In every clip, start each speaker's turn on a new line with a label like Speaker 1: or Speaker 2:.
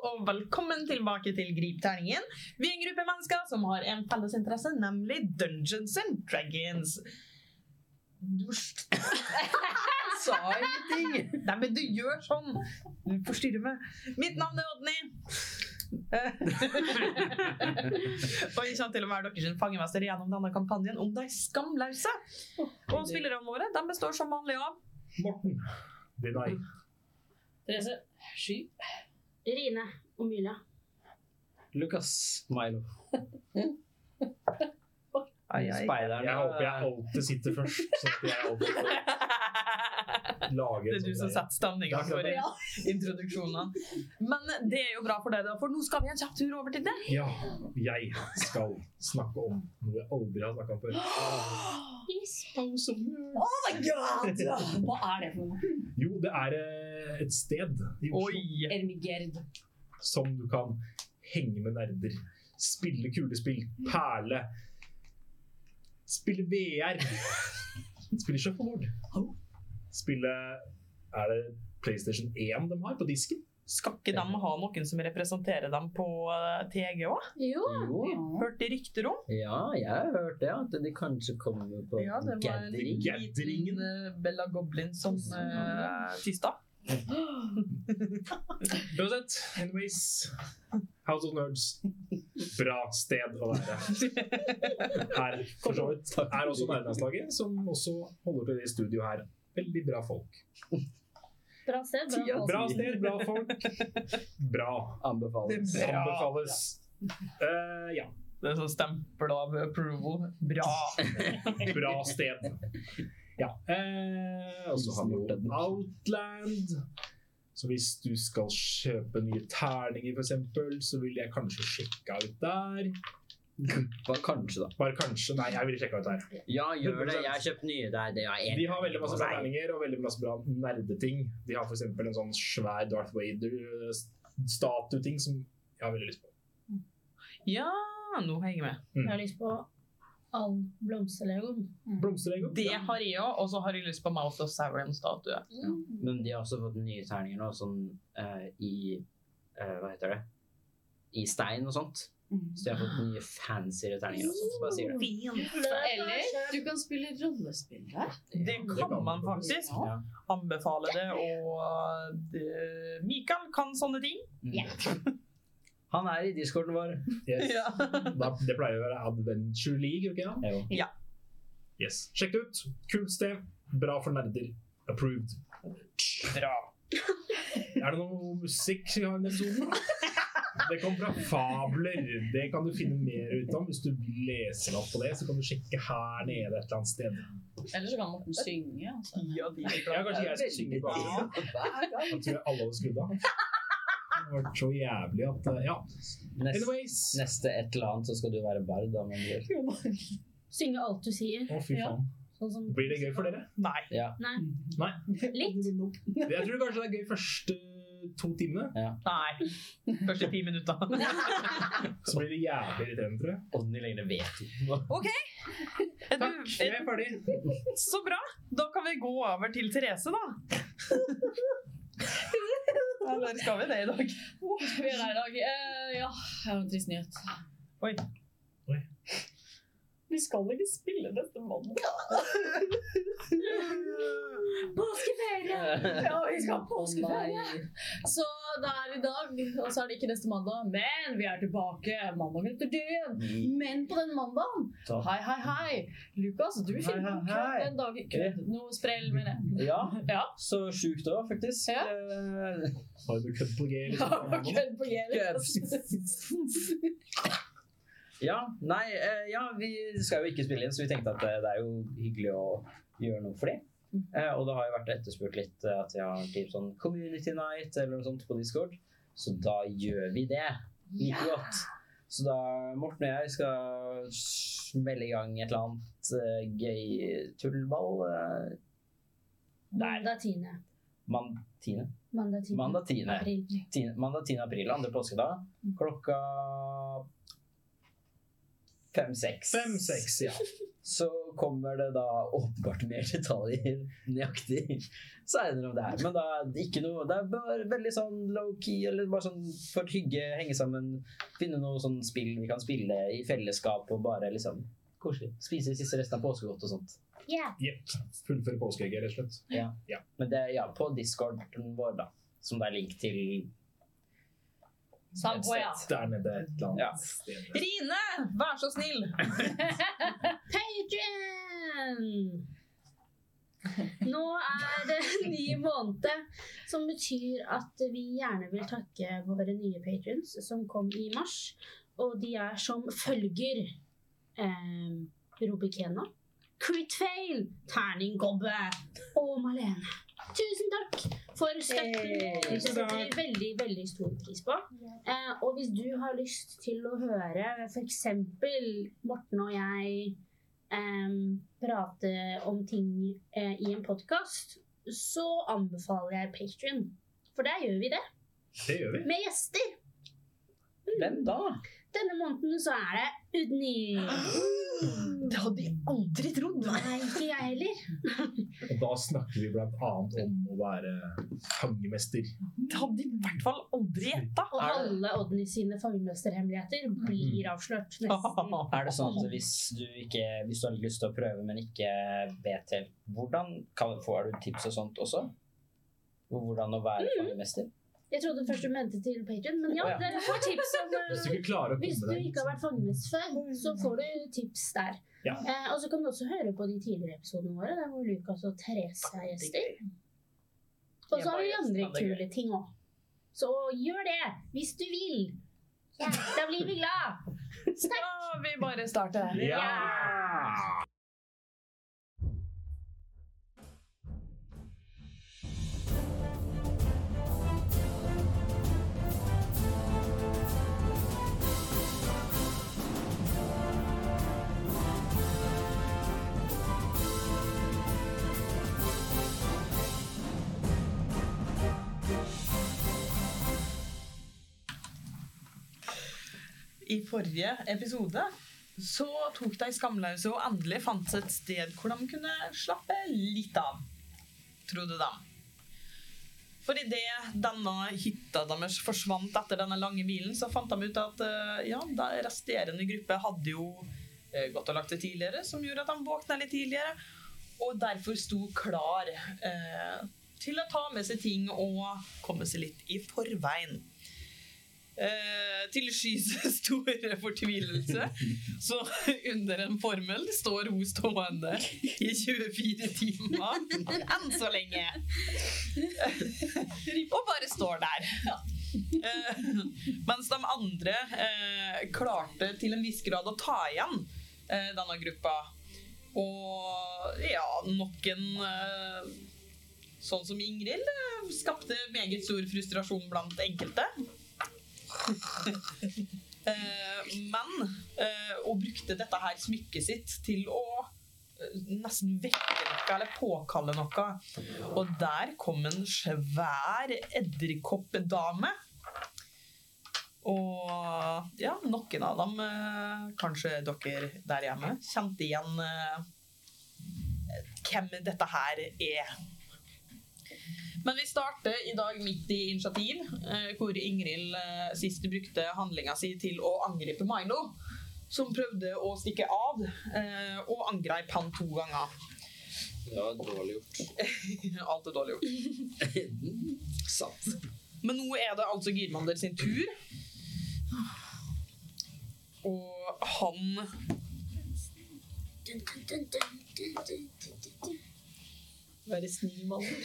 Speaker 1: og velkommen tilbake til Gripterningen. Vi er en gruppe mennesker som har en felles interesse, nemlig Dungeons and Dragons. Du sa ingenting! Nei, men du gjør sånn! Du forstyrrer meg. Mitt navn er Odny. og jeg kommer til å være deres fangemester gjennom denne kampanjen om de skamløse. Og spillerne våre de består som vanlig av
Speaker 2: Morten. Det er deg.
Speaker 3: Therese. Sky.
Speaker 4: Rine og Myla.
Speaker 5: Lukas Milo. Speideren.
Speaker 2: Jeg håper jeg alltid sitter først. Sånn at jeg alltid sånn får lage
Speaker 1: Det er du som setter stemninga for
Speaker 2: Ja.
Speaker 1: introduksjonene. Men det er jo bra for deg, da, for nå skal vi en kjapp tur over til deg.
Speaker 2: Ja, jeg skal snakke om noe jeg aldri har snakka om før.
Speaker 3: Oh my god! Hva er det for noe?
Speaker 2: Jo, det er eh, et sted i Oslo
Speaker 1: Oi!
Speaker 3: Ermigerd.
Speaker 2: som du kan henge med nerder. Spille kulespill, perle. Spille VR. Spille shuffleboard. Spille Er det PlayStation 1 de har på disken?
Speaker 1: Skal ikke de ha noen som representerer dem på eh, TG òg?
Speaker 4: Jo.
Speaker 5: Jo,
Speaker 1: Hørte rykter om?
Speaker 5: ja, jeg har hørt det. At de kanskje kommer på gathering.
Speaker 2: Gatheringen.
Speaker 1: eh, Bella Goblin som uh, tysta.
Speaker 2: Uansett, anyways House of Nerds. Bra sted å være. Her for så vidt er også nærlandslaget, som også holder til i studio her. Veldig bra folk.
Speaker 4: Bra sted. Bra
Speaker 5: Tida.
Speaker 3: altså.
Speaker 4: valg.
Speaker 2: Bra sted, bra folk. Bra.
Speaker 5: Anbefales.
Speaker 1: Det er bra.
Speaker 2: Anbefales. Eh, ja.
Speaker 1: Det er sånn stempel av approval. Bra!
Speaker 2: Bra sted. Ja. eh, og så har vi jo Outland. Så hvis du skal kjøpe nye terninger, f.eks., så vil jeg kanskje sjekke ut der.
Speaker 5: Hva kanskje, da?
Speaker 2: Bare kanskje. Nei, jeg ville sjekka ut her.
Speaker 5: Ja, gjør det. Jeg har kjøpt nye der. Det var en-
Speaker 2: De har veldig masse bra
Speaker 5: Nei.
Speaker 2: terninger og veldig masse bra nerdeting. De har f.eks. en sånn svær Darth Vader-statuting som jeg har veldig lyst på.
Speaker 1: Ja, nå henger jeg med.
Speaker 4: Jeg har lyst på all blomsterlegoen.
Speaker 3: Mm.
Speaker 2: Blomsterlego.
Speaker 1: Det har jeg òg, og så har jeg lyst på Mouth of Sauron-statue.
Speaker 5: Men de har også fått nye terninger nå, sånn eh, i eh, Hva heter det? I stein og sånt.
Speaker 3: Mm.
Speaker 5: Så de har fått nye fancyere terninger også. Så bare sier det.
Speaker 3: Eller du kan spille rollespill der.
Speaker 1: Det kan man faktisk.
Speaker 5: Ja.
Speaker 1: Anbefale det, og det, Mikael kan sånne ting.
Speaker 5: Mm.
Speaker 3: Ja.
Speaker 5: Han er i discorden vår.
Speaker 2: Yes.
Speaker 1: Ja.
Speaker 2: Da, det pleier å være Adventure League, gjør det ikke det?
Speaker 5: Jo.
Speaker 2: Yes. Sjekk det ut. Kult sted. Bra for nerder. Approved.
Speaker 1: Bra.
Speaker 2: Er det noe musikk i denne episoden? Det kom fra fabler. Det kan du finne mer ut om hvis du vil lese deg opp på det. Så kan du sjekke her nede et eller annet sted.
Speaker 3: Eller så kan Morten synge. Altså.
Speaker 1: Ja, de er
Speaker 2: Ja,
Speaker 1: klare.
Speaker 2: kanskje jeg skal synge på Da tror jeg alle hadde skrudd av. Det har vært så jævlig at eh, Ja.
Speaker 5: Neste,
Speaker 2: Anyways.
Speaker 5: neste et eller annet så skal du være bard. Da, men du-
Speaker 4: Synge alt du sier.
Speaker 2: Å, fy faen.
Speaker 4: Sånn som
Speaker 2: Blir det gøy for dere?
Speaker 1: Nei.
Speaker 5: ja.
Speaker 4: Nei.
Speaker 2: Nei.
Speaker 4: Litt.
Speaker 2: Jeg tror kanskje det er gøy første to timene.
Speaker 1: Nei. Første ti minutter.
Speaker 2: Så blir det jævlig irriterende, tror jeg.
Speaker 5: Odny lenger vet ikke hva
Speaker 1: Er
Speaker 2: Takk,
Speaker 1: du,
Speaker 2: Mm, jeg
Speaker 1: er,
Speaker 2: er ferdig.
Speaker 1: så bra. Da kan vi gå over til Therese, da. Eller skal vi det i dag?
Speaker 3: Oh, vi er der i dag. Eh, ja, jeg har en trist nyhet.
Speaker 1: Oi.
Speaker 2: Oi.
Speaker 3: Vi skal ikke spille dette mandag. Påskeferie! Ja, vi skal ha påskeferie. Så det er i dag, og så er det ikke neste mandag. Men vi er tilbake mandagen etter det. Men på den mandagen
Speaker 5: Så.
Speaker 3: Hei, hei, hei! Lukas, du finner på
Speaker 5: hei, hei.
Speaker 3: kødd en dag. Kødd, noe sprell, mener jeg.
Speaker 5: Ja,
Speaker 3: Ja.
Speaker 5: så sjukt òg, faktisk.
Speaker 3: Ja.
Speaker 5: Eh,
Speaker 2: Har du kødd på G?
Speaker 3: Ja,
Speaker 2: Liksom?
Speaker 3: kødd på G.
Speaker 5: ja, nei, eh, ja, vi skal jo ikke spille inn, så vi tenkte at eh, det er jo hyggelig å gjøre noe for det.
Speaker 3: Mm.
Speaker 5: Eh, og det har jo vært etterspurt litt eh, at vi har typ sånn Community Night eller noe sånt på Discord. Så da gjør vi det. Like godt. Så da Morten og jeg skal smelle i gang et eller annet eh, gøy tullball. eh,
Speaker 4: Mandag 10.
Speaker 5: man, tiende.
Speaker 4: Mandag
Speaker 3: Mm.
Speaker 4: 10.
Speaker 5: Mandag 10.
Speaker 4: April.
Speaker 5: Ti- mandag 10. april, andre påskedag, klokka Fem-seks.
Speaker 2: Fem-seks, ja.
Speaker 5: Så kommer det da åpenbart mer detaljer nøyaktig seinere om det her. Men da er det ikke noe Det er bare veldig sånn low-key, eller bare sånn for et hygge, henge sammen. Finne noe sånn spill vi kan spille i fellesskap og bare liksom koselig. Spise siste resten av påskegodt og sånnt.
Speaker 4: Yeah.
Speaker 2: Jepp. Fullføre påskeegget, rett og slett.
Speaker 5: Men det er ja, på discorden vår, da. Som det er link til.
Speaker 3: Sam, å ja.
Speaker 2: Der nede et eller annet
Speaker 5: Ja.
Speaker 2: sted.
Speaker 1: Rine, vær så snill!
Speaker 4: Patreon! Nå er det en ny måned, som betyr at vi gjerne vil takke våre nye patrons som kom i mars. Og de er som følger eh, Robikena, Critfail, Terninggobbe og Malene. Tusen takk for støtten.
Speaker 1: Hey.
Speaker 4: Det setter vi veldig, veldig stor pris på. Eh, og hvis du har lyst til å høre f.eks. Morten og jeg em, prate om ting eh, i en podkast, så anbefaler jeg Patrion. For der gjør vi det.
Speaker 2: Det gjør vi.
Speaker 4: Med gjester.
Speaker 5: Hvem da?
Speaker 4: Denne måneden så er det Udny.
Speaker 1: Det hadde jeg aldri trodd!
Speaker 4: Nei, ikke jeg heller.
Speaker 2: Og da snakker vi blant annet om å være fangemester.
Speaker 1: Det hadde jeg i hvert fall aldri gjetta.
Speaker 4: Og
Speaker 5: Er det-
Speaker 4: alle Odny sine fangemøsterhemmeligheter blir avslørt. Nesten.
Speaker 5: Er det sånn at hvis du, ikke, hvis du har lyst til å prøve, men ikke vet helt hvordan, kan, får du tips og sånt også? Og Hvordan å være fangemester?
Speaker 4: Jeg trodde først du mente til Patrion, men ja,
Speaker 5: Å, ja.
Speaker 4: dere får tips om eh,
Speaker 2: Hvis du ikke klarer å
Speaker 4: Hvis du
Speaker 2: komme deg
Speaker 4: ikke har vært fangemest før, så får du tips der.
Speaker 2: Ja.
Speaker 4: Eh, og så kan du også høre på de tidligere episodene våre, der hvor Lukas og Therese er gjester. Og så har vi andre kule ting òg. Så gjør det hvis du vil. Da blir vi glad.
Speaker 1: Skal vi bare starte?
Speaker 2: Ja!
Speaker 1: I forrige episode så tok de skamløse og endelig fant et sted hvor de kunne slappe litt av, trodde de. For idet denne hytta deres forsvant etter denne lange hvilen, så fant de ut at eh, ja, da resterende gruppe hadde jo eh, gått og lagt seg tidligere, som gjorde at de våkna litt tidligere, og derfor sto klar eh, til å ta med seg ting og komme seg litt i forveien. Eh, til skys store fortvilelse. Så under en formel står hun stående i 24 timer enn så lenge. Og bare står der. Eh, mens de andre eh, klarte til en viss grad å ta igjen eh, denne gruppa. Og ja, nok en eh, Sånn som Ingrid eh, skapte meget stor frustrasjon blant enkelte. Eh, men eh, og brukte dette her smykket sitt til å eh, nesten vekke noe eller påkalle noe. Og der kom en svær edderkoppdame. Og ja, noen av dem, eh, kanskje dere der hjemme, kjente igjen eh, hvem dette her er. Men vi starter i dag midt i initiativ, eh, hvor Ingrid eh, sist brukte handlinga si til å angripe Milo, som prøvde å stikke av, eh, og angrep han to ganger.
Speaker 6: Det var dårlig gjort.
Speaker 1: Alt er dårlig gjort.
Speaker 6: Sant.
Speaker 1: Men nå er det altså Girmander sin tur. Og han
Speaker 4: Dun, dun, dun, dun, dun, dun, dun, dun, dun.
Speaker 1: Være snill, Mander.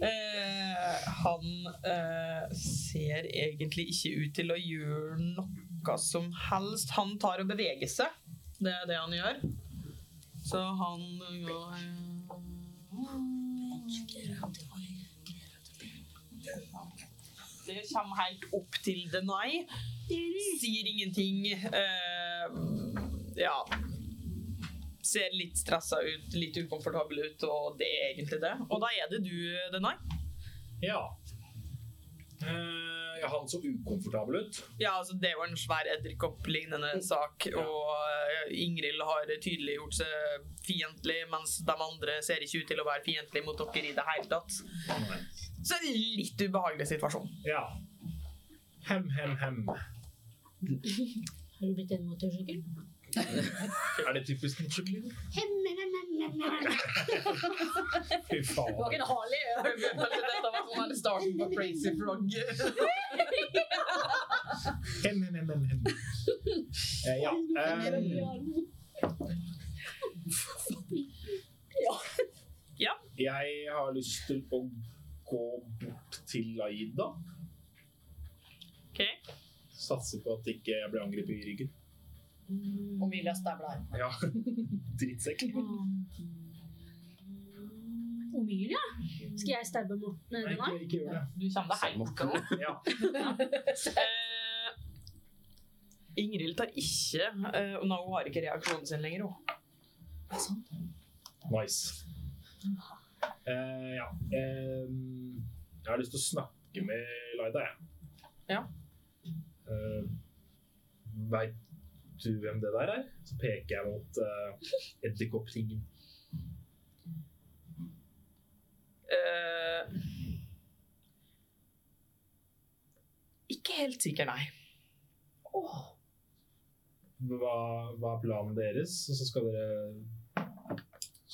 Speaker 1: Eh, han eh, ser egentlig ikke ut til å gjøre noe som helst. Han tar og beveger seg. Det er det han gjør. Så han eh, går Det kommer helt opp til Denai. Sier ingenting. Eh, ja. Ser litt stressa ut, litt ukomfortabel ut, og det er egentlig det. Og da er det du, Denai.
Speaker 2: ja. Eh, ja, han så ukomfortabel ut.
Speaker 1: Ja, altså Det var en svær edderkopplignende sak, og eh, Ingrid har tydelig gjort seg fiendtlig, mens de andre ser ikke ut til å være fiendtlige mot dere i det hele tatt. Så en litt ubehagelig situasjon.
Speaker 2: Ja. Hem, hem, hem.
Speaker 4: Har du blitt en motorsykkel?
Speaker 2: Er det typisk motorsykling? Fy
Speaker 3: Det var ikke
Speaker 2: faen.
Speaker 3: en Harley. ja.
Speaker 1: Kanskje dette var sånn starten på Crazy Frog.
Speaker 2: Hem, hem, hem, hem, hem. Eh, ja. eh, jeg har lyst til å gå bort til Laida.
Speaker 1: Ok.
Speaker 2: Satser på at ikke jeg blir angrepet i ryggen.
Speaker 3: Om vi løste der ble jeg.
Speaker 2: Ja. Drittsekk.
Speaker 4: Omilia? Skal jeg stabbe Morten
Speaker 2: Nei,
Speaker 4: eller
Speaker 2: ikke,
Speaker 4: noe?
Speaker 2: ikke gjør det.
Speaker 1: Du kommer deg helt til nå.
Speaker 2: Ja.
Speaker 1: Eh, Ingrid tar ikke eh, Nå hun har ikke reaksjonen sin lenger, hun.
Speaker 2: Nice. Eh, ja. ehm, jeg har lyst til å snakke med Laida, jeg.
Speaker 1: Ja.
Speaker 2: Eh, Veit du hvem det der er? Så peker jeg mot uh, edderkoppringen.
Speaker 1: Eh, ikke helt sikker, nei.
Speaker 2: Hva, hva er planen deres? Og så skal dere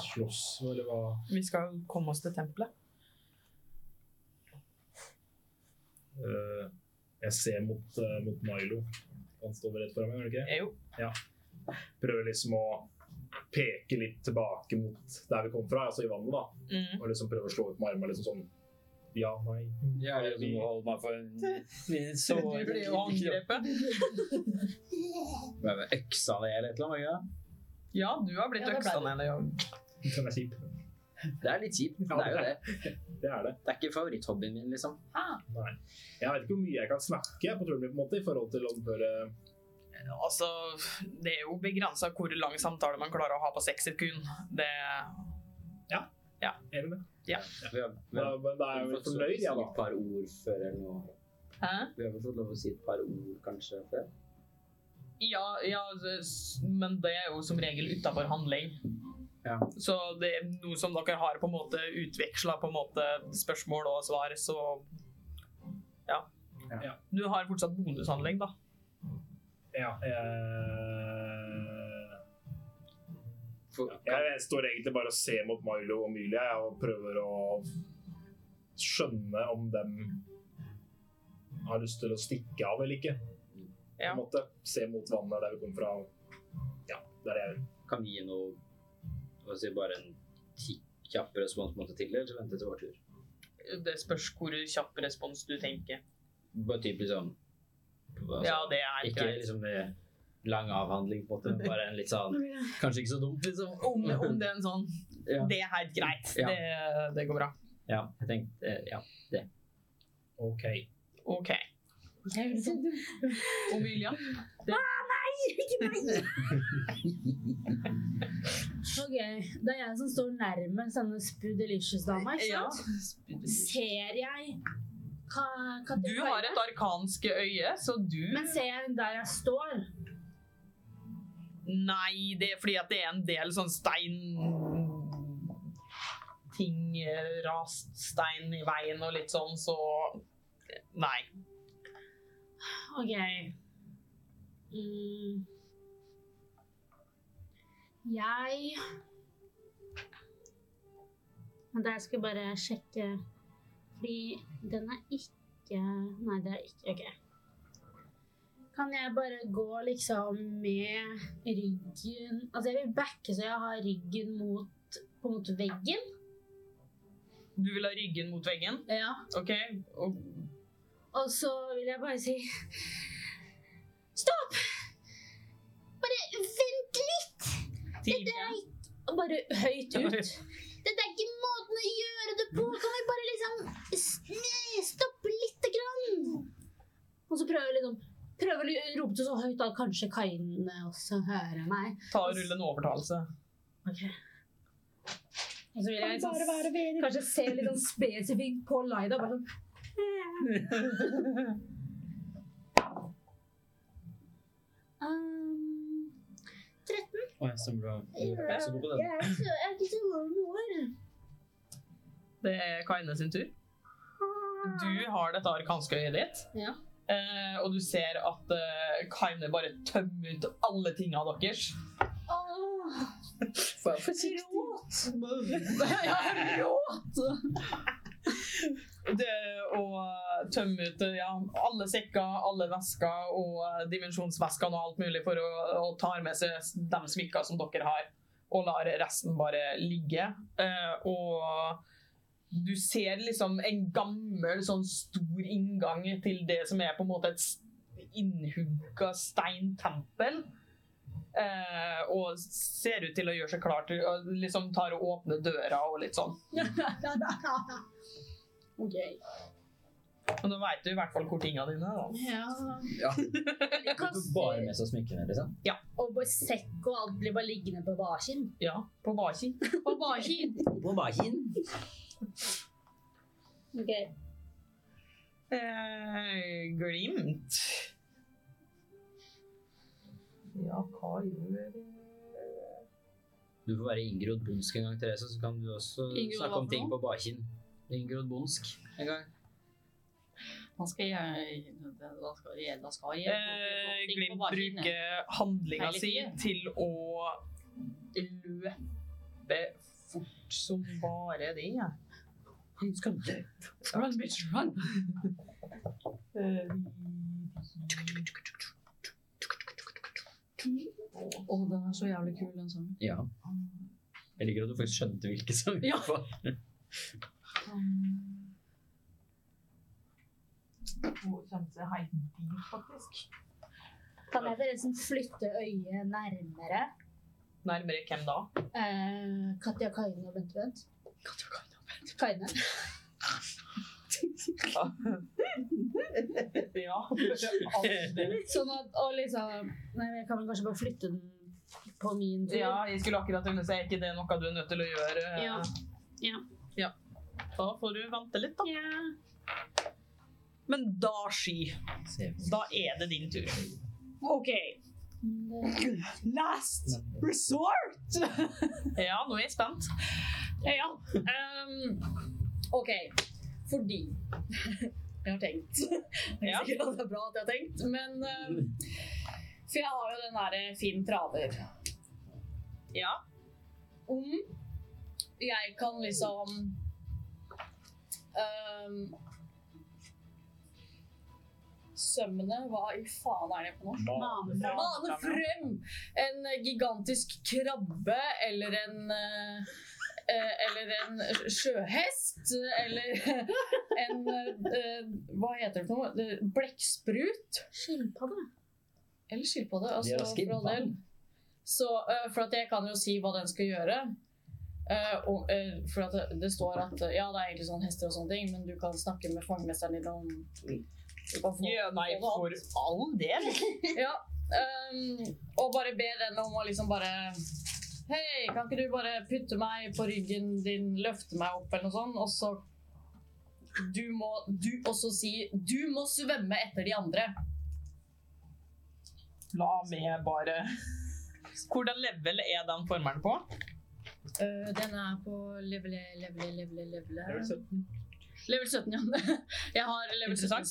Speaker 2: slåss, eller hva?
Speaker 1: Vi skal komme oss til tempelet.
Speaker 2: Eh, jeg ser mot, eh, mot Milo. Han står rett foran meg, gjør han ikke? det?
Speaker 1: Eh, Jo.
Speaker 2: Prøver liksom å peke litt tilbake mot der vi kom fra, altså i vannet, da.
Speaker 1: Mm.
Speaker 2: Og liksom prøve å slå ut med armene liksom sånn Ja, nei.
Speaker 5: Jeg er jo som å holde meg for en
Speaker 1: Du blir jo angrepet.
Speaker 5: Med øksa ned eller et eller annet.
Speaker 1: Ja, du har blitt
Speaker 3: Ja, det ble
Speaker 1: øksa
Speaker 3: det.
Speaker 1: ned. eller-
Speaker 2: Den er kjip.
Speaker 5: ikke? Det er litt kjipt. Det er jo det.
Speaker 2: Det er det.
Speaker 5: Det er ikke favoritthobbyen min, liksom.
Speaker 2: Nei. Jeg vet ikke hvor mye jeg kan snakke på turen min, på en måte, i forhold til å bare
Speaker 1: Altså, det er jo begrensa hvor lang samtale man klarer å ha på seks sekunder. Det
Speaker 2: Enig med.
Speaker 5: Vi har, vi
Speaker 2: Men,
Speaker 5: har
Speaker 2: men da er jeg vel
Speaker 5: fått
Speaker 2: fornøyd, jeg,
Speaker 5: si
Speaker 2: da.
Speaker 5: et par ord før eller noe.
Speaker 1: Hæ?
Speaker 5: Vi har vel fått lov å si et par ord kanskje før?
Speaker 1: Ja, ja, s- men det er jo som regel utafor handling.
Speaker 5: Ja.
Speaker 1: Så det er noe som dere har på en måte utveksla på en måte spørsmål og svar, så ja.
Speaker 5: Ja.
Speaker 1: Du har fortsatt bonushandling, da.
Speaker 2: Ja. Jeg,
Speaker 5: For, kan,
Speaker 2: jeg står egentlig bare og ser mot Milo og Mylia jeg, og prøver å skjønne om dem har lyst til å stikke av eller ikke. På
Speaker 1: Ja.
Speaker 2: en måte. Se mot vannet der vi kom fra. Ja, der jeg
Speaker 5: kan vi gi noe hva skal jeg si, Bare en ti- kjapp responsmåte til, eller så vente til vår tur?
Speaker 1: Det spørs hvor kjapp respons du tenker.
Speaker 5: Bare typisk sånn altså,
Speaker 1: Ja, det er
Speaker 5: Ikke
Speaker 1: greit.
Speaker 5: liksom eh, lang avhandling, på en måte, men bare en litt sånn Kanskje ikke så dumt, liksom.
Speaker 1: Om, om det er en sånn
Speaker 5: Ja.
Speaker 1: Det er helt greit.
Speaker 5: Ja.
Speaker 1: Det, det går bra.
Speaker 5: ja, jeg tenkte eh, Ja.
Speaker 2: OK.
Speaker 1: OK. Omilia?
Speaker 4: Ok, Det er jeg som står nærmest denne Spoodelicious-dama. ikke sant? Ser jeg hva, hva
Speaker 1: Du har et arkansk øye, så du
Speaker 4: Men ser jeg der jeg står?
Speaker 1: Nei, det er fordi at det er en del sånn stein ting, eh, rast stein i veien og litt sånn, så nei.
Speaker 4: Ok. Mm. Jeg Men der skal jeg bare sjekke Fordi den er ikke Nei, det er ikke OK. Kan jeg bare gå liksom med ryggen Altså, jeg vil backe så jeg har ryggen mot, mot veggen.
Speaker 1: Du vil ha ryggen mot veggen,
Speaker 4: Ja.
Speaker 1: ok? Og,
Speaker 4: Og så vil jeg bare si Stopp! Bare vent litt!
Speaker 1: Tid.
Speaker 4: Dette er ikke og Bare høyt ut. Dette er ikke måten å gjøre det på! Kan vi bare liksom sn- stoppe lite grann? Og så prøver jeg liksom Prøver å rope det så høyt at kanskje Kain også hører meg.
Speaker 1: ta og rulle en overtalelse.
Speaker 4: Ok. Og så vil jeg liksom, s- kanskje se litt sånn spesifikt på Laida. Bare sånn Um, 13.
Speaker 5: Å, jeg stemmer du
Speaker 4: Jeg
Speaker 5: er så god på den.
Speaker 4: er ikke så- jeg er ikke så god med ord.
Speaker 1: Det er Kaine sin tur. Du har dette arkanske øyet ditt,
Speaker 4: Ja.
Speaker 1: eh, og du ser at eh, Kaine bare tømmer ut alle tinga deres.
Speaker 4: Åh,
Speaker 5: Får jeg
Speaker 4: gråt!
Speaker 1: Ja, det å tømme ut eh, ja, alle sekker, alle vesker og eh, dimensjonsveskene og alt mulig for å, å ta med seg de smykker som dere har, og lar resten bare ligge. Eh, og du ser liksom en gammel, sånn stor inngang til det som er på en måte et s- innhugga steintempel. Eh, og ser ut til å gjøre seg klar til å liksom tar og åpner døra og litt sånn.
Speaker 3: OK.
Speaker 1: Men da veit du i hvert fall hvor tinga dine er. da.
Speaker 3: Ja.
Speaker 5: Ja.
Speaker 4: Jeg
Speaker 5: Du tok bare med seg smykkene, liksom?
Speaker 4: Og bare sekk og alt blir bare liggende på barsiden.
Speaker 1: Ja, på bakin.
Speaker 4: På barsiden?
Speaker 5: På bakken.
Speaker 4: Ok.
Speaker 1: Eh, glimt. Ja, hva gjør
Speaker 5: Du får være Ingrod Bonsk en gang, Therese, så kan du også
Speaker 3: Ingrod hva
Speaker 5: snakke om
Speaker 3: for
Speaker 5: ting
Speaker 3: noe?
Speaker 5: på bakken. Ingrod Bonsk en gang.
Speaker 3: Da skal jeg Da skal jeg, da skal jeg
Speaker 1: eh, Glimt bruker handlinga
Speaker 3: Hele
Speaker 1: si
Speaker 3: tiden.
Speaker 1: til å løpe fort som bare det. Ja.
Speaker 3: Han skal dø. Run, bitch, run!
Speaker 1: Eh,
Speaker 3: Å, den er så jævlig kul, den sangen.
Speaker 5: Ja. Jeg liker at du faktisk skjønte hvilke som
Speaker 3: Ja.
Speaker 5: var.
Speaker 1: hun kommer seg helt dit, faktisk.
Speaker 4: Kan jeg forresten flytte øyet nærmere
Speaker 1: Nærmere hvem da?
Speaker 4: eh, Katja Kaine og Bente Bent? Kaine.
Speaker 1: Ja. Aldri.
Speaker 4: Sånn at, og liksom Nei, jeg kan vel kanskje bare flytte den på min tur?
Speaker 1: Ja, jeg skulle akkurat til å si, er ikke det noe du er nødt til å gjøre?
Speaker 4: Ja. Ja.
Speaker 1: Ja. Da får du vente litt, da.
Speaker 4: Ja.
Speaker 1: Men da sky.
Speaker 5: Se.
Speaker 1: Da er det din tur.
Speaker 3: OK.
Speaker 4: Det-
Speaker 1: Last resort! ja, nå er jeg spent.
Speaker 3: Ja. ehm, OK. Fordi Jeg har tenkt. Jeg
Speaker 1: Ja.
Speaker 3: er sikker på at det er bra at jeg har tenkt, men ehm, For jeg har jo den derre Finn Traver.
Speaker 1: Ja.
Speaker 3: Om jeg kan liksom ehm, Sømmene Hva i faen er det på norsk? Mane frem en gigantisk krabbe eller en eh, eh, Eller en sjøhest eller en eh, Hva heter det for noe? Blekksprut?
Speaker 4: Skilpadde.
Speaker 3: Eller skilpadde. Altså,
Speaker 5: De er raske i
Speaker 3: for all del.
Speaker 5: vann.
Speaker 3: Så, eh, for at jeg kan jo si hva den skal gjøre. Eh, og, eh, for at det, det står at eh, ja, det er egentlig sånn hester og sånne ting, men du kan snakke med fangemesteren din om du kan få
Speaker 1: Ja, nei, for all del.
Speaker 3: ja. ehm, og bare be den om å liksom bare Hei, kan ikke du bare putte meg på ryggen din, løfte meg opp eller noe sånt, og så Du må du også si Du må svømme etter de andre.
Speaker 1: La meg bare Hvordan level er den formelen på?
Speaker 3: Øh, den er på level, level, level, level
Speaker 2: Level
Speaker 3: 17. Level 17, ja. Jeg har level 17
Speaker 1: Interessant.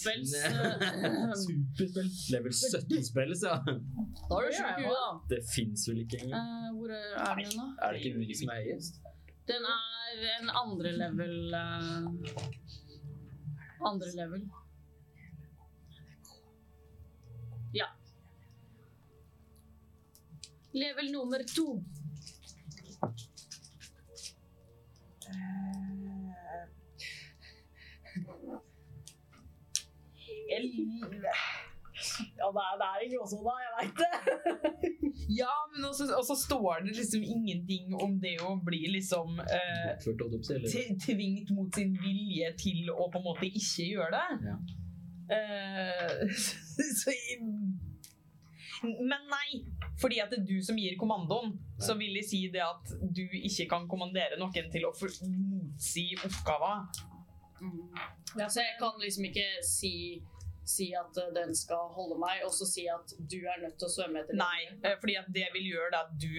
Speaker 3: spells. eh,
Speaker 5: Superspill. Level 17-spill, så
Speaker 3: Da
Speaker 1: Det
Speaker 3: er du
Speaker 1: er
Speaker 3: 20,
Speaker 1: jo-
Speaker 3: da.
Speaker 5: det fins vel ikke engang.
Speaker 3: Eh, hvor er er den nå?
Speaker 5: Er det ikke Uri som er høyest?
Speaker 3: Den er en andre level eh, Andre level. Ja. Level nummer to. Eh, Ja, det er, det er en gråsone, jeg veit det.
Speaker 1: Ja, men også, også står det liksom ingenting om det å bli liksom eh,
Speaker 5: Oppført autopsi, eller?
Speaker 1: t- tvingt mot sin vilje til å på en måte ikke gjøre det.
Speaker 5: Ja.
Speaker 1: Eh, så jeg- Men nei, fordi at det er du som gir kommandoen, så vil jeg si det at du ikke kan kommandere noen til å for- motsi oppgaven.
Speaker 3: Ja, så jeg kan liksom ikke si, si at eh, den skal holde meg, og så si at du er nødt til å svømme etter
Speaker 1: Nei, eh, fordi at det vil gjøre da at du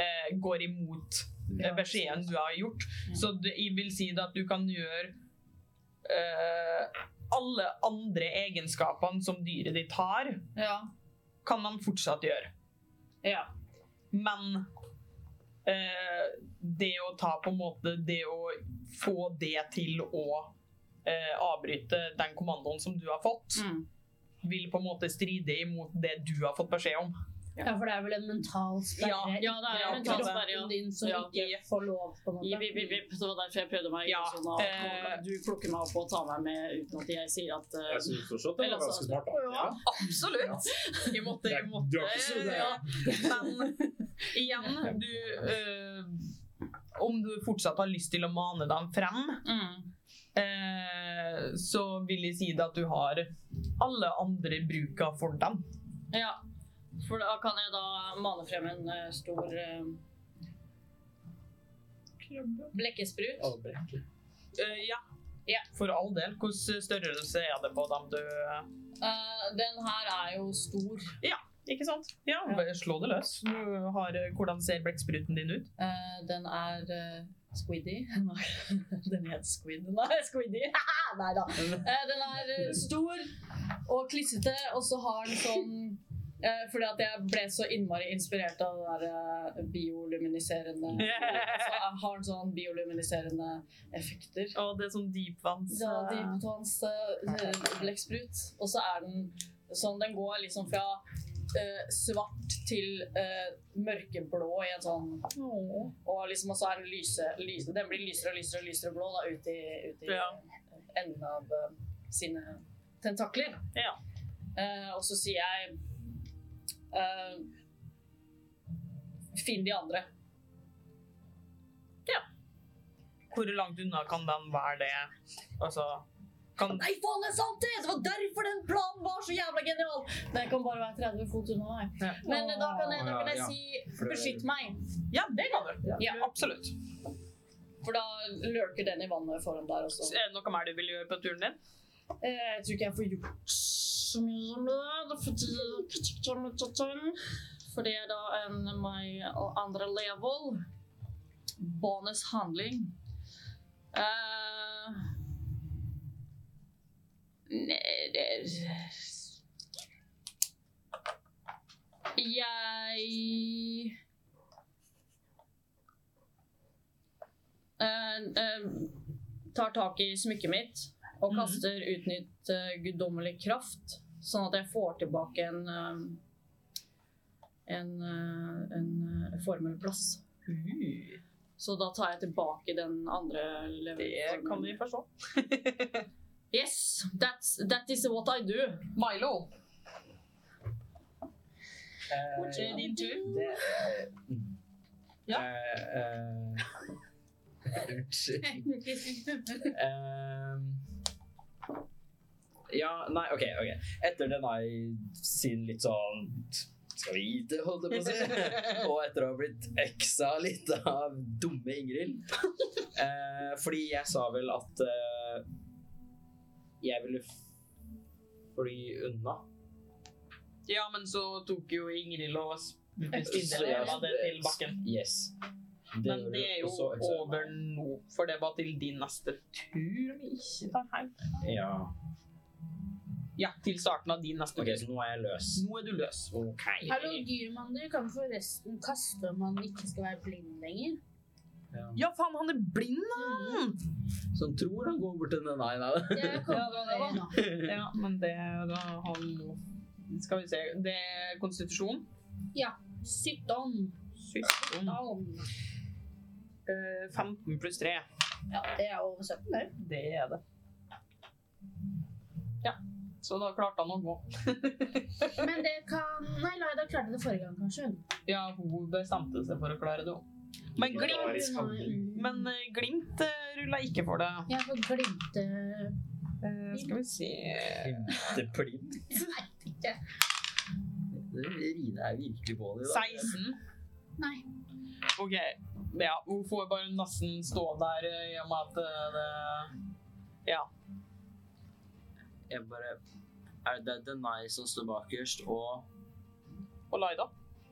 Speaker 1: eh, går imot eh, beskjeden du har gjort. Så det jeg vil si da at du kan gjøre eh, alle andre egenskapene som dyret ditt har,
Speaker 3: Ja.
Speaker 1: kan man fortsatt gjøre.
Speaker 3: ja.
Speaker 1: Men eh, det å ta på en måte Det å få det til å eh, avbryte den kommandoen som du har fått,
Speaker 3: Mm.
Speaker 1: vil på en måte stride imot det du har fått beskjed om.
Speaker 4: Ja, for det er vel en mental sperre
Speaker 1: Ja,
Speaker 3: ja, det er
Speaker 4: i
Speaker 1: en mental
Speaker 4: kroppen
Speaker 3: sperre, ja.
Speaker 4: din som
Speaker 3: Ja.
Speaker 4: ikke får lov, på en måte.
Speaker 3: Jip, jip, jip, jip. Det var derfor jeg prøvde meg. i
Speaker 1: Ja,
Speaker 3: Sånn, at
Speaker 1: eh.
Speaker 3: du plukker meg opp og tar meg med uten at jeg sier at eh,
Speaker 2: Jeg synes fortsatt det
Speaker 3: Eller
Speaker 2: var
Speaker 3: altså-
Speaker 2: ganske smart, da.
Speaker 3: Ja.
Speaker 1: Absolutt! Jeg måtte, jeg måtte
Speaker 2: Du har ikke så- det er-
Speaker 1: ja. Men igjen, du eh, Om du fortsatt har lyst til å mane dem frem,
Speaker 3: mm.
Speaker 1: eh, så vil jeg si det at du har alle andre bruka for dem.
Speaker 3: Ja. For da kan jeg da mane frem en eh, stor eh, Blekkesprut.
Speaker 5: Albrecht.
Speaker 1: Eh, ja.
Speaker 3: Ja.
Speaker 1: For all del. Hvilken størrelse er det på dem du
Speaker 3: Eh, den her er jo stor.
Speaker 1: Ikke sant? Ja, bare slå det løs. Du har, eh, hvordan ser blekkspruten din ut?
Speaker 3: Eh, den er eh, Squiddy. Nei, den het Squid. Nei, Squiddy. Nei da. Eh, den er eh, stor og klissete, og så har den sånn eh, Fordi at jeg ble så innmari inspirert av det der eh, bioluminiserende Så jeg har den sånn bioluminiserende effekter.
Speaker 1: Å, det er sånn dypvanns...
Speaker 3: Så Dyptvanns uh, blekksprut. Og så er den sånn Den går liksom fra eh, svart til eh, mørkeblå i en sånn og liksom også er den lyse, lyse Den blir lysere og lysere og lysere blå da, ut i, ut i
Speaker 1: Ja.
Speaker 3: enden av eh, sine tentakler.
Speaker 1: Ja.
Speaker 3: Eh, og så sier jeg eh, Finn de andre.
Speaker 1: Hvor langt unna kan den være det? Altså kan,
Speaker 3: Nei, faen, det er sant! Det Det var derfor den planen var så jævla genial! Den kan bare være 30 fot unna meg.
Speaker 1: Ja.
Speaker 3: Men eh, da kan jeg, da kan jeg
Speaker 6: Ja, ja.
Speaker 3: si beskytt meg.
Speaker 1: Ja, det kan du.
Speaker 3: Ja.
Speaker 1: Absolutt.
Speaker 3: For da lurker den i vannet foran der også.
Speaker 1: Er det noe mer du vil gjøre på turen din?
Speaker 3: Eh, Jeg tror ikke jeg får gjort så mye med det, fordi For det er da en my andre level. Bonus handling. Eh, Nei, det er- Jeg eh, eh, tar tak i smykket mitt og
Speaker 1: Mhm.
Speaker 3: kaster utnytt eh, guddommelig kraft, sånn at jeg får tilbake en eh, en, eh, en eh, formelplass. Så da tar jeg tilbake den andre
Speaker 1: Det kan vi
Speaker 3: level-formelen.
Speaker 1: forstå.
Speaker 3: Yes, that's, that is what I do.
Speaker 1: Milo.
Speaker 5: Eh,
Speaker 1: Det er din tur.
Speaker 5: Det er mm.
Speaker 1: Ja.
Speaker 5: Eh, eh, Unnskyld. Eh, ja, nei, OK. ok. Etter den har jeg sin litt sånn Skal vi gi det, holdt jeg på å si. Og etter å ha blitt eksa litt av dumme Ingrid. Eh, fordi jeg sa vel at eh, jeg ville f- fly unna.
Speaker 1: Ja, men så tok jo Ingrid og
Speaker 5: Så jeg-
Speaker 1: stilte det til bakken.
Speaker 5: Yes. Det
Speaker 1: Men
Speaker 5: gjorde
Speaker 1: det
Speaker 5: du,
Speaker 1: er jo
Speaker 5: og så eksa jeg meg.
Speaker 1: over nå, for det var til din neste tur om jeg ikke tar feil.
Speaker 5: Ja.
Speaker 1: Ja, til starten av din neste
Speaker 5: OK,
Speaker 1: tur.
Speaker 5: så nå er jeg løs.
Speaker 1: Nå er du løs.
Speaker 5: OK.
Speaker 4: Hallo, dyrmann, du kan forresten kaste om man ikke skal være blind lenger.
Speaker 1: Ja, faen, han er blind, han!
Speaker 5: Som tror han går bort til den nei, nei.
Speaker 4: Jeg kommer på det nå.
Speaker 1: Ja, men det da han må Skal vi se Det er konstitusjon.
Speaker 4: Sytton.
Speaker 1: Sykdom.
Speaker 4: Down.
Speaker 1: Eh, 15 pluss 3.
Speaker 4: Ja, det er over 17, det.
Speaker 1: Det er det. Ja, så da klarte han å gå.
Speaker 4: Men det kan Nei, Laida klarte det forrige gang, kanskje. hun?
Speaker 1: Ja, hun bestemte seg for å klare det. Men Glimt,
Speaker 2: Legendarisk handling.
Speaker 1: men eh, glimt eh, rulla ikke for det.
Speaker 4: Jeg får glimte
Speaker 1: Eh, skal vi se
Speaker 5: Det blir
Speaker 4: Nei, ikke.
Speaker 5: Det rider jeg virkelig på det.
Speaker 1: 16.
Speaker 4: Nei.
Speaker 1: OK. Ja, hun får bare nesten stå der eh, i og med at eh, det Ja.
Speaker 5: Jeg bare Er det Denai som står bakerst, og
Speaker 1: Og Laida.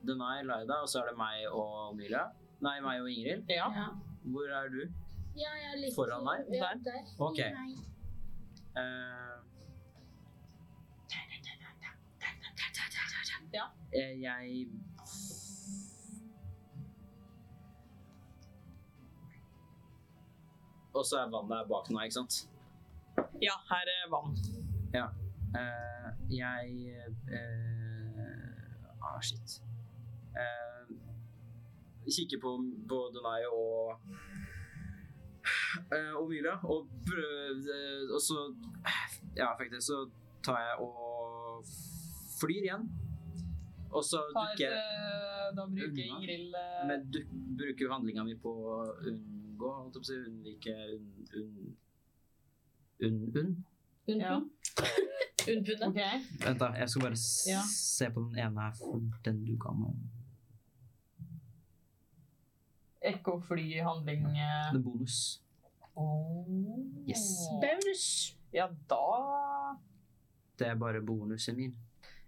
Speaker 5: Denai, Laida, og så er det meg og Emilia? Nei, meg og Ingrid.
Speaker 1: Ja.
Speaker 4: Ja.
Speaker 5: Hvor er du?
Speaker 4: Ja, jeg er litt
Speaker 5: Foran meg?
Speaker 4: Ja,
Speaker 1: Der?
Speaker 4: der.
Speaker 5: Ok.
Speaker 4: Nei.
Speaker 5: Eh,
Speaker 1: Ja.
Speaker 5: eh, jeg Og så er vannet her bak nå, ikke sant?
Speaker 1: ja, her er vann.
Speaker 5: Eh, jeg eh, Ah, shit. Eh, kikker på både meg og eh, og Mila, og prøv, eh, Og så Ja, faktisk, så tar jeg og flyr igjen. Og så
Speaker 1: Har,
Speaker 5: dukker jeg
Speaker 1: eh, da bruker
Speaker 5: Unna.
Speaker 1: Ingrid eh,
Speaker 5: Men du bruker jo handlinga mi på å unngå, holdt jeg på å si. Unnvike unn... Unn... Unn... unn.
Speaker 1: Ja.
Speaker 3: Unnpunnet.
Speaker 5: Vent, da. Jeg skal bare s
Speaker 1: Ja.
Speaker 5: se på den ene her, for den du ga meg.
Speaker 1: Ekkoflyhandling eh.
Speaker 5: Den bonus.
Speaker 1: Åh.
Speaker 5: Yes.
Speaker 4: Bonus.
Speaker 1: Ja, da
Speaker 5: Det er bare bonusen min.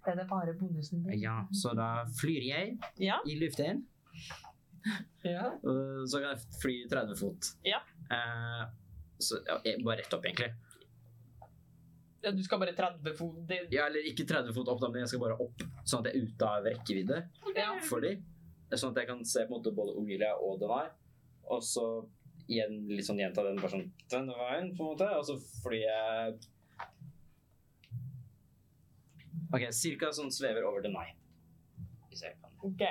Speaker 1: er det bare bonusen din.
Speaker 5: Ja, så da flyr jeg
Speaker 1: Ja.
Speaker 5: i luften.
Speaker 1: Ja.
Speaker 5: og Så kan jeg fly 30 fot.
Speaker 1: Ja.
Speaker 5: Eh, så ja, jeg- bare rett opp, egentlig.
Speaker 1: Du skal bare 30 fot det,
Speaker 5: Ja, eller ikke 30 fot opp, da, men jeg skal bare opp, sånn at jeg er ute av rekkevidde
Speaker 1: ja.
Speaker 5: for dem. Sånn at jeg kan se på en måte både Omilia og Denai. Og så igjen litt sånn gjenta den bare sånn denne veien, på en måte. Og så flyr jeg OK, cirka sånn svever over Denai. Hvis jeg kan
Speaker 1: Ok.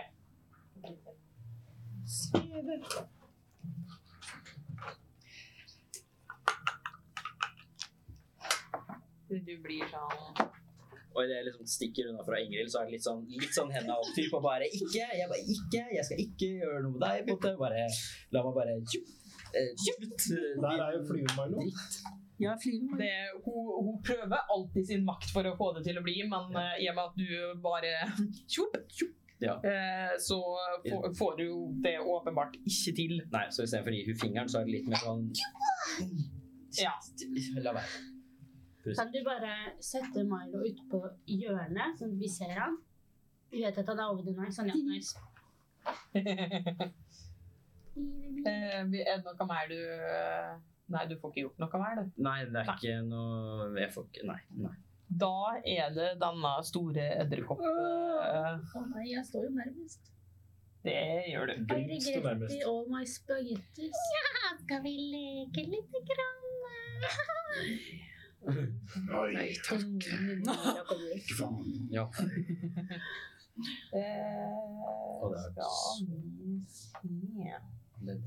Speaker 1: Du blir sånn
Speaker 5: Og idet jeg liksom stikker unna fra Ingrid, så er det litt sånn, litt sånn henda opp typ, og bare ikke, jeg bare ikke, jeg skal ikke gjøre noe med deg, på en måte. Bare, la meg bare tjup, eh, tjupt.
Speaker 2: Der er jo fluen, Milo.
Speaker 5: Ja, flyet.
Speaker 1: det, hun, hun prøver alltid sin makt for å få det til å bli, men eh, i og med at du bare tjopp, tjopp,
Speaker 5: Ja.
Speaker 1: eh, så får, får du jo det åpenbart ikke til.
Speaker 5: Nei, så istedenfor å gi henne fingeren, så er det litt mer sånn
Speaker 1: Ja.
Speaker 5: La være.
Speaker 4: Kan du bare sette Milo ut på hjørnet, sånn at vi ser han? Vi vet at han er over din vei, sånn ja, nice.
Speaker 1: Eh, vi- er det noe mer du eh, Nei, du får ikke gjort noe mer, du.
Speaker 5: Nei, det er ikke noe Jeg får ikke Nei. nei.
Speaker 1: Da er det denne store edderkopp... eh,
Speaker 4: Å nei, jeg står jo nærmest.
Speaker 1: det gjør du.
Speaker 4: I
Speaker 2: Blinks til
Speaker 4: regret
Speaker 2: nærmest.
Speaker 4: i all my spagettis. Ja, skal vi leke lite grann?
Speaker 6: Oi,
Speaker 4: takk.
Speaker 5: Ja.
Speaker 1: Eh,
Speaker 5: Og det er
Speaker 1: skal vi se
Speaker 5: Det-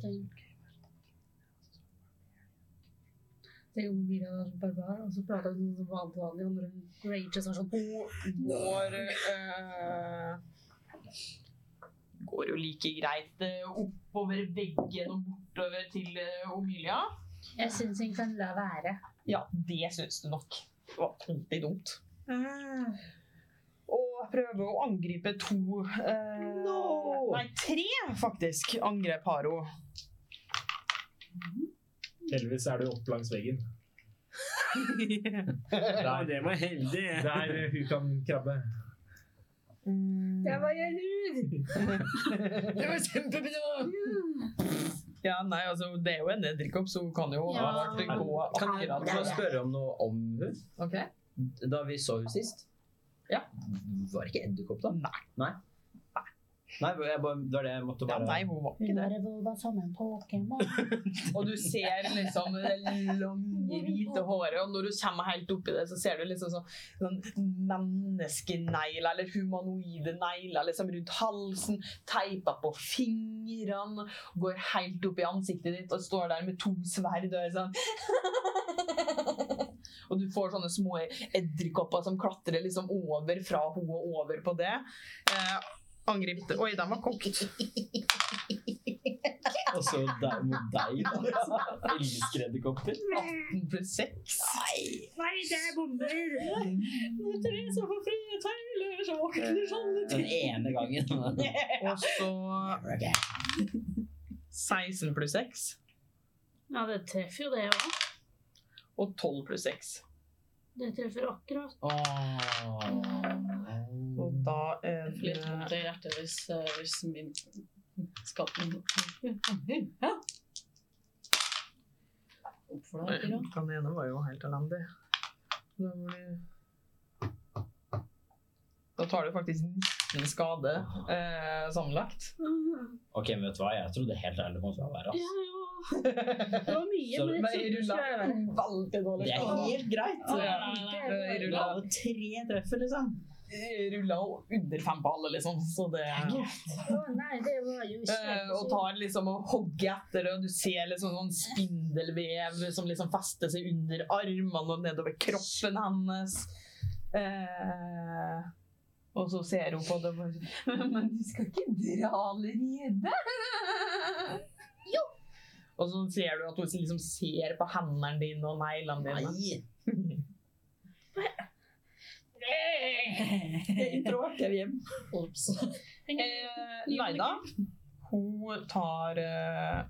Speaker 4: Tenk om Mira var så barbar, og så prater hun sånn som vanlig vanlig, og når hun rager så er hun sånn
Speaker 1: Hun går eh, Går jo like greit eh, oppover veggen og bortover til eh, Omilia.
Speaker 4: Jeg syns hun kan la være.
Speaker 1: Ja, det syns du nok var ordentlig dumt. Ah. Og prøve å angripe to eh,
Speaker 5: No!
Speaker 1: Nei, tre faktisk angrep har hun.
Speaker 2: Heldigvis er det jo opp langs veggen. Der,
Speaker 5: det var heldig.
Speaker 2: der hun kan krabbe.
Speaker 1: Mm.
Speaker 4: var jeg lur!
Speaker 1: Det var kjempebra!
Speaker 4: Mm.
Speaker 1: Ja, nei, altså, det er jo en edderkopp, så hun kan jo
Speaker 4: Ja.
Speaker 1: åpenbart gå
Speaker 5: Kan jeg
Speaker 1: akkurat
Speaker 5: få spørre om noe om hun?
Speaker 1: Ok.
Speaker 5: Da vi så henne sist?
Speaker 1: Ja.
Speaker 5: Var det ikke edderkopp, da?
Speaker 1: Nei.
Speaker 5: Nei. Nei, jeg bare, det var det jeg måtte
Speaker 1: Ja,
Speaker 5: bare
Speaker 1: nei, hun var
Speaker 4: Du
Speaker 1: ikke det.
Speaker 4: bare vil være sammen på Pokémon.
Speaker 1: Og du ser liksom det lange, hvite håret, og når du kommer helt oppi det, så ser du liksom sånn, sånn menneskenegler, eller humanoide negler, liksom rundt halsen, teipa på fingrene, går helt opp i ansiktet ditt og står der med to sverd og er sånn Og du får sånne små edderkopper som klatrer liksom over fra ho og over på det. Eh, angrip Oi, den var kokt.
Speaker 5: Og så der mot deg, da. Elsker edderkopper.
Speaker 1: 18 pluss 6.
Speaker 4: Nei, det er bomber!
Speaker 5: Den ene gangen.
Speaker 1: Og så 16 pluss 6.
Speaker 4: Ja, det treffer jo det òg.
Speaker 1: Og 12 pluss 6.
Speaker 4: Det treffer akkurat.
Speaker 1: Og da eh,
Speaker 3: Litt vondt i hjertet hvis, eh, hvis min skatten Hæ? Opp for deg, Kira.
Speaker 1: Han ene var jo helt elendig. Da blir Da tar du faktisk 19 skade eh, sammenlagt.
Speaker 5: Ok, men vet du hva? Jeg trodde helt ærlig det kom til å være.
Speaker 4: Ja,
Speaker 5: ass.
Speaker 4: ja. Det var mye,
Speaker 5: altså. Så-
Speaker 4: men
Speaker 1: Nei,
Speaker 4: jeg trodde
Speaker 1: rulla
Speaker 4: ikke det var
Speaker 1: veldig dårlig.
Speaker 5: Det er helt greit.
Speaker 1: Ja,
Speaker 3: Nei, nei, nei, nei.
Speaker 1: Eh,
Speaker 5: Rulla
Speaker 1: rulla-
Speaker 5: alle tre treffer, liksom.
Speaker 1: Rulla under fem på alle, liksom. Så det
Speaker 4: Å nei, det var
Speaker 1: Eh,
Speaker 4: jo
Speaker 1: og
Speaker 4: kjempesykt.
Speaker 1: tar liksom og hogger etter det, og du ser liksom sånn spindelvev som liksom fester seg under armene og nedover kroppen hennes. Eh, og så ser hun på det og bare Men du skal ikke dra allerede? Jo! Og så ser du at hun liksom ser på hendene dine og neglene dine. Det er introvert, jeg vil hjem.
Speaker 3: Ops.
Speaker 1: Eh, Neida. Hun tar eh,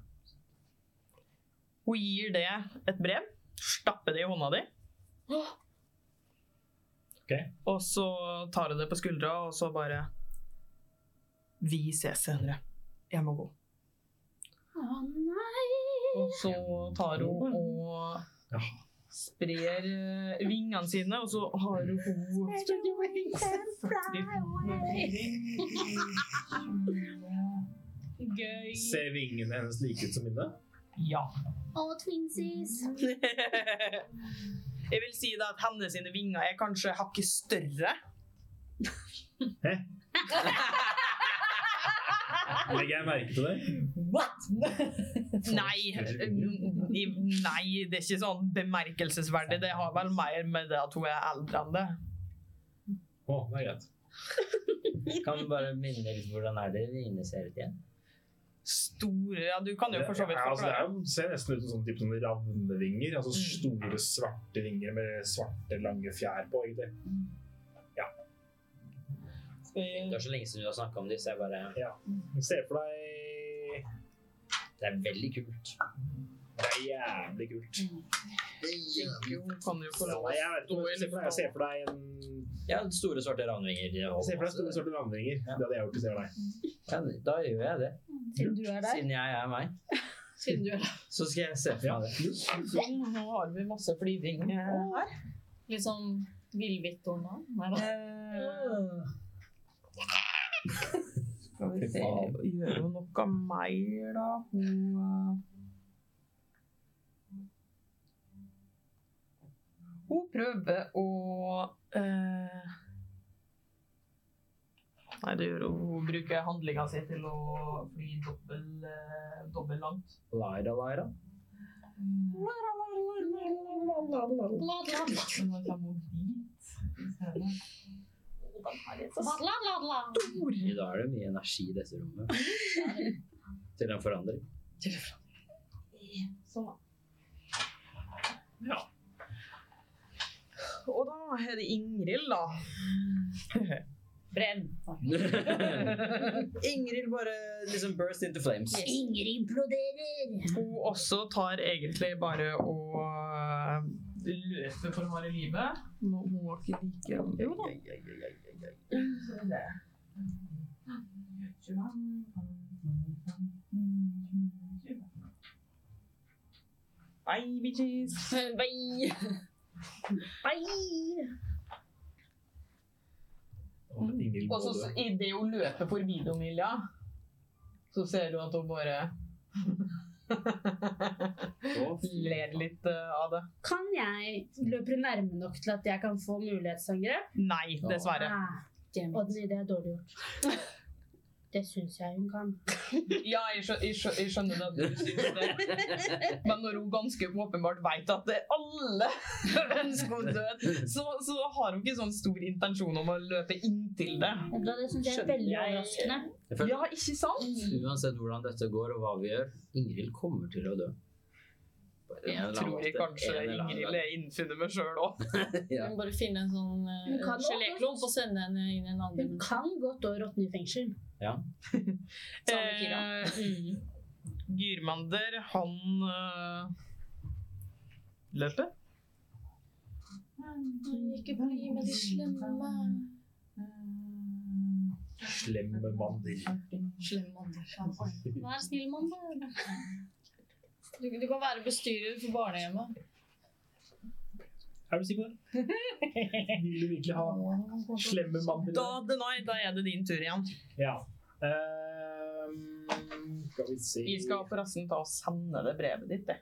Speaker 1: Hun gir det et brev. Stapper det i hånda di.
Speaker 2: Ok.
Speaker 1: Og så tar hun det på skuldra, og så bare Vi ses senere. Jeg må gå.
Speaker 4: Å nei.
Speaker 1: Og så tar hun og
Speaker 2: Ja.
Speaker 1: sprer eh, vingene sine, og så har hun
Speaker 4: Spread your wings and fly
Speaker 3: Gøy.
Speaker 2: Ser vingene hennes like ut som mine?
Speaker 1: Ja.
Speaker 4: All twinsies.
Speaker 1: Jeg vil si da at hennes sine vinger er kanskje hakket større.
Speaker 2: Legger jeg merke til det?
Speaker 1: What?! Nei, n- i- nei, det er ikke sånn bemerkelsesverdig. Det har vel mer med det at hun er eldre enn det.
Speaker 2: Å, det er greit.
Speaker 5: Kan du bare minne litt hvordan er det i inneseriet igjen?
Speaker 1: Store Ja, du kan jo for så vidt
Speaker 2: Ja, altså, det
Speaker 1: forklare. Mm.
Speaker 2: er, jo- ser nesten ut som sånn, type sånn ravnevinger. Altså store, svarte vinger med svarte, lange fjær på. egentlig.
Speaker 1: Skal
Speaker 5: Det
Speaker 1: vi-
Speaker 5: er så lenge siden du har snakket om disse. Jeg bare...
Speaker 2: Se for deg
Speaker 5: Det er veldig kult.
Speaker 2: Det er jævlig kult.
Speaker 1: Mm. Hun kan jo få
Speaker 2: Ja,
Speaker 1: lov å
Speaker 2: jeg vet ikke,
Speaker 1: stå i
Speaker 2: men se for deg- se for deg en
Speaker 5: Ja, store svarte ranvinger.
Speaker 2: Se for deg store sorte landringer.
Speaker 5: Ja.
Speaker 2: Det hadde jeg gjort hvis jeg var deg.
Speaker 5: Ja, da gjør jeg det.
Speaker 3: Siden du er der.
Speaker 5: Siden jeg er meg,
Speaker 3: Siden du er der.
Speaker 5: så skal jeg se for meg det.
Speaker 1: Sånn, nå har vi masse flyving eh, her.
Speaker 3: Litt sånn villvitt og noe. Nei da.
Speaker 1: Eh, Skal vi se Gjør hun noe mer, da? Hun eh, Hun prøver å eh, Nei, det gjør hun. Hun bruker handlinga si til å fly dobbel, eh, dobbel langt.
Speaker 5: Lyra, Lyra.
Speaker 3: La, la, la,
Speaker 1: Men da kommer hun dit. i stedet. Å, Den her er så
Speaker 3: la, la, la.
Speaker 1: stor!
Speaker 5: I dag er det mye energi i dette rommet. Til en forandring.
Speaker 1: Sånn da. Ja. Og da er det Ingrid, da.
Speaker 3: Brenn.
Speaker 5: Ingrid bare liksom burst into flames.
Speaker 4: Ingrid imploderer.
Speaker 1: Hun også tar egentlig bare og øh, løper for harde livet. Nå må hun ikke like om Jo da. Skal vi se. 25. Hei, bitches!
Speaker 3: Nei.
Speaker 4: Nei.
Speaker 2: Og Ingrid
Speaker 1: Mm. Og så
Speaker 2: Både.
Speaker 1: så- i det hun løper forbi Domilja, så ser du at hun bare ler litt eh, av det.
Speaker 4: Kan jeg løpe nærme nok til at jeg kan få mulighetsangrep?
Speaker 1: Nei, dessverre.
Speaker 4: Ah, Odny, det er dårlig gjort. Det syns jeg hun kan.
Speaker 1: Ja, jeg, skjø jeg, skjø jeg skjønner det. at du synes det. Men når hun ganske åpenbart vet at det alle ønsker henne død, så, så har hun ikke sånn stor intensjon om å løpe inntil det.
Speaker 4: Vet du hva, Det syns jeg er
Speaker 5: Skjønner
Speaker 4: veldig
Speaker 5: jeg-
Speaker 4: overraskende.
Speaker 5: Jeg føler
Speaker 1: Ja, ikke sant?
Speaker 5: Uansett hvordan dette går og hva vi gjør, Ingrid kommer til å dø. På en
Speaker 1: Jeg
Speaker 5: eller annen
Speaker 1: tror jeg
Speaker 5: måte.
Speaker 1: kanskje
Speaker 5: En eller annen
Speaker 1: Ingrid er innfunnet meg sjøl òg.
Speaker 5: gang. Ja.
Speaker 3: Bare finne en sånn eh,
Speaker 4: Hun kan også-
Speaker 3: geléklump og sende henne inn i en annen
Speaker 4: Hun
Speaker 3: dimensjon.
Speaker 4: kan godt å råtne i fengsel.
Speaker 1: Eh,
Speaker 3: Samme Kira.
Speaker 1: eh, Gyrmander, han øh, løper.
Speaker 3: Ikke bli med de slemme.
Speaker 1: Eh,
Speaker 2: Slemme mandel.
Speaker 4: Vær snill, mann. da.
Speaker 3: Du, du kan være bestyrer for barnehjemmet.
Speaker 2: Er du sikker på det? Vil du virkelig ha slemme mandel?
Speaker 1: Da, Denai, da er det din tur igjen.
Speaker 2: Ja. Ehm, skal vi se
Speaker 1: Vi skal forresten ta og sende det brevet ditt. Det.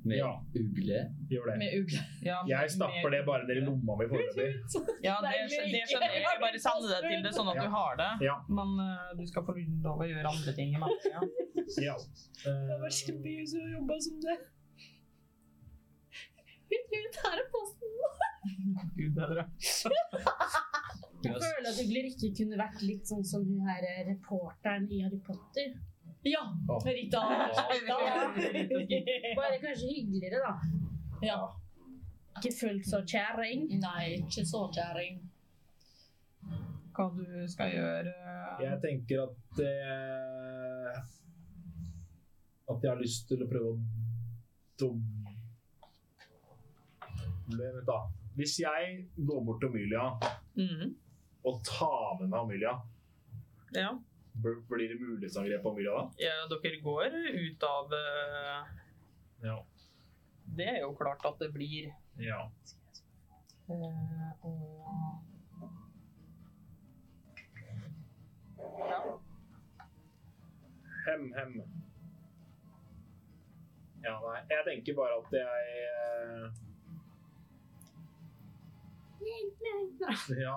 Speaker 5: Med
Speaker 2: Ja.
Speaker 5: ugle.
Speaker 2: Gjør det.
Speaker 3: Med ugle.
Speaker 1: Ja,
Speaker 2: Jeg stapper det bare ned i lomma mi foreløpig.
Speaker 1: Ja, det,
Speaker 3: Deilig
Speaker 1: skj- det
Speaker 3: ikke.
Speaker 1: skjønner jeg. Jeg Bare send det til det sånn at
Speaker 2: Ja.
Speaker 1: du har det.
Speaker 2: Ja.
Speaker 1: Men eh, du skal få lov å gjøre andre ting i mellomtida.
Speaker 2: ja.
Speaker 3: Det har vært
Speaker 2: Eh,
Speaker 3: kjempegøy å jobbe som det. Hut, hut, her er posten.
Speaker 1: Gud bedre.
Speaker 4: Jeg føler at Ugler ikke kunne vært litt sånn som hun her eh, reporteren i Harry Potter.
Speaker 3: Ja, Rita. Rita.
Speaker 4: Bare kanskje hyggeligere, da.
Speaker 3: Ja.
Speaker 4: Ikke fullt så kjæring.
Speaker 3: Nei, ikke så kjæring.
Speaker 1: Hva du skal gjøre eh,
Speaker 2: Jeg tenker at eh, At jeg har lyst til å prøve å doble Vent, da. Hvis jeg går bort til Amelia
Speaker 1: Mhm.
Speaker 2: og tar med meg Amelia,
Speaker 1: Ja.
Speaker 2: bl- blir det mulighetsangrep på Amelia da?
Speaker 1: ja, dere går ut av eh,
Speaker 2: Ja.
Speaker 1: Det er jo klart at det blir.
Speaker 2: ja.
Speaker 1: eh, og- ja.
Speaker 2: Hem, hem. Ja, nei. Jeg tenker bare at jeg eh, ja.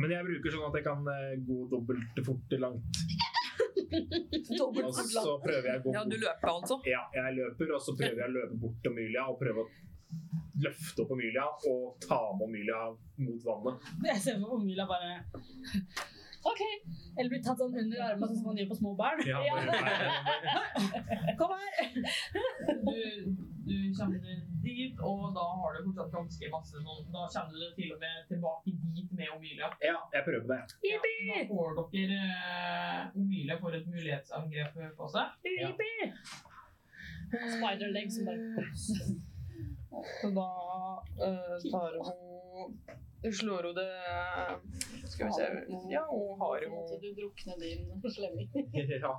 Speaker 2: Men jeg bruker sånn at jeg kan eh, gå dobbelt fort til langt. Og så prøver jeg å gå
Speaker 1: ja, du
Speaker 2: bort.
Speaker 1: løper altså?
Speaker 2: Ja, jeg løper, og så prøver jeg å løpe bort til Amelia og prøve å løfte opp Amelia og ta med Amelia mot vannet.
Speaker 3: Jeg ser for meg Mila bare OK. Eller blir tatt sånn under armen, sånn som man gjør på små barn.
Speaker 2: Ja, bare,
Speaker 3: Kom her!
Speaker 1: Du, du kommer dit, og da har du fortsatt ganske masse sånn Da kommer du til og med tilbake dit med Omilia.
Speaker 2: ja, jeg prøver det.
Speaker 1: Ja, da får dere eh, Omilia får et mulighetsangrep på seg.
Speaker 3: Spiderleg som bare
Speaker 1: Så da eh, tar hun Slår hun det Skal vi se Ja, hun har
Speaker 3: Sånn at
Speaker 1: jo
Speaker 3: du drukner din slemming.
Speaker 2: Ja.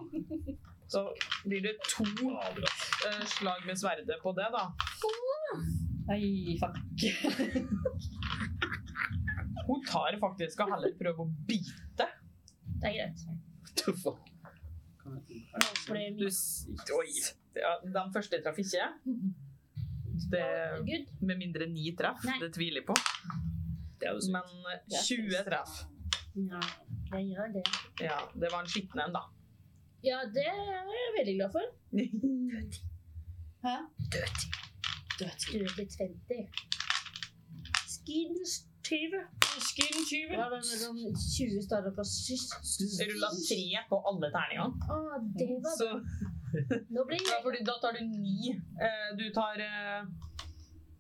Speaker 1: Så blir det to
Speaker 2: Fader, ass.
Speaker 1: eh, slag med sverdet på det, da.
Speaker 3: Nei, fuck.
Speaker 1: Hun tar faktisk og heller prøve å bite.
Speaker 4: Det er greit.
Speaker 5: The fuck?
Speaker 4: For det er
Speaker 1: Du,
Speaker 4: mye
Speaker 1: s- oi. Ja, den første traff ikke. Det,
Speaker 4: good.
Speaker 1: med mindre ni treff,
Speaker 4: Nei.
Speaker 1: det tviler jeg på.
Speaker 5: Det er jo sykt.
Speaker 1: Men eh, 20 treff.
Speaker 4: Ja, det gjør det.
Speaker 1: Ja, det var en skitten en, da.
Speaker 4: Ja, det er jeg veldig glad for.
Speaker 3: Hæ?
Speaker 4: Dødelig 20. Skidens 20.
Speaker 3: Skin 20.
Speaker 4: Ja, hvem er det om 20 står opp og syss?
Speaker 1: Rulla tre på alle terningene.
Speaker 4: Å, det var
Speaker 1: Så,
Speaker 4: Nå blir
Speaker 1: ja, fordi da tar du ni. Eh, Du tar eh,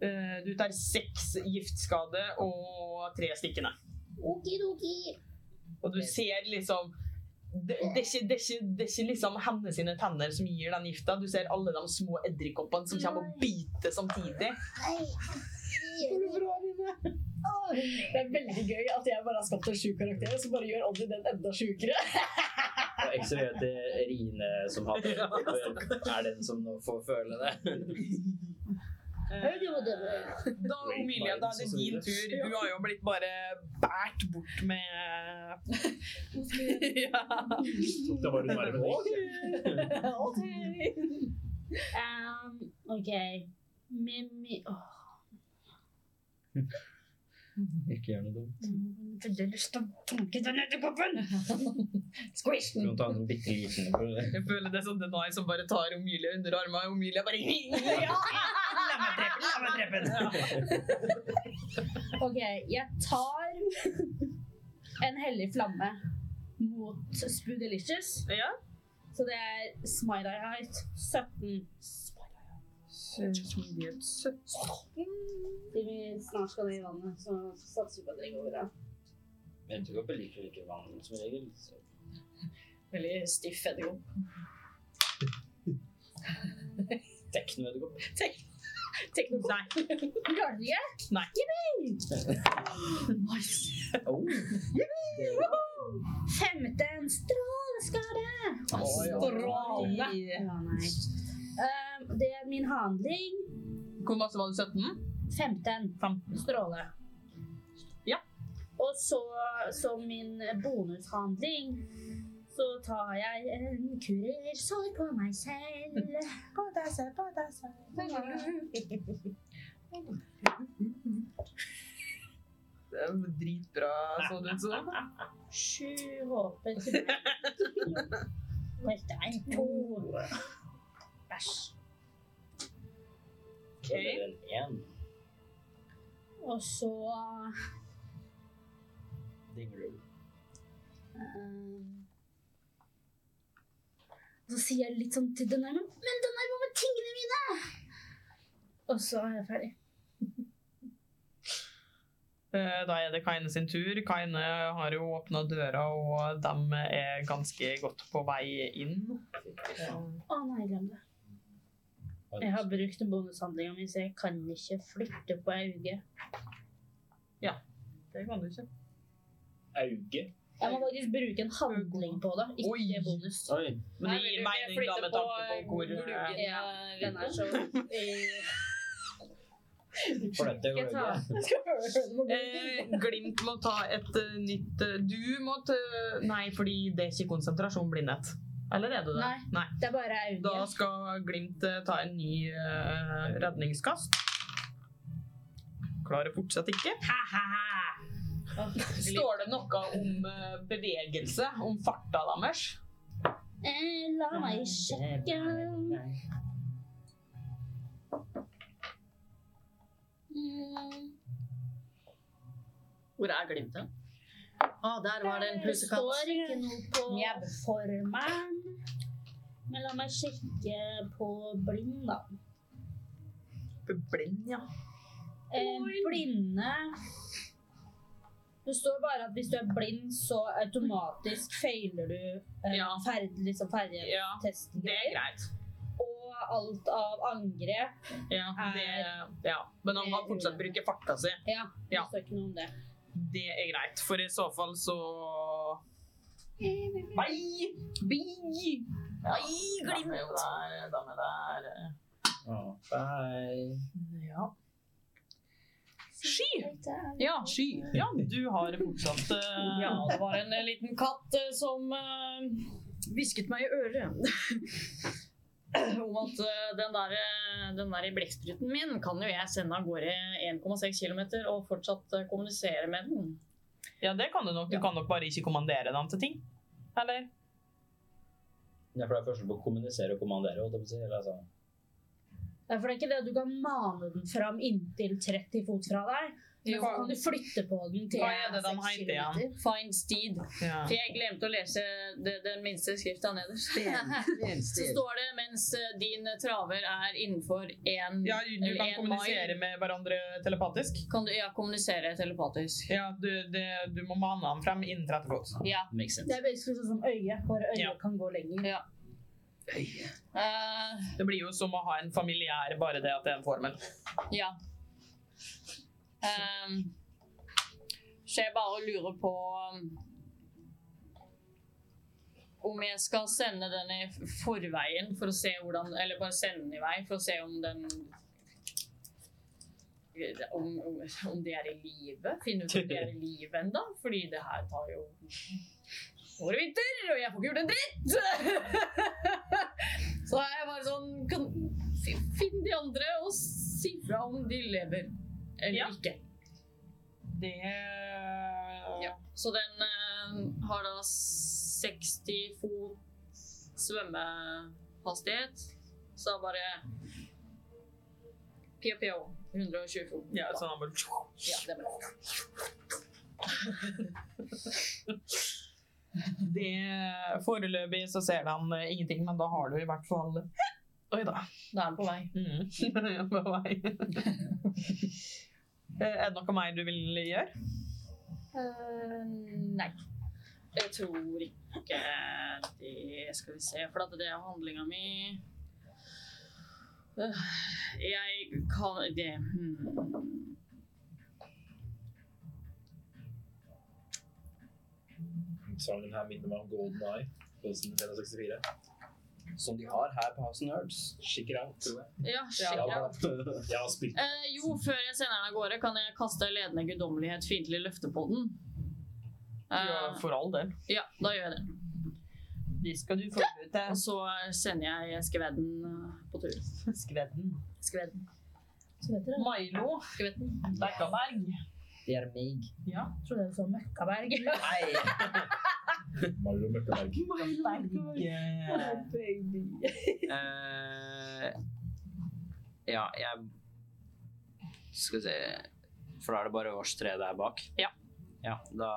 Speaker 1: eh, Du tar seks giftskade og tre stikkende.
Speaker 4: Okidoki.
Speaker 1: Og du ser liksom det, det, er ikke, det, er ikke, det er ikke liksom hennes sine tenner som gir den gifta. Du ser alle de små edderkoppene som kommer og biter samtidig.
Speaker 3: Det er veldig gøy at jeg bare har skapt en sjuk karakter, så bare gjør Oddi den enda sjukere.
Speaker 5: Og eksempelet til Rine som hadde er den som nå får føle det.
Speaker 1: Da, Omilie, da er det din tur. Hun har jo blitt bare bært bort med ja.
Speaker 2: Det var hun verre enn
Speaker 3: Oddi!
Speaker 4: Um, OK. Mimi Åh,
Speaker 5: Ikke gjør noe dumt.
Speaker 4: jeg har veldig lyst til å dunke den edderkoppen!
Speaker 3: Squish
Speaker 5: Du
Speaker 3: den.
Speaker 5: kan ta en bitte liten for det.
Speaker 1: Jeg føler det er sånn Denai som bare tar Omilie under armen. og Omilie bare ja! La meg drepe den, la meg drepe den!
Speaker 4: OK, jeg tar en hellig flamme mot Spoodelicious.
Speaker 1: Ja.
Speaker 4: Så det er Smite Eye Height 17. Siden vi snart skal ned i vannet, så satser vi på at det går bra.
Speaker 5: Men du jobber like like vanlig som regel. så-
Speaker 3: Veldig stiff edderkopp.
Speaker 5: Tekno-edderkopp.
Speaker 1: Nei.
Speaker 3: Teknologi.
Speaker 4: Klarer du ikke?
Speaker 1: Nei.
Speaker 5: Oh.
Speaker 4: 15 stråleskade.
Speaker 1: Strålende.
Speaker 4: Ja, nei. Ehm, det er min handling.
Speaker 1: Hvor masse var det? 17?
Speaker 4: 15.
Speaker 1: Fem.
Speaker 4: Stråle.
Speaker 1: Ja.
Speaker 4: Og så som min bonushandling så tar jeg en kurer sår på meg selv.
Speaker 1: På deg selv, på deg selv. Det er Dritbra sånn ut som.
Speaker 4: Sju håper til meg. Dette er en to. Bæsj.
Speaker 5: Så det er en én.
Speaker 4: Og så
Speaker 5: Dingler du.
Speaker 4: ehm, Så sier jeg litt sånn til den armen Men den armen med tingene mine! Og så er jeg ferdig.
Speaker 1: Eh, Da er det Kaine sin tur. Kaine har jo åpna døra, og de er ganske godt på vei inn.
Speaker 4: Å nei, glem det. Jeg har brukt bonushandlinga mi, så jeg kan ikke flytte på ei uke.
Speaker 1: Det kan du ikke.
Speaker 2: Auge.
Speaker 4: Jeg må faktisk bruke en handling på det, ikke
Speaker 1: Oi.
Speaker 4: bonus.
Speaker 5: Oi.
Speaker 1: Men det gir mening da med tanke på hvor eh,
Speaker 4: Ja, Den er så
Speaker 5: Fløte
Speaker 4: Ikke
Speaker 5: går
Speaker 4: ta.
Speaker 5: ikke.
Speaker 1: eh, Glimt må ta et eh, nytt eh, Du må ta Nei, fordi det er ikke konsentrasjon blindhet. Eller er det det?
Speaker 4: Nei. Det er bare ei
Speaker 1: Da
Speaker 4: uke.
Speaker 1: skal Glimt eh, ta en ny eh, redningskast. Klarer fortsatt ikke. Står det noe om eh, bevegelse, om farta deres?
Speaker 4: Eh, La meg sjekke Mm,
Speaker 7: Hvor er Glimt hen? Å, der var det en
Speaker 4: Det står
Speaker 7: plussekatt.
Speaker 4: ikke noe på
Speaker 7: Mjau.
Speaker 4: formelen. Men la meg sjekke på blind, da.
Speaker 1: Blind, ja.
Speaker 4: Eh, blinde Det står bare at hvis du er blind, så automatisk feiler du eh,
Speaker 1: Ja.
Speaker 4: ferd, liksom
Speaker 1: ja.
Speaker 4: ferdighetstesten.
Speaker 1: Det er greit.
Speaker 4: Og alt av angrep.
Speaker 1: Ja, det, ja. Men han kan fortsatt bruke farta si.
Speaker 4: Ja, det
Speaker 1: Ja.
Speaker 4: står ikke noe om det.
Speaker 1: Det er greit, for i så fall så Nei! Bi! Nei, glimt! Dame der,
Speaker 5: Å, Bye.
Speaker 1: Ja. Sky! Ja, sky. Ja, du har fortsatt eh,
Speaker 3: Ja, det var en eh, liten katt eh, som eh, hvisket meg i øret. Om at eh, den der, eh, den der i blekkspruten min kan jo jeg sende av gårde 1,6 km og fortsatt eh, kommunisere med den.
Speaker 1: Ja, det kan du nok. Du
Speaker 3: Ja.
Speaker 1: kan nok bare ikke kommandere dem til ting. Eller?
Speaker 5: Ja, for det er forskjell på å kommunisere og kommandere. holdt jeg på å si, eller altså.
Speaker 4: Ja, for det er ikke det at du kan mane den fram inntil 30 fot fra deg. Men så kan du flytte på den til
Speaker 1: Hva er det den
Speaker 4: 6
Speaker 1: heter igjen?
Speaker 4: kilometer.
Speaker 3: Find steed.
Speaker 1: Ja.
Speaker 3: For jeg glemte å lese det, den minste skrifta nederst. Så står det mens eh, din traver er innenfor én
Speaker 1: ja, du
Speaker 3: eller
Speaker 1: kan
Speaker 3: en
Speaker 1: kommunisere med hverandre telepatisk.
Speaker 3: Kan du ja, kommunisere telepatisk?
Speaker 1: Ja, du, det, du må mane dem frem innen 30 fot.
Speaker 3: Ja.
Speaker 5: Makes sense.
Speaker 4: Det er basically sånn som øye, bare øyet
Speaker 1: Ja.
Speaker 4: kan gå lenger.
Speaker 3: ja. Eh,
Speaker 1: Det blir jo som å ha en familiær, bare det at det er en formel.
Speaker 3: Ja. Ehm, så jeg bare lurer på um, om jeg skal sende den i forveien for å se hvordan Eller bare sende den i vei for å se om den om, om, om de er i live. Finne ut om de er i live ennå. Fordi det her tar jo år og vinter, og jeg får ikke gjort en dritt! Så er jeg bare sånn kan, fi- Finn de andre og si fra om de lever eller
Speaker 1: Ja.
Speaker 3: ikke.
Speaker 1: Det
Speaker 3: Ja. Så den eh, har da 60 fot svømmehastighet. Så da bare PPO. 120 fot.
Speaker 1: Ja, sånn han bare
Speaker 3: Ja, det er bra.
Speaker 1: det, Foreløpig så ser han eh, ingenting, men da har du i hvert fall Oi da.
Speaker 3: Da er den på vei.
Speaker 1: Mm. Jeg er på vei. Eh, er det noe mer du vil gjøre?
Speaker 3: Eh, nei. Jeg tror ikke det Skal vi se, for at det er handlinga mi. Øh, Jeg ka- kan det hmm.
Speaker 2: Sangen her minner meg om Golden Eye. 1964.
Speaker 5: Som de har her på House of Nerds.
Speaker 2: Check it out. tror jeg.
Speaker 3: Ja, sjekk det.
Speaker 2: Jeg har spilt
Speaker 3: Eh, jo, før jeg sender den av gårde, kan jeg kaste ledende guddommelighet fiendtlig løfte på den.
Speaker 1: Ja,
Speaker 3: Eh,
Speaker 1: for all del.
Speaker 3: ja, da gjør jeg det.
Speaker 1: Det skal du få ut
Speaker 3: Og
Speaker 1: til
Speaker 3: så sender jeg skvedden eh, på tur.
Speaker 1: skvedden.
Speaker 3: Skvedden.
Speaker 4: Så vet dere,
Speaker 1: Milo
Speaker 3: Skvedden.
Speaker 1: Bekkaberg.
Speaker 5: De er meg.
Speaker 1: Ja.
Speaker 4: jeg trodde
Speaker 1: sånn
Speaker 4: det var Møkkaberg.
Speaker 5: Nei!
Speaker 2: Mario Møkkeberg.
Speaker 1: Berg.
Speaker 5: Eh, ja, jeg Skal vi se For da er det bare oss tre der bak?
Speaker 3: Ja.
Speaker 5: Ja, da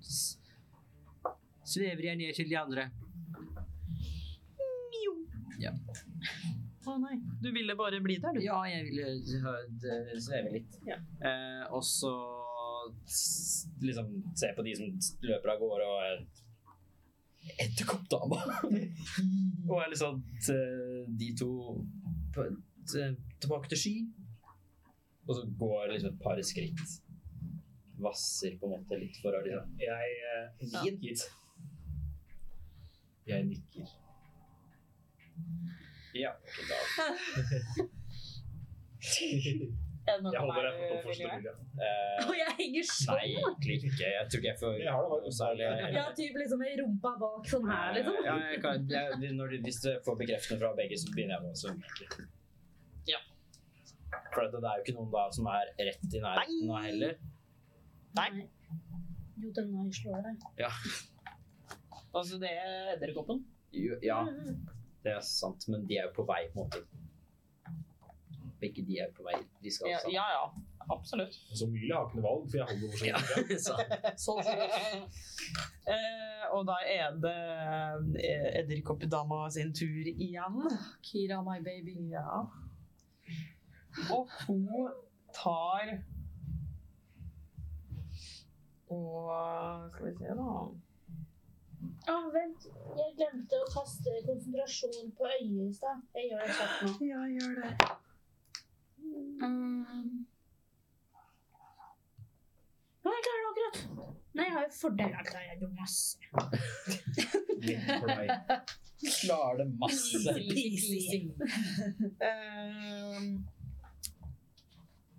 Speaker 5: s- svever jeg ned til de andre.
Speaker 1: Å nei, du ville bare bli der, du.
Speaker 5: Ja, jeg ville hø- d- sveve litt.
Speaker 1: Ja.
Speaker 5: Eh, og så s- liksom se på de som s- løper av gårde og er Edderkoppdama! og er liksom t- de to på, t- tilbake til sky. Og så går liksom et par skritt. Vasser på en måte litt for å liksom
Speaker 2: Jeg eh,
Speaker 5: Ja.
Speaker 2: nikker. Jeg nikker.
Speaker 5: Ja. ok, da.
Speaker 2: Jeg holder deg for fortsatt Emilie.
Speaker 5: Eh,
Speaker 4: Og jeg henger sånn!
Speaker 5: nei, egentlig ikke. Jeg tror ikke jeg får
Speaker 2: Jeg har det bare
Speaker 5: særlig-
Speaker 4: Ja, typ liksom med rumpa bak sånn her, liksom.
Speaker 5: Ja, jeg kan, jeg, når de, hvis jeg får bekreftende fra begge, så begynner jeg med å svømme. egentlig.
Speaker 3: Ja.
Speaker 5: For at det er jo ikke noen da som er rett i nærheten av heller.
Speaker 1: Nei.
Speaker 4: Jo, den her slår deg.
Speaker 1: Altså, det er edderkoppen.
Speaker 5: Jo, ja, det er sant, men de er jo på vei på en måte. Begge de er jo på vei. De skal
Speaker 1: Ja,
Speaker 5: altså-
Speaker 1: ja.
Speaker 5: sammen.
Speaker 1: ja. Absolutt.
Speaker 2: Så Mylia har ikke noe valg, for jeg holder fortsatt Emilie.
Speaker 5: sant.
Speaker 1: Sånn ser det ut. Eh, og da er det eh, edderkoppdama sin tur igjen.
Speaker 3: Kira, my baby.
Speaker 1: Ja. Og hun tar Og skal vi se, da.
Speaker 4: Å, Ah, vent. Jeg glemte å kaste konsentrasjon på øyet i stad. Jeg gjør det kjapt nå.
Speaker 1: Ja, gjør det.
Speaker 4: Nei, Um, jeg klarer det akkurat. Nei, jeg har jo fordel av klarer jeg jo masse.
Speaker 2: Litt for meg.
Speaker 5: Klarer det masse.
Speaker 1: Ehm,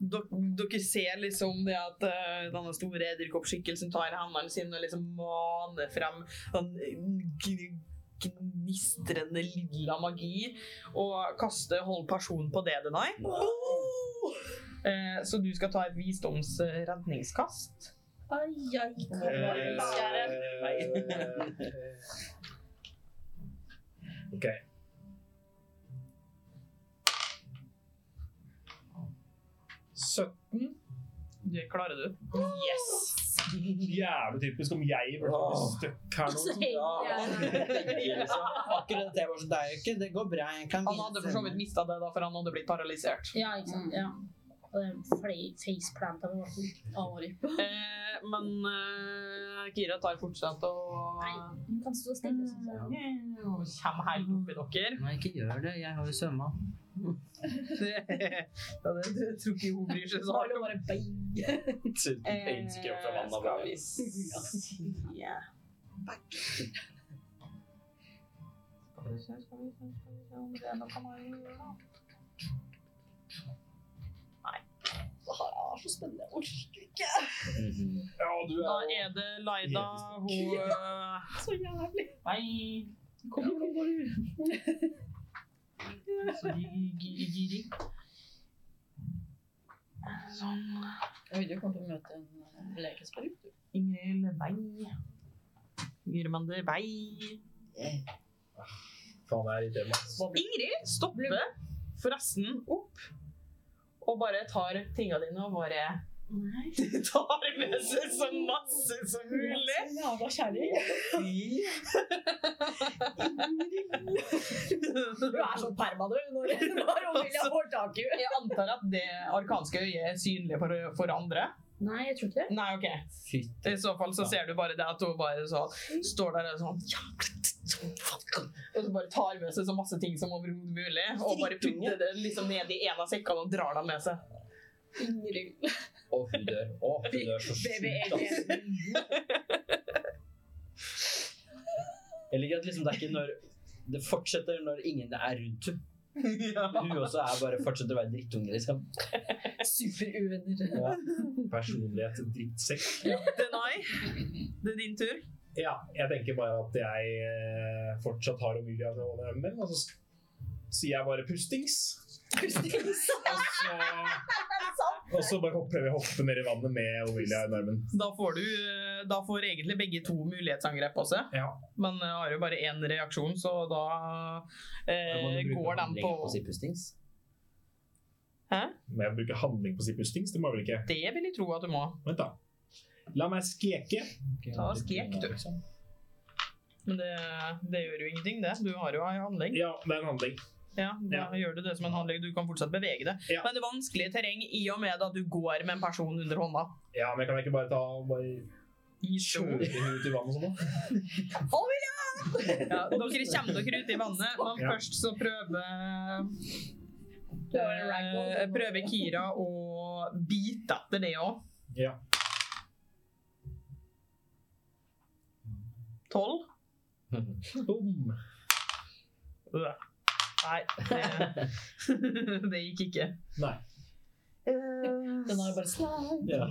Speaker 1: dok- Dere ser liksom det at eh, denne store edderkoppskikkelsen tar hendene sine og liksom maner frem sånn gn- gnistrende lilla magi og kaster hold person på det den har. Eh, Så du skal ta et visdomsredningskast.
Speaker 4: Ai, ai,
Speaker 2: Eh,
Speaker 4: kjære.
Speaker 2: OK. Søtten.
Speaker 1: Det klarer du. Yes!
Speaker 2: Jævlig typisk om jeg ble
Speaker 5: Åh.
Speaker 2: stuck her nå.
Speaker 5: liksom. Akkurat det var så det er jo ikke Det går bra. Jeg kan
Speaker 1: Han hadde for så vidt mista det, da, for han hadde blitt paralysert.
Speaker 4: Ja, ikke sant. Ja. Og den fle- faceplanta på måten.
Speaker 3: Amori.
Speaker 1: Eh, men eh, Kira tar fortsatt og
Speaker 4: Hun kan stå
Speaker 1: Mm.
Speaker 4: stille. synes jeg.
Speaker 1: Hun kommer helt oppi dere.
Speaker 5: Nei, ikke gjør det. Jeg har jo svømma.
Speaker 1: Ja, det, det tror ikke hun bryr seg så hardt om.
Speaker 5: Øynene stikker opp fra
Speaker 1: Eh,
Speaker 5: vannet.
Speaker 1: skal vi
Speaker 5: bare.
Speaker 1: se Skal vi se, skal vi se, skal vi se om det er noe man gjør da. Nei. Det her er så spennende. Jeg orker ikke.
Speaker 5: Mhm.
Speaker 2: Ja, du
Speaker 1: Da
Speaker 2: er
Speaker 1: er det Laida. Hun eh,
Speaker 4: Så jævlig.
Speaker 1: Nei. Kom igjen, nå går du. Så gi- gi- giri. Sånn.
Speaker 3: Oi, du kommer til å møte en lekesprut.
Speaker 1: Ingrid Vei. Gyrmander Vei.
Speaker 2: Faen, jeg er i tema.
Speaker 1: Ingrid stopper forresten opp og bare tar tinga dine og bare
Speaker 4: sånn. Nei.
Speaker 1: tar med seg så masse som mulig.
Speaker 4: Jævla kjæring.
Speaker 1: Du er sånn perma, du. Altså- Når, når Omelia får tak i Jeg antar at det arkanske øyet er synlig for, for andre.
Speaker 4: Nei, jeg tror ikke det.
Speaker 1: Nei, OK.
Speaker 5: Fytti
Speaker 1: I så fall så ser du bare det at hun bare så, står der og sånn "Jævla t- fuck." Og så bare tar med seg så masse ting som overhodet mulig, og bare putter det liksom ned i en av sekkene og drar dem med seg.
Speaker 3: Ingrid.
Speaker 5: Å, hun dør. Å, hun dør så sjukt, ass. Jeg liker at liksom, det er ikke når Det fortsetter når ingen er rundt henne. Hun også er bare fortsetter å være drittunge, liksom.
Speaker 3: Superuvenner.
Speaker 5: Ja.
Speaker 2: Personlighet drittsekk.
Speaker 1: Denai, det er din tur.
Speaker 2: Ja, jeg tenker bare at jeg eh, fortsatt har Omylian og Nermen, og så s- sier jeg bare pustings. Og så, eh, og så bare hopper- prøver jeg å hoppe ned i vannet med Omylian i armen.
Speaker 1: Da får du eh, Da får egentlig begge to mulighetsangrep også,
Speaker 2: Ja.
Speaker 1: men jeg har jo bare én reaksjon, så da
Speaker 5: Da må
Speaker 1: eh,
Speaker 5: du bruke
Speaker 1: går den
Speaker 5: handlingen
Speaker 1: på
Speaker 5: å si pustings.
Speaker 2: Men jeg bruker handling på å si pustings, det må jeg vel ikke.
Speaker 1: Det vil jeg tro at du må.
Speaker 2: Vent da. La meg skeke.
Speaker 1: Da skrek du. Men det, det gjør jo ingenting, det. Du har jo en handling.
Speaker 2: Ja, det er en handling.
Speaker 1: Ja, da gjør du det som en handling. Du kan fortsatt bevege det.
Speaker 2: Ja.
Speaker 1: Men det er vanskelig terreng i og med at du går med en person under hånda.
Speaker 2: Ja, men jeg kan ikke bare ta bare
Speaker 1: I skjul.
Speaker 2: kjøre henne ut i vannet og sånn da?
Speaker 1: Ja, dere kommer dere ut i vannet, men
Speaker 2: Ja.
Speaker 1: først så prøver eh, Prøver Kira å bite etter det òg.
Speaker 2: Ja.
Speaker 1: Tolv?
Speaker 2: Boom.
Speaker 1: Nei, det, det gikk ikke.
Speaker 2: Nei.
Speaker 3: Den har jo bare slag.
Speaker 5: Ja.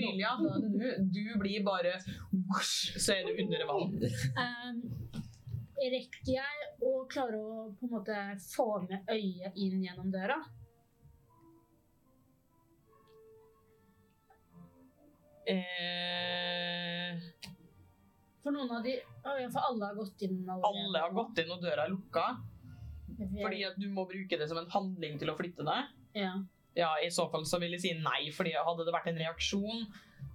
Speaker 1: Vilja, du, du blir bare whoosh, så er du under vann.
Speaker 4: Um, rekker jeg å klare å på en måte få med øyet inn gjennom døra?
Speaker 1: Eh,
Speaker 4: For noen av de Å ja, for alle har gått inn allerede.
Speaker 1: alle har gått inn og døra er lukka,
Speaker 4: inn
Speaker 1: fordi at du må bruke det som en handling til å flytte deg.
Speaker 4: ja.
Speaker 1: Ja, I så fall så vil jeg si nei, fordi hadde det vært en reaksjon,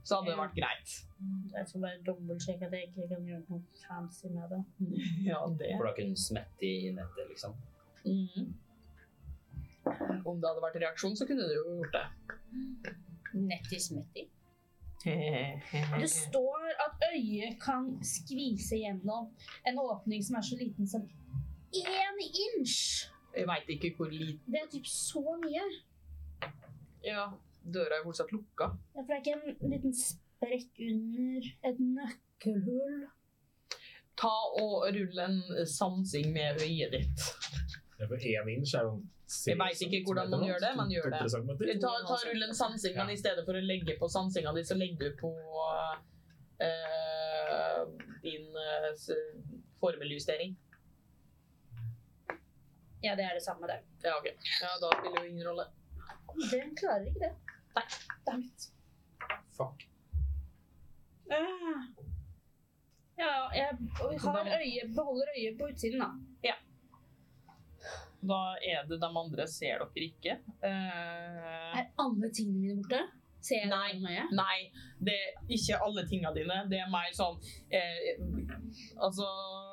Speaker 1: så hadde det vært greit.
Speaker 4: Jeg skal bare dobbeltsjekke at jeg ikke kan gjøre noe fancy med det.
Speaker 1: Ja, det.
Speaker 5: For da kunne hun smette i nettet, liksom.
Speaker 1: Mhm. Om det hadde vært en reaksjon, så kunne du jo gjort det.
Speaker 7: Nettismetti.
Speaker 4: Det står at øyet kan skvise gjennom en åpning som er så liten som én inch.
Speaker 1: Jeg veit ikke hvor liten
Speaker 4: Det er typ så mye.
Speaker 1: Ja, døra er fortsatt lukka.
Speaker 4: Ja, for det er ikke en liten sprekk under et nøkkelhull.
Speaker 1: Ta og rull en sansing med øyet ditt.
Speaker 2: Det er for en inch er jo
Speaker 1: Jeg vet ikke hvordan man gjør det, men gjør det.
Speaker 2: det.
Speaker 1: Ta, ta rull en sansing, men i stedet for å legge på sansinga di, så legger du på eh, din eh, s- formeljustering.
Speaker 4: Ja, det er det samme der.
Speaker 1: Ja, ok. Ja, da spiller jo ingen rolle.
Speaker 4: Den klarer ikke det.
Speaker 2: Fuck.
Speaker 4: Ja, jeg har øyet, beholder øyet på utsiden, da.
Speaker 1: Da er det de andre ser dere ikke. Eh,
Speaker 4: Er alle tingene mine borte? Ser jeg
Speaker 1: Nei.
Speaker 4: det med øyet?
Speaker 1: Nei, det er ikke alle tingene dine. Det er mer sånn eh, Altså,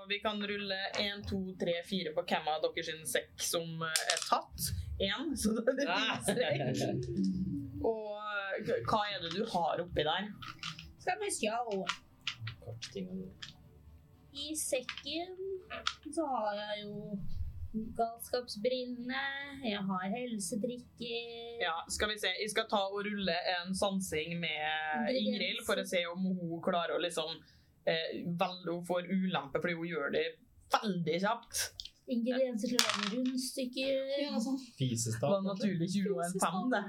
Speaker 1: vi kan rulle én, to, tre, fire på hvem av dere sin sekk som eh, er tatt. Én, så da er det din
Speaker 5: Ah.
Speaker 1: strekk. Og eh, hva er det du har oppi der?
Speaker 4: Skal vi sjå.
Speaker 5: Kort ting om
Speaker 4: I sekken så har jeg jo galskapsbrillene, jeg har helsedrikker
Speaker 1: Ja, skal vi se. Jeg skal ta og rulle en sansing med Ingrid for å se om hun klarer å liksom eh, Vel, hun får ulempe fordi hun gjør det veldig kjapt.
Speaker 4: Ingredienser til å lage rundstykker.
Speaker 1: Det var
Speaker 2: Fisestad.
Speaker 1: naturlig 20 og en fem, det.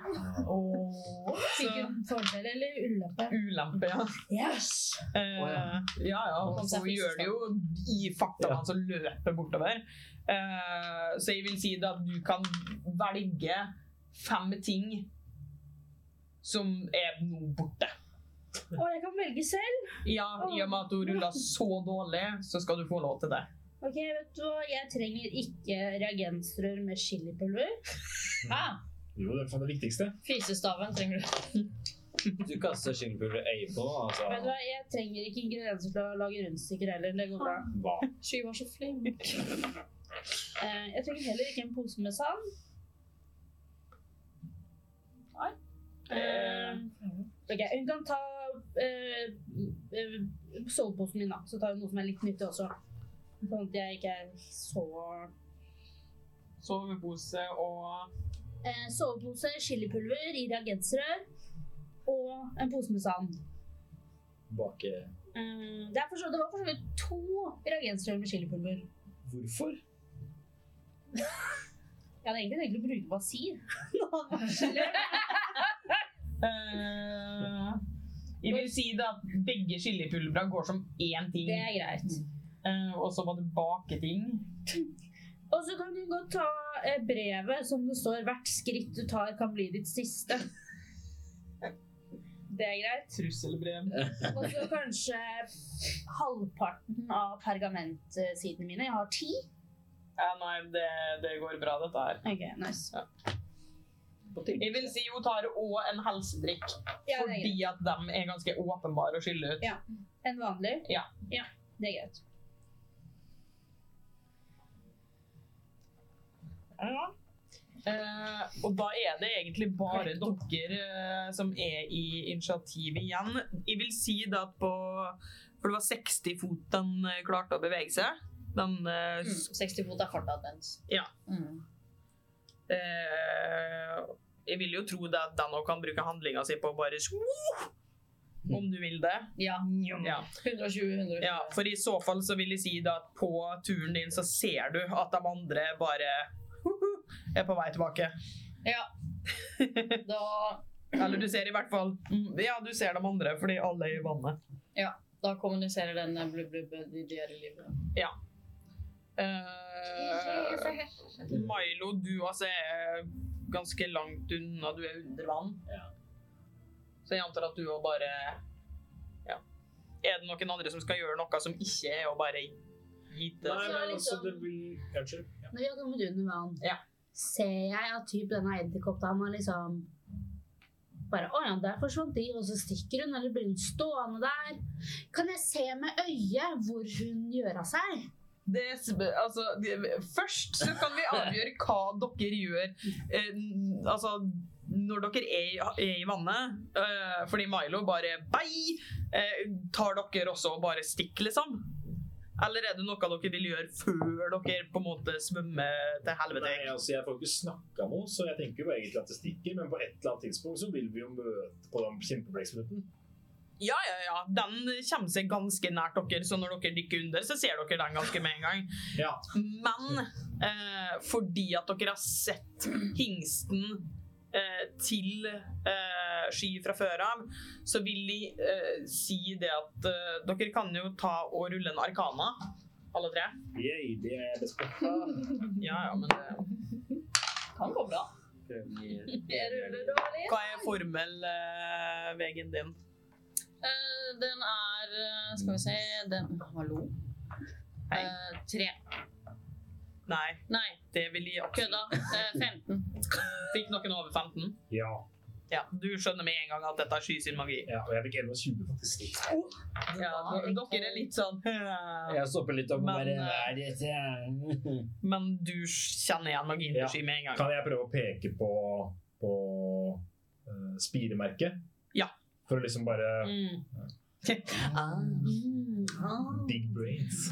Speaker 4: Fikk hun fordel eller ulempe?
Speaker 1: Ulempe, ja.
Speaker 4: Yes!
Speaker 1: Eh, ja, ja.
Speaker 3: Kom
Speaker 1: Og
Speaker 3: seg
Speaker 1: så
Speaker 3: først,
Speaker 1: gjør det jo i farta han som løper bortover. Eh, så jeg vil si det at du kan velge fem ting som er nå borte.
Speaker 4: Og jeg kan velge selv.
Speaker 1: Ja, i og med at hun rulla så dårlig, så skal du få lov til det.
Speaker 4: Ok, vet du hva? Jeg trenger ikke reagenser med chilipulver.
Speaker 3: Ah,
Speaker 2: Jo, det er faen det viktigste.
Speaker 3: Fisestaven trenger du.
Speaker 5: Du kaster skilpulver i øyet på noen,
Speaker 4: Vet du
Speaker 5: altså.
Speaker 4: hva? Jeg trenger ikke ingredienser til å lage rundstykker heller. Det går bra.
Speaker 5: Hva?
Speaker 3: Sky var så flink.
Speaker 4: Eh, Jeg trenger heller ikke en pose med sand.
Speaker 1: Eh,
Speaker 4: Eh, Ok, Hun kan ta eh, eh, soveposen min, da. Så tar hun noe som er litt nyttig også. Sånn at jeg ikke er så
Speaker 1: Sovepose og
Speaker 4: eh, Sovepose, chilipulver i reagensrør og en pose med sand.
Speaker 5: Bake
Speaker 4: Eh, det, er for så, det var for så vidt to reagensrør med chilipulver.
Speaker 5: Hvorfor?
Speaker 4: Jeg hadde egentlig tenkt å bruke basir. Nå hadde det vært slem.
Speaker 1: eh, Jeg vil si det at begge chilipulvera går som én ting.
Speaker 4: Det er greit.
Speaker 1: Eh, og så var det baketing.
Speaker 4: Og så kan du godt ta eh, brevet som det står 'Hvert skritt du tar, kan bli ditt siste'. Det er greit.
Speaker 1: Trusselbrev.
Speaker 4: Og så kanskje halvparten av pergamentsidene mine. Jeg har ti.
Speaker 1: Ja, Eh, nei, det, det går bra, dette her.
Speaker 4: Ok, nice.
Speaker 1: Jeg vil si hun tar òg en helsedrikk,
Speaker 4: Ja, det er greit.
Speaker 1: fordi at de er ganske åpenbare å skylle ut.
Speaker 4: Ja. En vanlig?
Speaker 1: Ja.
Speaker 4: ja. Det er greit.
Speaker 1: Ja. Eh, og da er det egentlig bare dere eh, som er i initiativ igjen. Jeg vil si da at på For det var 60 fot den eh, klarte å bevege seg. Den eh,
Speaker 3: Mm, 60 fot er farta dens.
Speaker 1: Ja.
Speaker 3: Mm.
Speaker 1: Eh, jeg vil jo tro det at den også kan bruke handlinga si på å bare swoop, Om du vil det.
Speaker 3: Ja.
Speaker 1: Ja.
Speaker 3: 120-120.
Speaker 1: ja, For i så fall så vil jeg si da at på turen din så ser du at de andre bare er på vei tilbake.
Speaker 3: Da,
Speaker 1: Eller du ser i hvert fall mm, Ja, du ser de andre fordi alle er i vannet.
Speaker 3: da kommuniserer den eh, blubb, blubb, de dyre livet.
Speaker 1: Eh, Milo, du altså er ganske langt unna. Du er under vann. Så jeg antar at du òg bare Ja. Er det noen andre som skal gjøre noe som ikke er å bare gite?
Speaker 2: Nei, men altså,
Speaker 1: sånn-
Speaker 3: liksom-
Speaker 2: det vil Unnskyld. Ja.
Speaker 4: Når vi har kommet under vann,
Speaker 1: Ja.
Speaker 4: ser jeg at typ denne edderkoppdama liksom bare Å ja, der forsvant de, og så stikker hun, eller blir hun stående der? Kan jeg se med øyet hvor hun gjør av seg?
Speaker 1: Det, er sp- altså, det- først så kan vi avgjøre hva dere gjør eh, n- altså, når dere er, i- er i vannet. Eh, fordi Milo bare Bei! Eh, tar dere også og bare stikker, liksom? Eller er det noe dere vil gjøre før dere på en måte svømmer til helvete?
Speaker 2: Nei, altså, jeg får jo ikke snakka noe, så jeg tenker jo egentlig at det stikker. Men på et eller annet tidspunkt så vil vi jo møte på den kjempeblekksprutten.
Speaker 1: Ja, ja, ja. Den kommer seg ganske nært dere, så når dere dykker under, så ser dere den ganske med en gang.
Speaker 2: Ja.
Speaker 1: Men eh, fordi at dere har sett hingsten eh, til eh, Sky fra før av, så vil de eh, si det at eh, dere kan jo ta og rulle en arkana, alle tre.
Speaker 2: Yay, det er jeg best på.
Speaker 1: Ja, ja, men eh,
Speaker 3: Kan gå bra.
Speaker 8: Jeg ruller dårlig.
Speaker 1: hva er formelvegen din?
Speaker 3: Eh, den er eh, Skal vi se den, Hallo.
Speaker 1: Hei.
Speaker 3: Eh, tre.
Speaker 1: Nei,
Speaker 3: Nei,
Speaker 1: det vil de absolutt.
Speaker 3: kødda. Eh, 15.
Speaker 1: Fikk noen over 15?
Speaker 2: Ja.
Speaker 1: Ja, du skjønner med en gang at dette er Sky sin magi.
Speaker 2: ja. Og jeg fikk 21, faktisk.
Speaker 1: Ja, d- dere er litt sånn
Speaker 5: Jeg stopper litt opp og
Speaker 1: Men,
Speaker 5: bare
Speaker 1: eh,
Speaker 5: Nei, dette er-
Speaker 1: Men du kjenner igjen magien
Speaker 2: Ja.
Speaker 1: til Sky med en gang.
Speaker 2: Kan jeg prøve å peke på, på eh, spiremerket?
Speaker 1: Ja.
Speaker 2: For å liksom bare
Speaker 1: Mm.
Speaker 2: Big brains.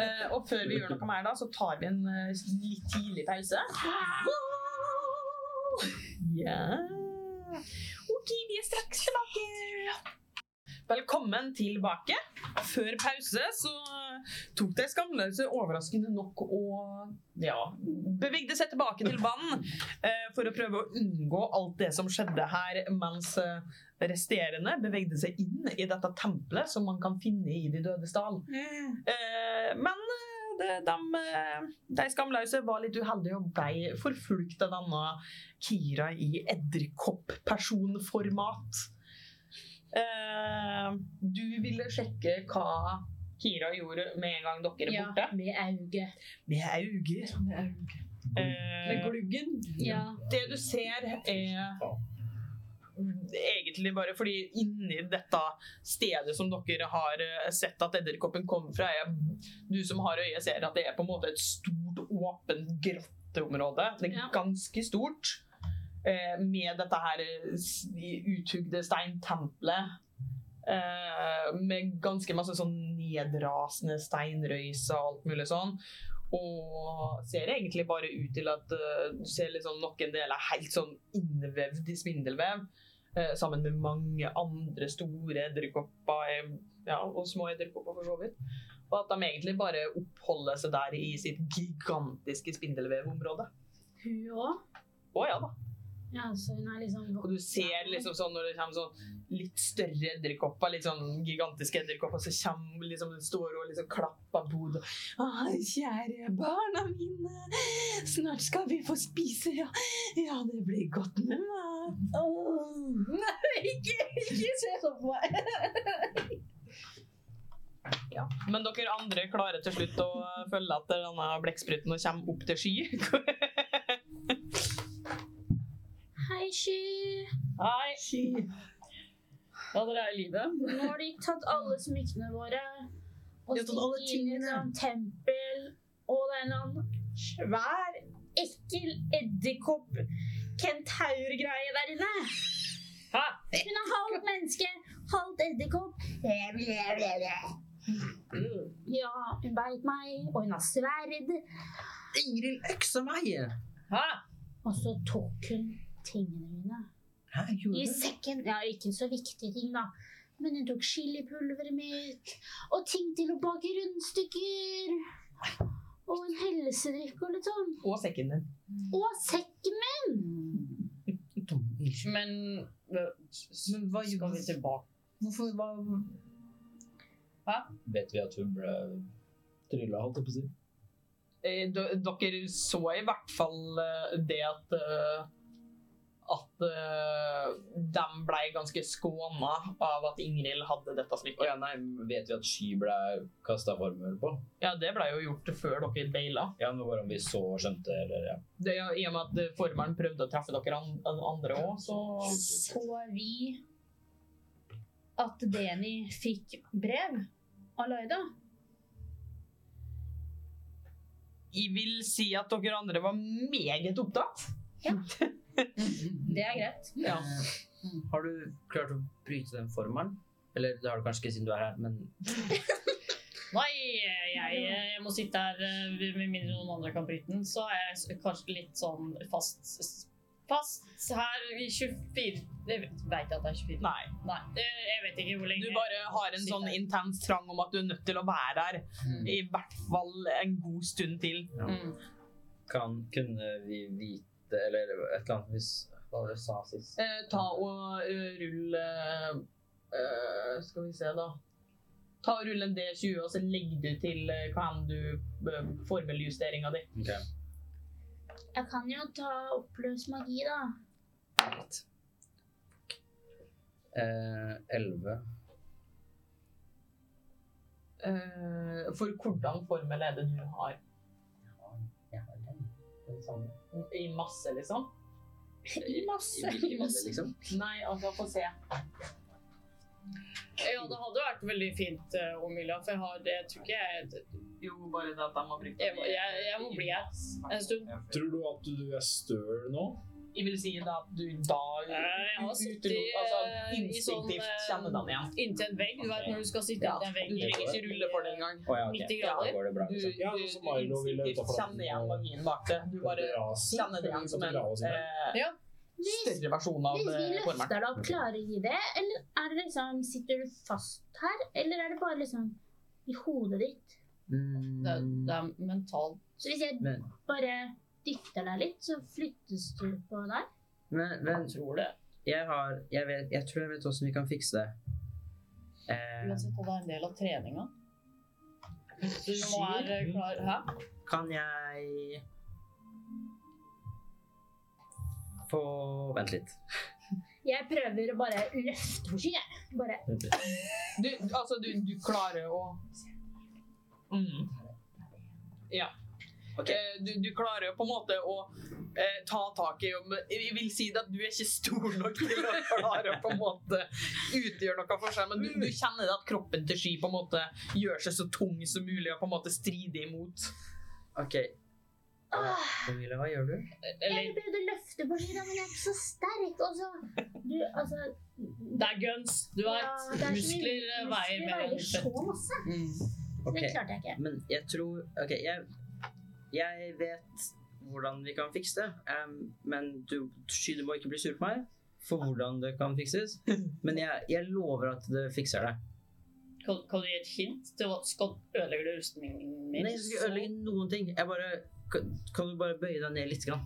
Speaker 1: Eh, og før vi gjør noe mer, da, så tar vi en eh, litt tidlig pause. Ja OK, vi er straks tilbake. Velkommen tilbake. Før pause så tok de skamløse overraskende nok og ja, bevegde seg tilbake til vann eh, for å prøve å unngå alt det som skjedde her, mens eh, resterende bevegde seg inn i dette tempelet som man kan finne i De dødes dal. Eh, men eh, det, de, eh, de skamløse var litt uheldige og ble forfulgt av denne Kira i edderkopp-personformat. Eh, du ville sjekke hva Kira gjorde med en gang dere er
Speaker 4: Ja,
Speaker 1: borte?
Speaker 4: med auget.
Speaker 1: Med auger. Med gluggen.
Speaker 4: Eh, Ja.
Speaker 1: Det du ser er egentlig bare fordi inni dette stedet som dere har eh, sett at edderkoppen kommer fra, er du som har øye ser at det er på en måte et stort åpent grotteområde. Det er
Speaker 4: Ja.
Speaker 1: ganske stort. eh, med dette her eh, s- uthugde steintempelet. eh, med ganske masse sånn nedrasende steinrøys og alt mulig sånn. Og ser egentlig bare ut til at eh, du ser liksom noen deler helt sånn innvevd i spindelvev. eh, sammen med mange andre store edderkopper eh, ja, og små edderkopper for så vidt. Og at de egentlig bare oppholder seg der i sitt gigantiske spindelvevområde.
Speaker 4: Hun òg.
Speaker 1: Å ja da.
Speaker 4: Ja, så hun er liksom
Speaker 1: Og du ser liksom sånn når det kommer sånn litt større edderkopper, litt sånn gigantiske edderkopper, så kommer liksom den store og liksom klapper bod. Å, kjære barna mine, snart skal vi få spise, ja. Ja, det blir godt med mat.
Speaker 7: Ikke se sånn på meg!
Speaker 1: Men dere andre klarer til slutt å følge etter denne blekkspruten og kommer opp til sky.
Speaker 4: Hei, Sky.
Speaker 3: Hei. Ja, dere er i live.
Speaker 4: Nå har de tatt alle smykkene våre. Og
Speaker 1: De har tatt alle
Speaker 4: stikker inn i et
Speaker 1: tingene.
Speaker 4: sånt tempel. Og det er en eller annen svær, ekkel edderkopp-kentaur-greie der inne.
Speaker 3: Hæ?
Speaker 4: Hun er halvt menneske, halvt edderkopp. Ja, hun beit meg, og hun har sverd.
Speaker 5: Ingrid øksa meg!
Speaker 3: Hæ?
Speaker 4: Og så tok hun tingene mine.
Speaker 5: Hæ,
Speaker 4: I
Speaker 5: gjorde du?
Speaker 4: sekken. Ja, ikke en så viktig ting, da. Men hun tok chilipulveret mitt, og ting til å bake rundstykker. Og en helsedrikk og litt sånn.
Speaker 1: Og sekken din.
Speaker 4: Og sekken min!
Speaker 3: Men Men hva skal vi tilbake?
Speaker 5: Hvorfor hva Vet vi at hun ble trylla, holdt jeg på å si?
Speaker 1: Eh, d- Dere så i hvert fall eh, det at eh, at de ble ganske skåna av at Ingrid hadde dette
Speaker 5: Å
Speaker 1: smykket.
Speaker 5: ja, nei, vet vi at Sky ble kasta formel på?
Speaker 1: Ja, det ble jo gjort før dere deila.
Speaker 5: Ja, men bare om vi så og skjønte, eller ja.
Speaker 1: Det, er jo- I og med at eh, formelen prøvde å treffe dere an andre òg, så
Speaker 7: Så vi at Deni fikk brev av Laida?
Speaker 1: Jeg vil si at dere andre var meget opptatt.
Speaker 7: Det er greit.
Speaker 1: Ja.
Speaker 5: Har du klart å bryte den formelen? Eller det har du kanskje ikke siden du er her, men
Speaker 3: Nei, jeg, jeg må sitte her eh, med mindre noen andre kan bryte den. Så er jeg s- kanskje litt sånn fast Fast her i 24 Det vet vet jeg at det er 24.
Speaker 1: Nei.
Speaker 3: Nei, det, jeg vet ikke hvor lenge.
Speaker 1: Du bare har en sånn intens trang om at du er nødt til å være her
Speaker 3: Hmm.
Speaker 5: Mm.
Speaker 1: i hvert fall en god stund til.
Speaker 3: Mm.
Speaker 5: kan, kunne vi vite Eller et eller annet hvis Hva dere sa sist?
Speaker 1: Eh, ta og eh, rull eh, eh, Skal vi se, da. Ta og Rull en D20, og så legg du til eh, hva enn du uh, formeljusteringa di.
Speaker 5: Ok.
Speaker 4: Jeg kan jo ta oppløs magi, da.
Speaker 5: Eh, 11.
Speaker 1: Eh, for hvordan formel er det du har?
Speaker 5: Jeg har den. Den samme.
Speaker 1: I masse, liksom? I masse.
Speaker 5: I masse, liksom.
Speaker 1: Nei, altså, få se.
Speaker 3: Ja, det hadde vært veldig fint eh, om Milla, for jeg har Jeg tror ikke jeg
Speaker 1: Jo, bare det at de har brukt
Speaker 3: Jeg må- jeg- jeg må bli her en stund.
Speaker 2: Tror du at du er støl nå?
Speaker 1: Jeg vil si da at du da
Speaker 3: Eh, jeg har sittet i,
Speaker 1: utelukk- altså,
Speaker 3: eh, i sånn,
Speaker 1: instinktivt kjenner dem igjen.
Speaker 3: Inntil en vegg. Du vet når du skal sitte
Speaker 1: Ja,
Speaker 3: inntil en vegg.
Speaker 1: Du trenger ikke rulle for det engang.
Speaker 5: Å ja, ok.
Speaker 3: 90
Speaker 5: Da
Speaker 3: grader.
Speaker 5: går det bra,
Speaker 1: Du,
Speaker 5: liksom.
Speaker 2: Ja,
Speaker 1: du,
Speaker 2: sånn som
Speaker 1: du
Speaker 2: Milo ville
Speaker 1: instinktivt
Speaker 2: utenfor den.
Speaker 1: kjenner igjen magien bak det. Du bare
Speaker 2: Raset?
Speaker 1: kjenner det igjen som en
Speaker 2: Raset
Speaker 1: eh,
Speaker 2: der.
Speaker 3: Ja.
Speaker 4: Hvis,
Speaker 1: større versjon av
Speaker 4: hvis vi
Speaker 1: eh, formelen.
Speaker 4: løfter deg opp, klarer de det? Eller er det liksom, sitter du fast her? Eller er det bare liksom i hodet ditt?
Speaker 3: Det, det er mentalt.
Speaker 4: Så hvis jeg
Speaker 5: Men-
Speaker 4: bare dytter deg litt, så flyttes du på der?
Speaker 5: Men, men
Speaker 3: Tror det.
Speaker 5: jeg har Jeg, vet, jeg tror jeg vet hvordan vi kan fikse det. Eh,
Speaker 3: Uansett om det er en del av treninga. Du må være klar Hæ?
Speaker 5: Kan jeg få Vent litt.
Speaker 4: Jeg prøver å bare løfte bort skyet. Bare
Speaker 1: Du, altså, du, du klarer å mm. Ja.
Speaker 5: Ok.
Speaker 1: Eh, Du, du klarer på en måte å eh, ta tak i om Jeg vil si det at du er ikke stor nok til å klare å på en måte utgjøre noe forskjell, men du, du kjenner det at kroppen til Sky på en måte gjør seg så tung som mulig og på en måte strider imot.
Speaker 5: OK.
Speaker 4: Åh,
Speaker 5: Camilla, hva gjør du?
Speaker 4: jeg prøvde å løfte på ski, da, men jeg er ikke så sterk. Og så Du, altså
Speaker 3: Det er guns, du vet.
Speaker 4: ja, det er så mye-
Speaker 3: muskler eh, veier mer enn
Speaker 4: så
Speaker 3: fett.
Speaker 4: masse. Så
Speaker 5: Ok,
Speaker 4: Det klarte Mm. jeg ikke.
Speaker 5: men jeg tror Ok, jeg, jeg vet hvordan vi kan fikse det. em, men du, sky, du må ikke bli sur på meg for hvordan det kan fikses. Men jeg, jeg lover at det fikser det.
Speaker 3: Kan, kan du gi et hint til hva skal ødelegger du rustningen min?
Speaker 5: Nei, jeg skal ikke ødelegge noen ting. Jeg bare, kan, kan du bare bøye deg ned litt? Grann?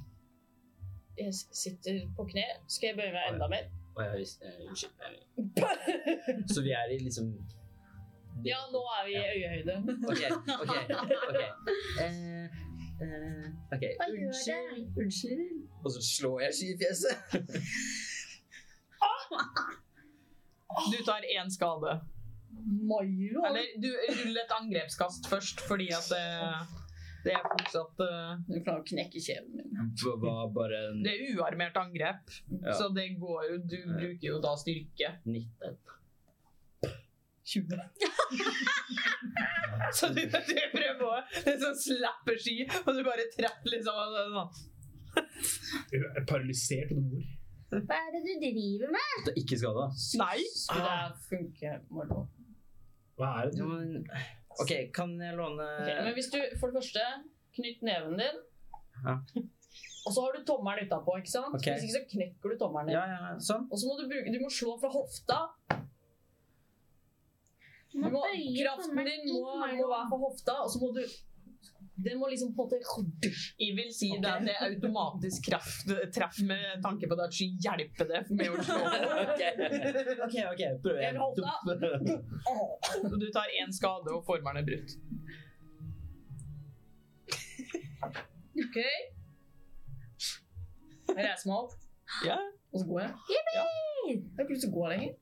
Speaker 3: Så Jeg sitter på kne. Skal jeg bøye meg enda mer?
Speaker 5: Å, jeg, vis- eh, unnskyld. eh. Så vi er i liksom
Speaker 3: Ja, nå er vi i øyehøyde.
Speaker 5: OK. ok, ok. Eh, eh, ok,
Speaker 4: Hva gjør
Speaker 5: Unnskyld. Unnskyld. Og så slår jeg sky i fjeset.
Speaker 1: Du tar én skade.
Speaker 3: Mairo?
Speaker 1: Eller du ruller et angrepskast først, fordi at det, det er fortsatt eh,
Speaker 3: Du klarer å knekke kjeven min.
Speaker 5: Det var bare en
Speaker 1: Det er uarmert angrep,
Speaker 5: Ja.
Speaker 1: så det går jo Du bruker jo da styrke.
Speaker 5: 19.
Speaker 1: 20. så du, du prøver å liksom slappe ski, og du bare treffer liksom og så- sånn.
Speaker 2: Hun er paralysert og du mor.
Speaker 4: Hva er det du driver med?
Speaker 5: Det er ikke skada.
Speaker 1: Nei! Ah.
Speaker 3: Skulle det funke, Marlo?
Speaker 2: Hva er det?
Speaker 5: Ja, men, OK, kan jeg låne
Speaker 3: Ok, men hvis du, for det første, knytt neven din.
Speaker 5: Ja.
Speaker 3: Og så har du tommelen utapå, ikke sant?
Speaker 5: Ok.
Speaker 3: Hvis ikke så knekker du tommelen din.
Speaker 5: Ja, ja, sånn.
Speaker 3: Og så må du, bruke, du må slå fra hofta.
Speaker 4: Du
Speaker 3: Du
Speaker 4: må
Speaker 3: må,
Speaker 4: bøye
Speaker 3: kraften
Speaker 4: tommelen
Speaker 3: din må,
Speaker 4: inn, Marlo.
Speaker 3: må være fra hofta, og så må du Den må liksom på en måte
Speaker 1: Jeg vil si det, det er automatisk kraft, treff med tanke på det at sky hjelper det med å slå.
Speaker 5: OK, ok, ok, prøv
Speaker 3: Jeg holder.
Speaker 5: igjen.
Speaker 1: Så Du tar én skade, og formelen er brutt.
Speaker 3: OK? Jeg reiser meg opp,
Speaker 1: Ja.
Speaker 3: og så går jeg.
Speaker 1: Ja.
Speaker 3: Jeg har ikke lyst til å gå lenger.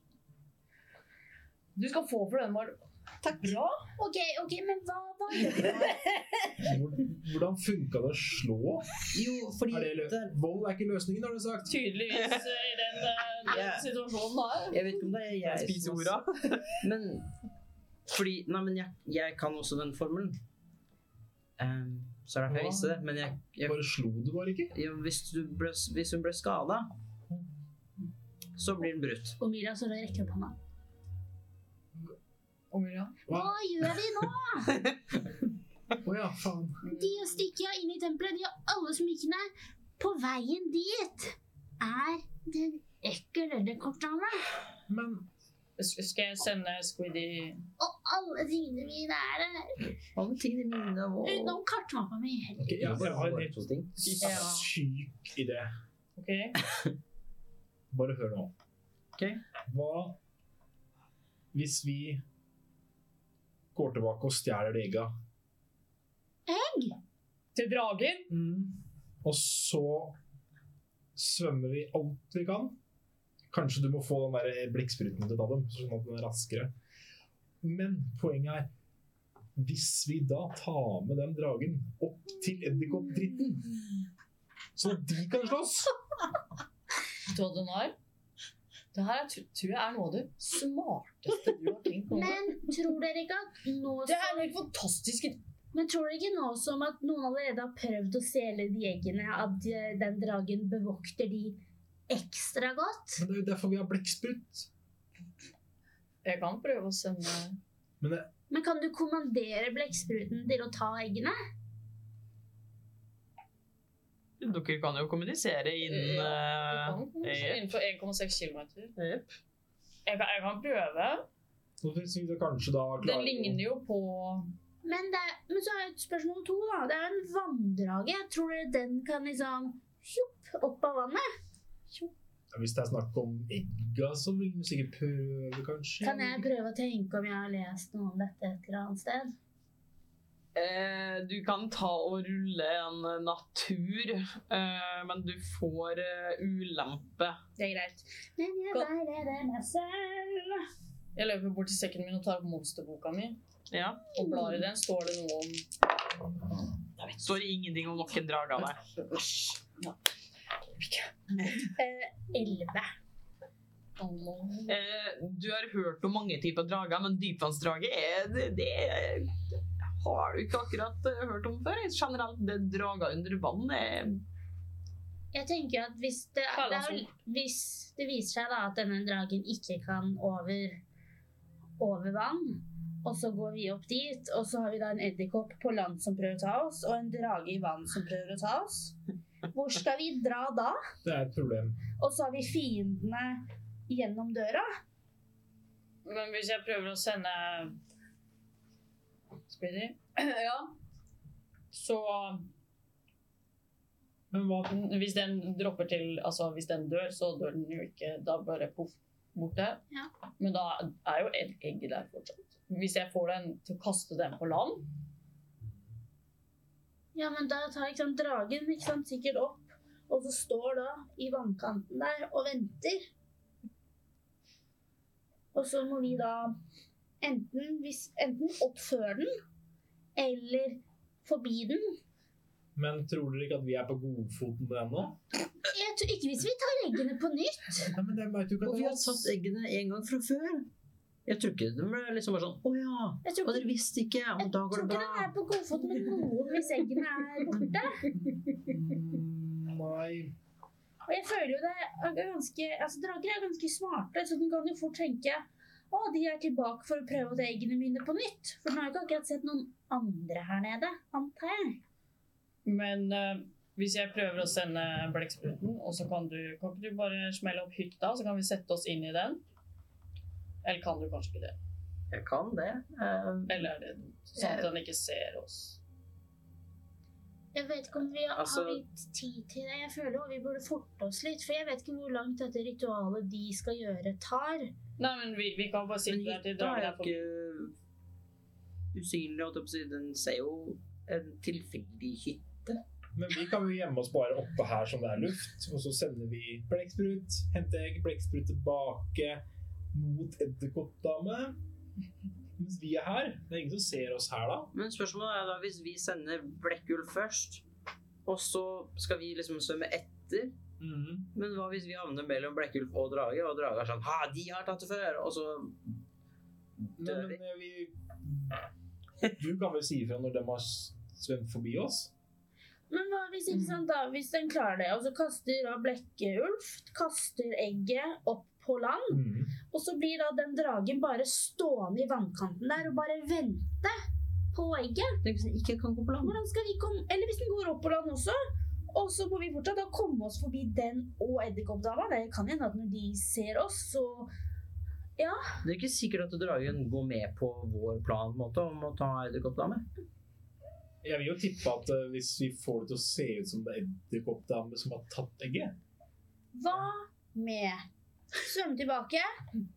Speaker 3: Du skal få for den, Marlo. Takk. Bra.
Speaker 4: OK, ok, men hva, hva gjør du? her?
Speaker 2: Hvor- Hvordan funka det å slå?
Speaker 5: Jo, fordi
Speaker 2: Er det lø
Speaker 5: det-
Speaker 2: Vold er ikke løsningen, har du sagt.
Speaker 3: tydeligvis eh, i den,
Speaker 1: uh,
Speaker 3: eh,
Speaker 5: Ja.
Speaker 3: den situasjonen her.
Speaker 5: Jeg vet ikke om det er jeg
Speaker 1: Spise
Speaker 5: som har-
Speaker 1: orda.
Speaker 5: Men fordi Nei, men jeg, jeg kan også den formelen. Ehm, så er det derfor jeg visste det. Men jeg, jeg,
Speaker 2: Bare slo du bare ikke?
Speaker 5: ja, hvis, du ble, hvis hun ble skada, så blir den brutt.
Speaker 4: Og Mira så rekker opp hånda.
Speaker 3: Omira.
Speaker 4: Hva gjør vi nå?
Speaker 2: Å ja, faen.
Speaker 4: De å stikke inn i tempelet, de og alle smykkene På veien dit er den ekle røddekortdama.
Speaker 2: Men
Speaker 3: S- Skal jeg sende Squiddy
Speaker 4: Og alle tingene mine er der.
Speaker 5: Alle tingene mine
Speaker 4: Utenom kartmappa mi.
Speaker 2: ok, jeg, jeg har en helt
Speaker 5: to ting.
Speaker 3: Ja.
Speaker 2: syk idé.
Speaker 3: OK?
Speaker 2: Bare hør nå.
Speaker 5: Ok.
Speaker 2: Hva hvis vi går tilbake og stjeler det egget?
Speaker 3: Til dragen?
Speaker 2: Mm. Og så svømmer vi alt vi kan. Kanskje du må få den der blekkspruten til å ta dem, sånn at den er raskere. Men poenget er hvis vi da tar med den dragen opp til edderkoppdritten, så de kan slåss
Speaker 3: Vet du hva den er? Det her er- tr- tror jeg er noe av det smarteste du har tenkt på.
Speaker 4: Men tror dere ikke at nå
Speaker 3: Det her er helt fantastisk.
Speaker 4: Men tror dere ikke nå som at noen allerede har prøvd å stjele de eggene, at de- den dragen bevokter de ekstra godt?
Speaker 2: Men det er jo derfor vi har blekksprut.
Speaker 3: Jeg kan prøve å sende
Speaker 4: Men kan du kommandere blekkspruten til å ta eggene?
Speaker 1: Dere kan jo kommunisere innen
Speaker 3: Ja,
Speaker 1: eh,
Speaker 3: du kan kanskje
Speaker 1: eh,
Speaker 3: Innenfor 1,6 km.
Speaker 1: Jepp.
Speaker 3: Jeg kan, jeg kan prøve.
Speaker 2: Så hvis vi da kanskje da
Speaker 3: Det
Speaker 2: klarer
Speaker 3: ligner jo på
Speaker 4: Men, det er, men så er jo et spørsmål to, da. Det er jo en vanndrage. Tror dere den kan liksom Tjopp, opp av vannet.
Speaker 2: Ja, Hvis det er snakk om egga, så vil vi sikkert prøve, kanskje.
Speaker 4: Kan jeg prøve å tenke om jeg har lest noe om dette et eller annet sted?
Speaker 1: Eh, du kan ta og rulle en eh, natur, eh, men du får eh, ulempe.
Speaker 3: Det er greit.
Speaker 4: Men jeg
Speaker 3: Godt.
Speaker 4: bærer det meg selv.
Speaker 3: Jeg løper bort til sekken min og tar opp monsterboka mi.
Speaker 1: Ja.
Speaker 3: Og blar i den. Står det noe om
Speaker 1: Står ingenting om noen drager der.
Speaker 4: Eh, Elleve.
Speaker 3: Åh.
Speaker 1: Eh, du har hørt om mange typer drager, men dypvannsdrage er, det, det er har du ikke akkurat eh, hørt om før. Generelt, det drager under vann er
Speaker 4: Jeg tenker at hvis det, det er, jo- hvis det viser seg da at denne dragen ikke kan over, over vann, og så går vi opp dit, og så har vi da en edderkopp på land som prøver å ta oss, og en drage i vann som prøver å ta oss. Hvor skal vi dra da?
Speaker 2: Det er et problem.
Speaker 4: Og så har vi fiendene gjennom døra.
Speaker 7: Men hvis jeg prøver å sende Speedy Ja. Så
Speaker 2: Men hva
Speaker 7: hvis den dropper til Altså hvis den dør, så dør den jo ikke. Da bare poff borte.
Speaker 4: Ja.
Speaker 7: Men da er jo egg- egget der fortsatt. Hvis jeg får den til å kaste den på land
Speaker 4: Ja, men da tar ikke sant, dragen ikke sant, sikkert opp, og så står da i vannkanten der og venter. Og så må vi da enten, hvis, enten oppføre den, eller forbi den.
Speaker 2: Men tror dere ikke at vi er på godfot med den nå?
Speaker 4: Jeg tror ikke hvis vi tar eggene på nytt.
Speaker 2: Nei, men det vet jo ikke
Speaker 5: Og
Speaker 2: at det
Speaker 5: vi har tatt eggene en gang fra før. Jeg tror ikke det ble liksom bare sånn Å ja,
Speaker 4: Jeg tror
Speaker 5: og
Speaker 4: ikke,
Speaker 5: dere visste ikke, og
Speaker 4: jeg
Speaker 5: da
Speaker 4: tror
Speaker 5: går
Speaker 4: ikke
Speaker 5: det
Speaker 4: den
Speaker 5: bra.
Speaker 4: er på godfot med noen hvis eggene er borte.
Speaker 2: Mm, Nei.
Speaker 4: Og jeg føler jo det er ganske Altså, drager er ganske smarte, så den kan jo fort tenke å, de er tilbake for å prøve å ta eggene mine på nytt. For den har jo ikke akkurat sett noen andre her nede, antar jeg.
Speaker 7: Men eh, hvis jeg prøver å sende blekkspruten, og så kan du Kan ikke du bare smelle opp hytta, så kan vi sette oss inn i den? Eller kan du kanskje ikke det?
Speaker 5: Jeg kan det. Eh,
Speaker 7: Eller er det sånn at den ikke ser oss?
Speaker 4: Jeg vet ikke om vi
Speaker 5: Altså-
Speaker 4: har litt tid til det. Jeg føler også vi burde forte oss litt, for jeg vet ikke hvor langt dette ritualet de skal gjøre, tar.
Speaker 7: Nei, men vi, vi kan bare sitte
Speaker 5: Men
Speaker 7: der til
Speaker 5: hytta
Speaker 7: dragen
Speaker 5: er
Speaker 7: er forbi.
Speaker 5: ikke usynlig, holdt jeg på å si. Den ser jo en tilfeldig hytte.
Speaker 2: Men vi kan jo gjemme oss bare oppe her som det er luft, og så sender vi blekksprut, hente egg, blekksprut tilbake mot edderkoppdame. Mens vi er her. Det er ingen som ser oss her da.
Speaker 5: Men spørsmålet er da hvis vi sender Blekkulf først, og så skal vi liksom svømme etter.
Speaker 2: Mm.
Speaker 5: Men hva hvis vi havner mellom Blekkulf og drage, og drage er sånn Ha, de har tatt det før! Og så
Speaker 2: Nei,
Speaker 5: dør vi.
Speaker 2: men vi... Du kan vel si ifra når de har svømt forbi oss?
Speaker 4: Men hva hvis, ikke sant, da, hvis den klarer det, og så kaster da Blekkeulf kaster egget opp på land,
Speaker 2: Mm.
Speaker 4: og så blir da den dragen bare stående i vannkanten der og bare vente på egget.
Speaker 5: Tenk hvis den ikke kan gå på land.
Speaker 4: Hvordan skal vi komme Eller hvis den går opp på land også, og så må vi fortsatt da komme oss forbi den og edderkoppdama. Det kan hende at når de ser oss, så
Speaker 5: Det er ikke sikkert at dragen går med på vår plan på en måte, om å ta edderkoppdame.
Speaker 2: Jeg vil jo tippe at eh, hvis vi får det til å se ut som det er edderkoppdame som har tatt egget
Speaker 4: Hva med svømme tilbake,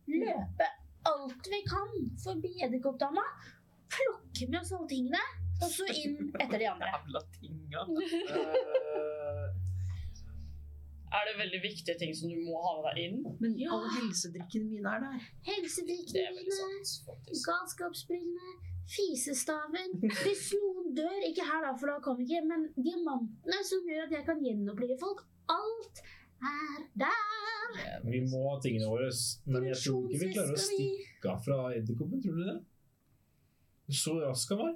Speaker 4: løpe alt vi kan forbi edderkoppdama, plukke med oss alle tingene, og så inn etter de andre?
Speaker 1: jævla tinga.
Speaker 2: Eh,
Speaker 7: Er det veldig viktige ting som du må ha med deg inn?
Speaker 5: Men alle helsedrikkene mine er der.
Speaker 7: Det er veldig
Speaker 4: Helsedrikkene,
Speaker 7: sant, faktisk.
Speaker 4: galskapsbrillene, fisestaven Hvis noen dør, ikke her da, for da kommer ikke, men diamantene som gjør at jeg kan gjenopplive folk, alt er der.
Speaker 2: Vi må ha tingene våre, men jeg tror ikke vi klarer å
Speaker 4: Produksjonsveska mi.
Speaker 2: stikke av fra edderkoppen, tror du det? Så rask han var.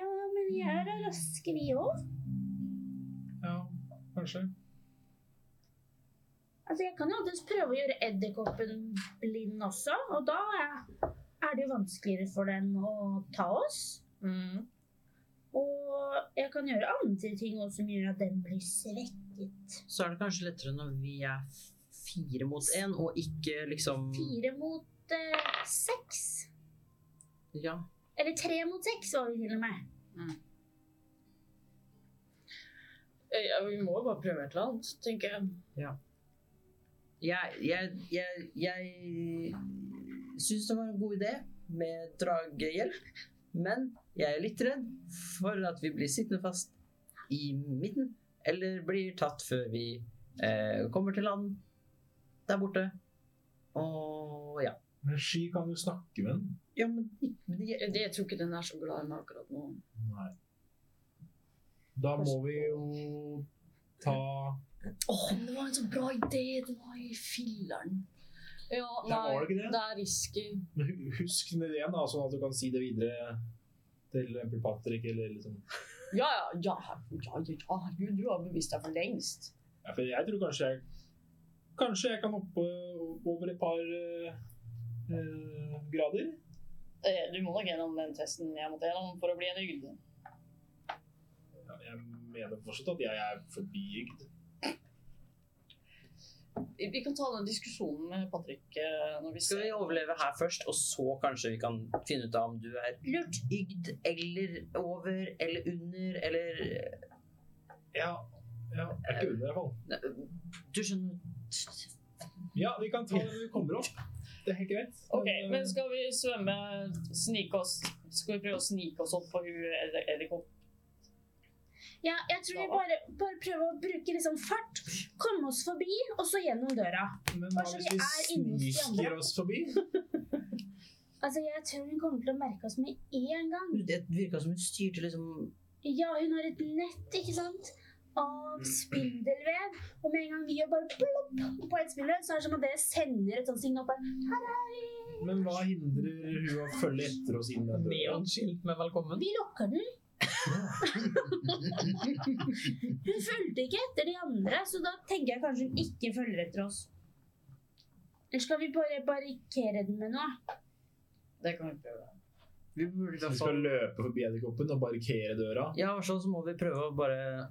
Speaker 4: Ja, men vi er da raske, vi òg.
Speaker 2: Ja, kanskje.
Speaker 4: Altså, jeg kan jo alltids prøve å gjøre edderkoppen blind også, og da er er det jo vanskeligere for den å ta oss.
Speaker 7: Mm.
Speaker 4: Og jeg kan gjøre andre ting også som gjør at den blir svekket.
Speaker 5: Så er det kanskje lettere når vi er fire mot én, og ikke liksom
Speaker 4: Fire mot eh, seks.
Speaker 5: Ja.
Speaker 4: Eller tre mot seks var vi til og med.
Speaker 7: Ja, vi må jo bare prøve et eller annet, tenker jeg.
Speaker 5: Jeg, jeg, jeg, jeg syns det var en god idé med dragehjelp, men jeg er litt redd for at vi blir sittende fast i midten, eller blir tatt før vi eh, kommer til land der borte. Og ja.
Speaker 2: Men Sky kan jo snakke med den.
Speaker 5: Ja, men, men jeg,
Speaker 7: Jeg, jeg tror ikke den er så glad i meg akkurat nå.
Speaker 2: Nei. Da må vi jo ta
Speaker 7: Åh, men det var en så bra idé! Det var i filleren. Ja,
Speaker 2: Ja, var det ikke
Speaker 7: nei,
Speaker 2: det?
Speaker 7: det er risky.
Speaker 2: altså, Men hu- Husk den ideen, da, sånn at du kan si det videre til Emperor Patrick, eller liksom
Speaker 7: Ja, ja, ja, herregud, ja, ja, ja, herregud, du har bevist deg for lengst.
Speaker 2: ja, For jeg tror kanskje jeg Kanskje jeg kan hoppe over et par eh, eh, grader.
Speaker 7: Eh, Du må nok gjennom den testen jeg måtte gjennom for å bli en ygde.
Speaker 2: Ja, men jeg mener fortsatt at jeg er forbygd.
Speaker 7: Vi vi kan ta den diskusjonen med Patrick eh, når vi
Speaker 5: Skal
Speaker 7: ser.
Speaker 5: vi overleve her først, og så kanskje vi kan finne ut av om du er lurt, ygd eller over eller under eller
Speaker 2: Ja, ja. Jeg er ikke under, i hvert fall.
Speaker 5: Nei, eh, Du skjønner
Speaker 2: Ja, vi kan ta det når vi kommer opp. Det er helt greit.
Speaker 7: Ok,
Speaker 1: Eh,
Speaker 2: Men,
Speaker 7: men skal vi svømme, snike oss, skal vi prøve å snike oss opp på hun eller edderkopp?
Speaker 4: Ja, jeg tror vi bare, bare prøver å bruke liksom fart, komme oss forbi, og så gjennom døra.
Speaker 2: eh, men hva
Speaker 4: Kanskje
Speaker 2: hvis
Speaker 4: vi er inne hos
Speaker 2: vi
Speaker 4: de
Speaker 2: sniker
Speaker 4: andre?
Speaker 2: oss forbi?
Speaker 4: Altså, jeg tror hun kommer til å merke oss med en gang.
Speaker 5: Det virka som hun styrte liksom
Speaker 4: Ja, hun har et nett, ikke sant? Av spindelvev. Og med en gang vi gjør bare plopp på et spindelvev, så er det som at det sender et sånt signal på Hei!
Speaker 2: Men hva hindrer hun å følge etter oss inn den døra?
Speaker 1: Neonskilt med 'velkommen'.
Speaker 4: Vi lukker den. hun fulgte ikke etter de andre, så da tenker jeg kanskje hun ikke følger etter oss. Eller skal vi bare barrikere den med noe?
Speaker 7: Det kan vi prøve.
Speaker 5: Vi burde i
Speaker 2: Vi
Speaker 5: hvert
Speaker 2: skal
Speaker 5: fall
Speaker 2: løpe forbi edderkoppen og barrikere døra.
Speaker 5: Ja, i hvert fall så må vi prøve å bare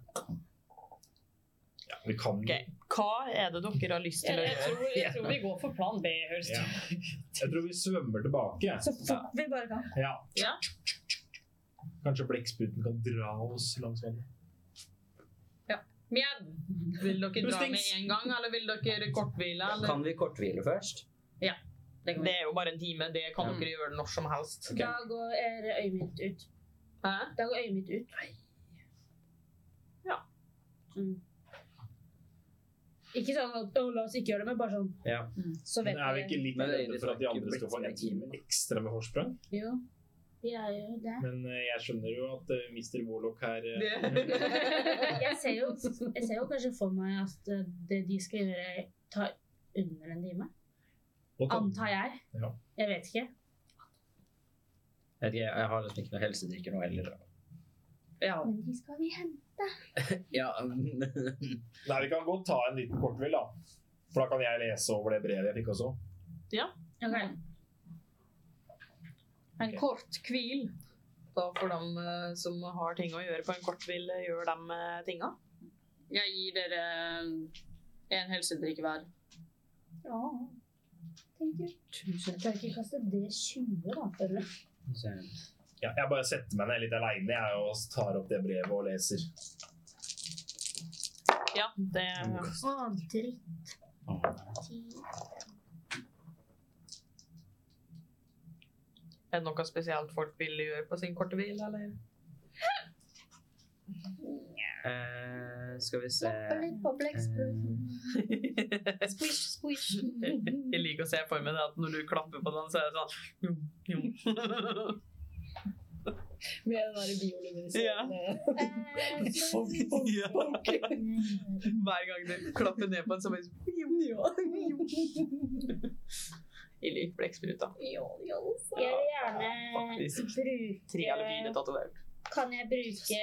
Speaker 2: Vi kan
Speaker 1: Ok, Hva er det dere har lyst til
Speaker 7: Jeg,
Speaker 1: å
Speaker 7: jeg,
Speaker 1: gjøre?
Speaker 7: tror, jeg tror vi går for plan B, høres det
Speaker 2: Ja. Jeg tror vi svømmer tilbake.
Speaker 4: Så fort vi bare kan.
Speaker 2: Ja.
Speaker 1: Ja.
Speaker 2: Kanskje blekkspruten kan dra oss langs vannet.
Speaker 1: Mjau. Vil dere dra med
Speaker 2: Hustings.
Speaker 1: en gang, eller vil dere korthvile? Eller?
Speaker 5: Kan vi korthvile først?
Speaker 7: Det kan
Speaker 1: Det
Speaker 7: vi.
Speaker 1: er jo bare en time. Det kan
Speaker 5: Mm.
Speaker 1: dere gjøre når som helst.
Speaker 4: Da går eh, øyet mitt ut.
Speaker 1: Hæ?
Speaker 4: Da går øyet mitt ut.
Speaker 1: Ja.
Speaker 4: Mm. Ikke sånn at «Å, la oss ikke gjøre det, men bare sånn.
Speaker 5: Ja.
Speaker 4: Så vet
Speaker 2: Men er vi ikke litt
Speaker 5: Men det er
Speaker 2: redde for at de
Speaker 5: ikke
Speaker 2: andre skal få en
Speaker 5: blekkspruten.
Speaker 2: time ekstra med forsprang?
Speaker 4: Jo, vi er jo det.
Speaker 2: Men eh, jeg skjønner jo at eh, Mr. Warlock her eh,
Speaker 4: Jeg ser jo, jeg ser jo kanskje for meg at eh, det de skal gjøre, tar under en time.
Speaker 2: og ta-
Speaker 4: Antar jeg.
Speaker 2: Ja.
Speaker 4: Jeg vet ikke.
Speaker 5: Jeg, vet ikke, jeg har liksom ikke noe helsedrikker nå heller.
Speaker 7: Ja.
Speaker 4: Men de skal vi hente.
Speaker 5: Ja.
Speaker 2: Nei, vi kan godt ta en liten kortvill, da. For da kan jeg lese over det brevet jeg fikk også.
Speaker 4: Ok.
Speaker 1: En kort hvil. Da får de eh, som har ting å gjøre på en kort hvil, eh, gjøre de eh, tinga.
Speaker 7: Jeg gir dere en helsedrikk hver.
Speaker 4: Ja. Tenk du. Jeg kan ikke kaste det 20 da, føler du.
Speaker 5: Så,
Speaker 2: Ja, jeg bare setter meg ned litt aleine og tar opp det brevet og leser.
Speaker 1: Ja, det
Speaker 4: Å, dritt.
Speaker 1: er det noe spesielt folk vil gjøre på sin korte hvil, eller?
Speaker 5: eh, skal vi se Eh,
Speaker 4: på blekkspruten.
Speaker 1: squish, squish. Jeg liker å se for meg det at når du klapper på den, så er det sånn jum, jum.
Speaker 7: Med den der bioluminescenten.
Speaker 4: Eh, så-
Speaker 1: Ja.
Speaker 4: Mm,
Speaker 1: Hver gang du klapper ned på en, så bare sånn, jum, jum, jum. Jeg liker blekkspruta.
Speaker 4: Jeg vil gjerne
Speaker 1: Faktisk. Tre eller fire
Speaker 4: bruke
Speaker 1: tatovert.
Speaker 4: Kan jeg bruke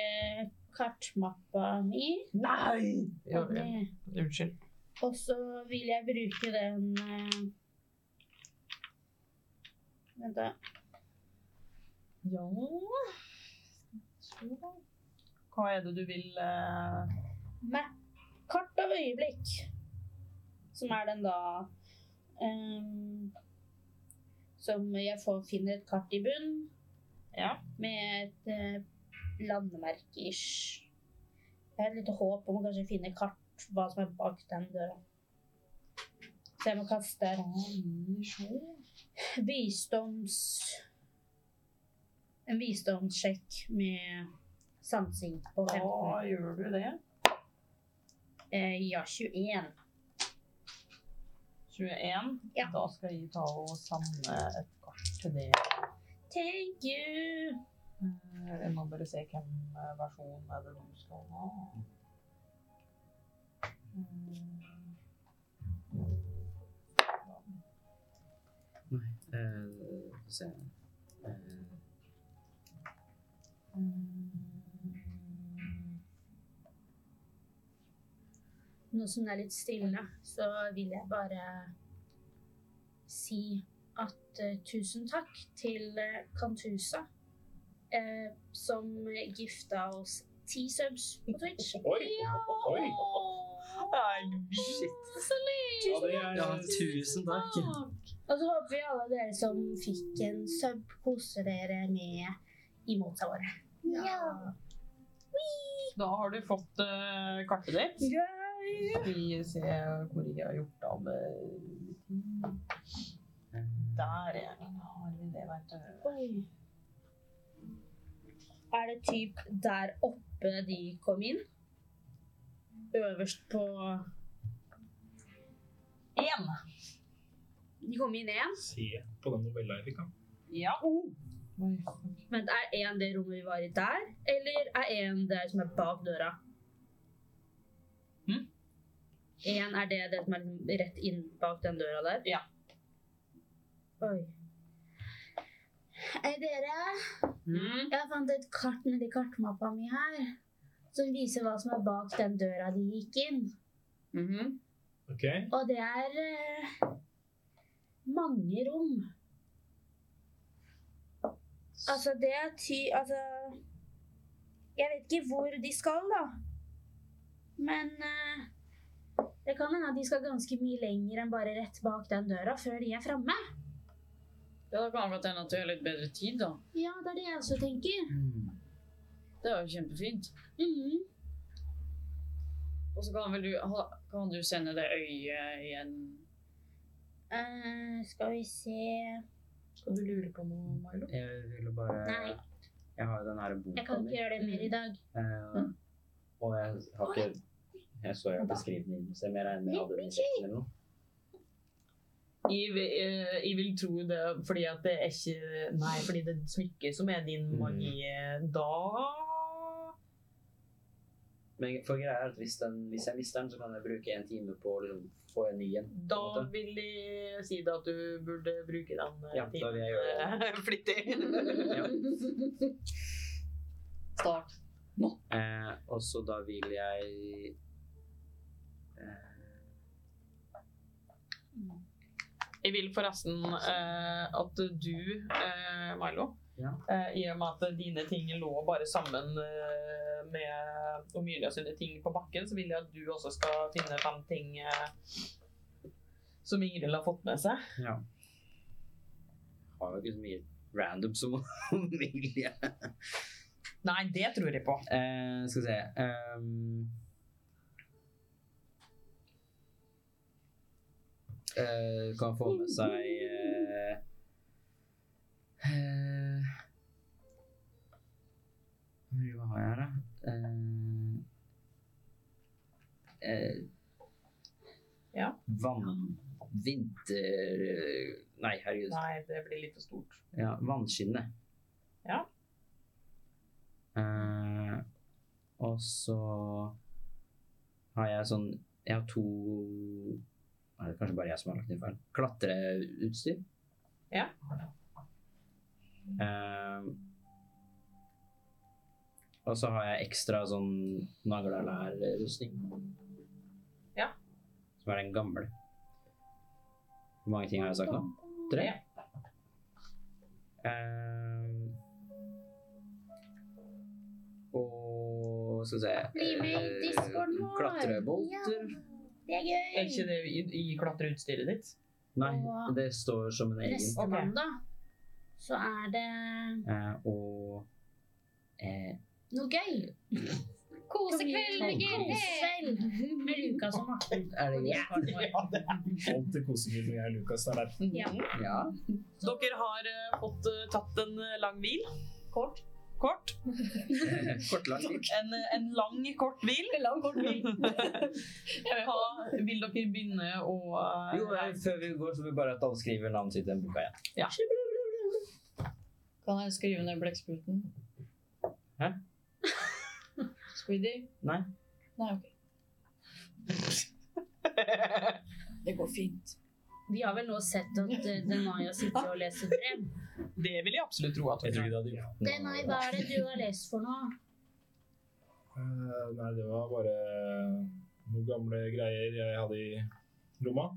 Speaker 4: kartmappa mi?
Speaker 1: Nei! Ja,
Speaker 4: Kan
Speaker 1: ja.
Speaker 4: jeg-
Speaker 1: Unnskyld.
Speaker 4: Og så vil jeg bruke den eh, Vent, da.
Speaker 1: Ja Hva er det du vil eh,
Speaker 4: Map. Kart av øyeblikk. Som er den da ehm, Som jeg får, finner et kart i bunn.
Speaker 1: Ja.
Speaker 4: Med et eh, landemerke-ish. Jeg har et lite håp om å kanskje finne kart hva som er bak den døra. Så jeg må kaste visdoms... En visdomssjekk med sansing på 15.
Speaker 1: Hva gjør du det?
Speaker 4: Eh, ja, 21.
Speaker 1: 21?
Speaker 4: Ja.
Speaker 1: Da skal jeg ta og samle et kart til det.
Speaker 4: Thank you!
Speaker 1: Eh, Jeg må bare se hvem eh, versjon er det du skal ha. Mm.
Speaker 5: Nei, eh, skal vi se. Eh,
Speaker 4: nå som det er litt stille, så vil jeg bare si at eh, tusen takk til eh, Kantusa, eh, som gifta oss ti subs på Twitch.
Speaker 2: Oi! Oi!
Speaker 5: Shit.
Speaker 2: Ja, det er,
Speaker 5: Ja, tusen takk.
Speaker 4: Og så håper vi alle dere som fikk en sub, koser dere med emota våre. Ja.
Speaker 1: Da har du fått eh, kartet ditt. Skal vi se hvor jeg har gjort av eh. det. Der ja. har vi det, vet du.
Speaker 4: Oi. Er det typ der oppe de kom inn? Øverst på
Speaker 1: Én.
Speaker 4: De kom inn én?
Speaker 2: Se på den novella jeg fikk av.
Speaker 1: Ja.
Speaker 4: Vent, er én det rommet vi var i der, eller er én det som er bak døra?
Speaker 1: Hm?
Speaker 4: Én er det, det som er liksom rett inn bak den døra der?
Speaker 1: Ja.
Speaker 4: Oi. Hei, dere.
Speaker 1: Mm.
Speaker 4: Jeg fant et kart nedi kartmappa mi her som viser hva som er bak den døra de gikk inn.
Speaker 1: Mhm.
Speaker 2: Ok,
Speaker 4: Og det er eh, mange rom. Altså, det er ty... Altså Jeg vet ikke hvor de skal, da. Men eh, det kan hende at de skal ganske mye lenger enn bare rett bak den døra før de er framme.
Speaker 3: Ja, da kan det godt hende at du har litt bedre tid, da.
Speaker 4: Ja, det er det jeg også tenker.
Speaker 3: Det er jo kjempefint.
Speaker 4: Mhm.
Speaker 3: Og så kan vel du, ha- kan du sende det øyet igjen.
Speaker 4: Eh, skal vi se
Speaker 1: Skal du lure på noe, Milo?
Speaker 5: Jeg ville bare
Speaker 4: Nei.
Speaker 5: Jeg har jo den her boka
Speaker 4: Jeg kan
Speaker 5: mi.
Speaker 4: ikke gjøre det mer i dag.
Speaker 5: Eh, og jeg har ikke Jeg så jo beskrivningen, så jeg regner med jeg hadde den i sekken eller noe.
Speaker 1: Jeg, vil- eh, jeg vil tro det fordi at det er ikke Nei, fordi det er smykket som er din
Speaker 5: Mm.
Speaker 1: magi eh, da
Speaker 5: Men for greia er at hvis, den, hvis jeg mister den, så kan jeg bruke en time på å liksom få en ny en. på en
Speaker 1: Da
Speaker 5: måte.
Speaker 1: vil jeg si det at du burde bruke den eh,
Speaker 5: Ja, da vil jeg gjøre
Speaker 1: timen, eh, flittig.
Speaker 3: Start.
Speaker 5: Eh, og så da vil jeg eh,
Speaker 1: Jeg vil forresten eh, at du, eh, Milo,
Speaker 5: Ja.
Speaker 1: eh, i og med at dine ting lå bare sammen eh, med Omelia sine ting på bakken, så vil jeg at du også skal finne fem ting eh, som Ingrid har fått med seg.
Speaker 5: Ja. Har jo ikke så mye random som Emilie.
Speaker 1: Nei, det tror jeg på.
Speaker 5: Eh, skal vi se ehm. eh, Kan få med seg eh, eh, Hva har jeg her, da? Eh, eh,
Speaker 1: Ja.
Speaker 5: Vann... Vinter... eh, Nei, herregud.
Speaker 1: Nei, det blir litt for stort.
Speaker 5: Ja, vannskinnet.
Speaker 1: Ja.
Speaker 5: Eh, og så har jeg sånn Jeg har to Nei, det er kanskje bare jeg som har lagt inn feil. Klatreutstyr.
Speaker 1: Ja.
Speaker 5: Eh, og så har jeg ekstra sånn naglalærrustning.
Speaker 1: Ja.
Speaker 5: Som er den gamle. Hvor mange ting har jeg sagt nå? Tre? Ehm, og skal vi se
Speaker 4: Bli med i
Speaker 5: eh,
Speaker 4: discorden vår!
Speaker 5: Klatrebolter.
Speaker 4: Det er gøy!
Speaker 1: Er ikke det i, i klatreutstyret ditt?
Speaker 5: Nei, det står som en egen.
Speaker 4: Neste
Speaker 1: Ok.
Speaker 4: mandag så er det
Speaker 5: Eh, og eh,
Speaker 4: noe gøy.
Speaker 9: Kosekveld med
Speaker 4: Kosekveld med Lukas og Morten.
Speaker 5: Er det greit?
Speaker 1: Ja, det er.
Speaker 2: Alltid koselig når jeg og Lukas er der.
Speaker 4: Ja.
Speaker 5: Ja.
Speaker 1: Dere har eh, fått eh, tatt en eh, lang hvil. Kort. Kort.
Speaker 5: Kortlang.
Speaker 1: En, en lang, kort hvil.
Speaker 3: Lang kort vei.
Speaker 1: Ha, vil dere begynne å eh,
Speaker 5: Jo, nei, før vi går, så vil vi bare at alle skriver navnet sitt i den boka igjen.
Speaker 3: Kan jeg skrive ned blekkspruten?
Speaker 5: Hæ?
Speaker 3: Squiddy?
Speaker 5: Nei.
Speaker 3: Nei, ok. Det går fint.
Speaker 4: Vi har vel nå sett at eh, Denaya sitter og leser brev.
Speaker 1: Det vil jeg absolutt tro at
Speaker 2: Jeg
Speaker 1: hun
Speaker 2: tror
Speaker 1: gjør.
Speaker 2: ikke det hadde gjort noe.
Speaker 4: Denai, hva er det du har lest for noe?
Speaker 2: Eh, nei, det var bare noen gamle greier jeg hadde i lomma.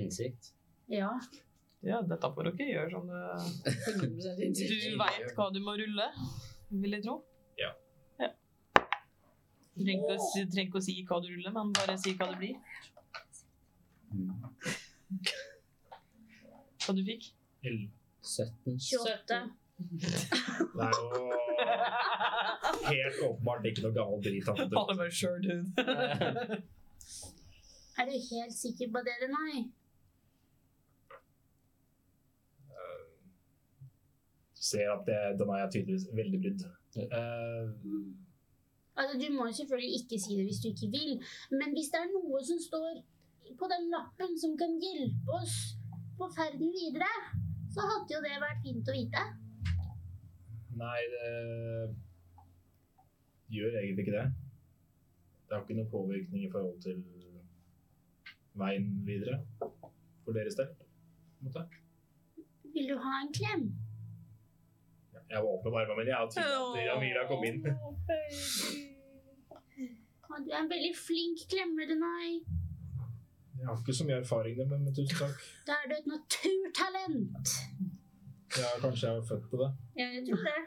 Speaker 5: Innsikt.
Speaker 4: Ja.
Speaker 1: Ja, dette får dere gjøre som det Du veit hva du må rulle, vil jeg tro.
Speaker 2: Ja.
Speaker 1: ja. Du trenger ikke å si- trenger ikke å si hva du ruller, men bare si hva det blir. Hva du fikk.
Speaker 2: Eller-
Speaker 5: 17.
Speaker 4: 28.
Speaker 2: Det er jo helt åpenbart ikke noe gammel drit. altså. han har drukket.
Speaker 1: Oliver Sherdun.
Speaker 4: Er du helt sikker på det, eller nei?
Speaker 2: Ser at det, den er jeg tydeligvis veldig brydd. Eh,
Speaker 4: Altså, du må jo selvfølgelig ikke si det hvis du ikke vil, men hvis det er noe som står på den lappen som kan hjelpe oss på ferden videre, så hadde jo det vært fint å vite.
Speaker 2: nei, det gjør egentlig ikke det. Det har ikke noen påvirkning i forhold til veien videre for deres del. på en måte.
Speaker 4: Vil du ha en klem?
Speaker 2: Jeg var åpen med armene mine, jeg har tydet at Amira kom inn.
Speaker 4: Å, du er en veldig flink klemmer, Denai.
Speaker 2: Jeg har ikke så mye erfaring med det, men tusen takk.
Speaker 4: Da er du et naturtalent.
Speaker 2: Jeg er kanskje jeg er født til det.
Speaker 4: Ja, jeg tror det.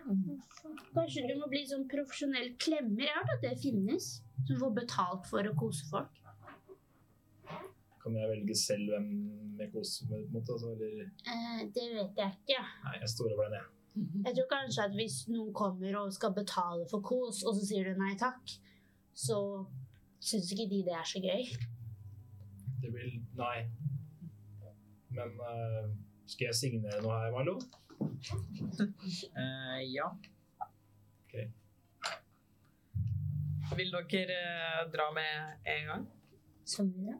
Speaker 4: Kanskje du må bli sånn profesjonell klemmer. Jeg har hørt at det finnes. Som får betalt for å kose folk.
Speaker 2: Kan jeg velge selv hvem jeg koser med, på en måte? Altså, eller...
Speaker 4: Eh, det vet jeg ikke.
Speaker 2: Nei, jeg står over den, jeg.
Speaker 4: Jeg tror kanskje at hvis noen kommer og skal betale for kos, og så sier du nei takk, så syns ikke de det er så gøy.
Speaker 2: Det vil Nei. Men eh, skal jeg signere noe her, Marlo?
Speaker 5: Eh, ja.
Speaker 1: Vil dere eh, dra med en gang?
Speaker 4: Som vi gjør.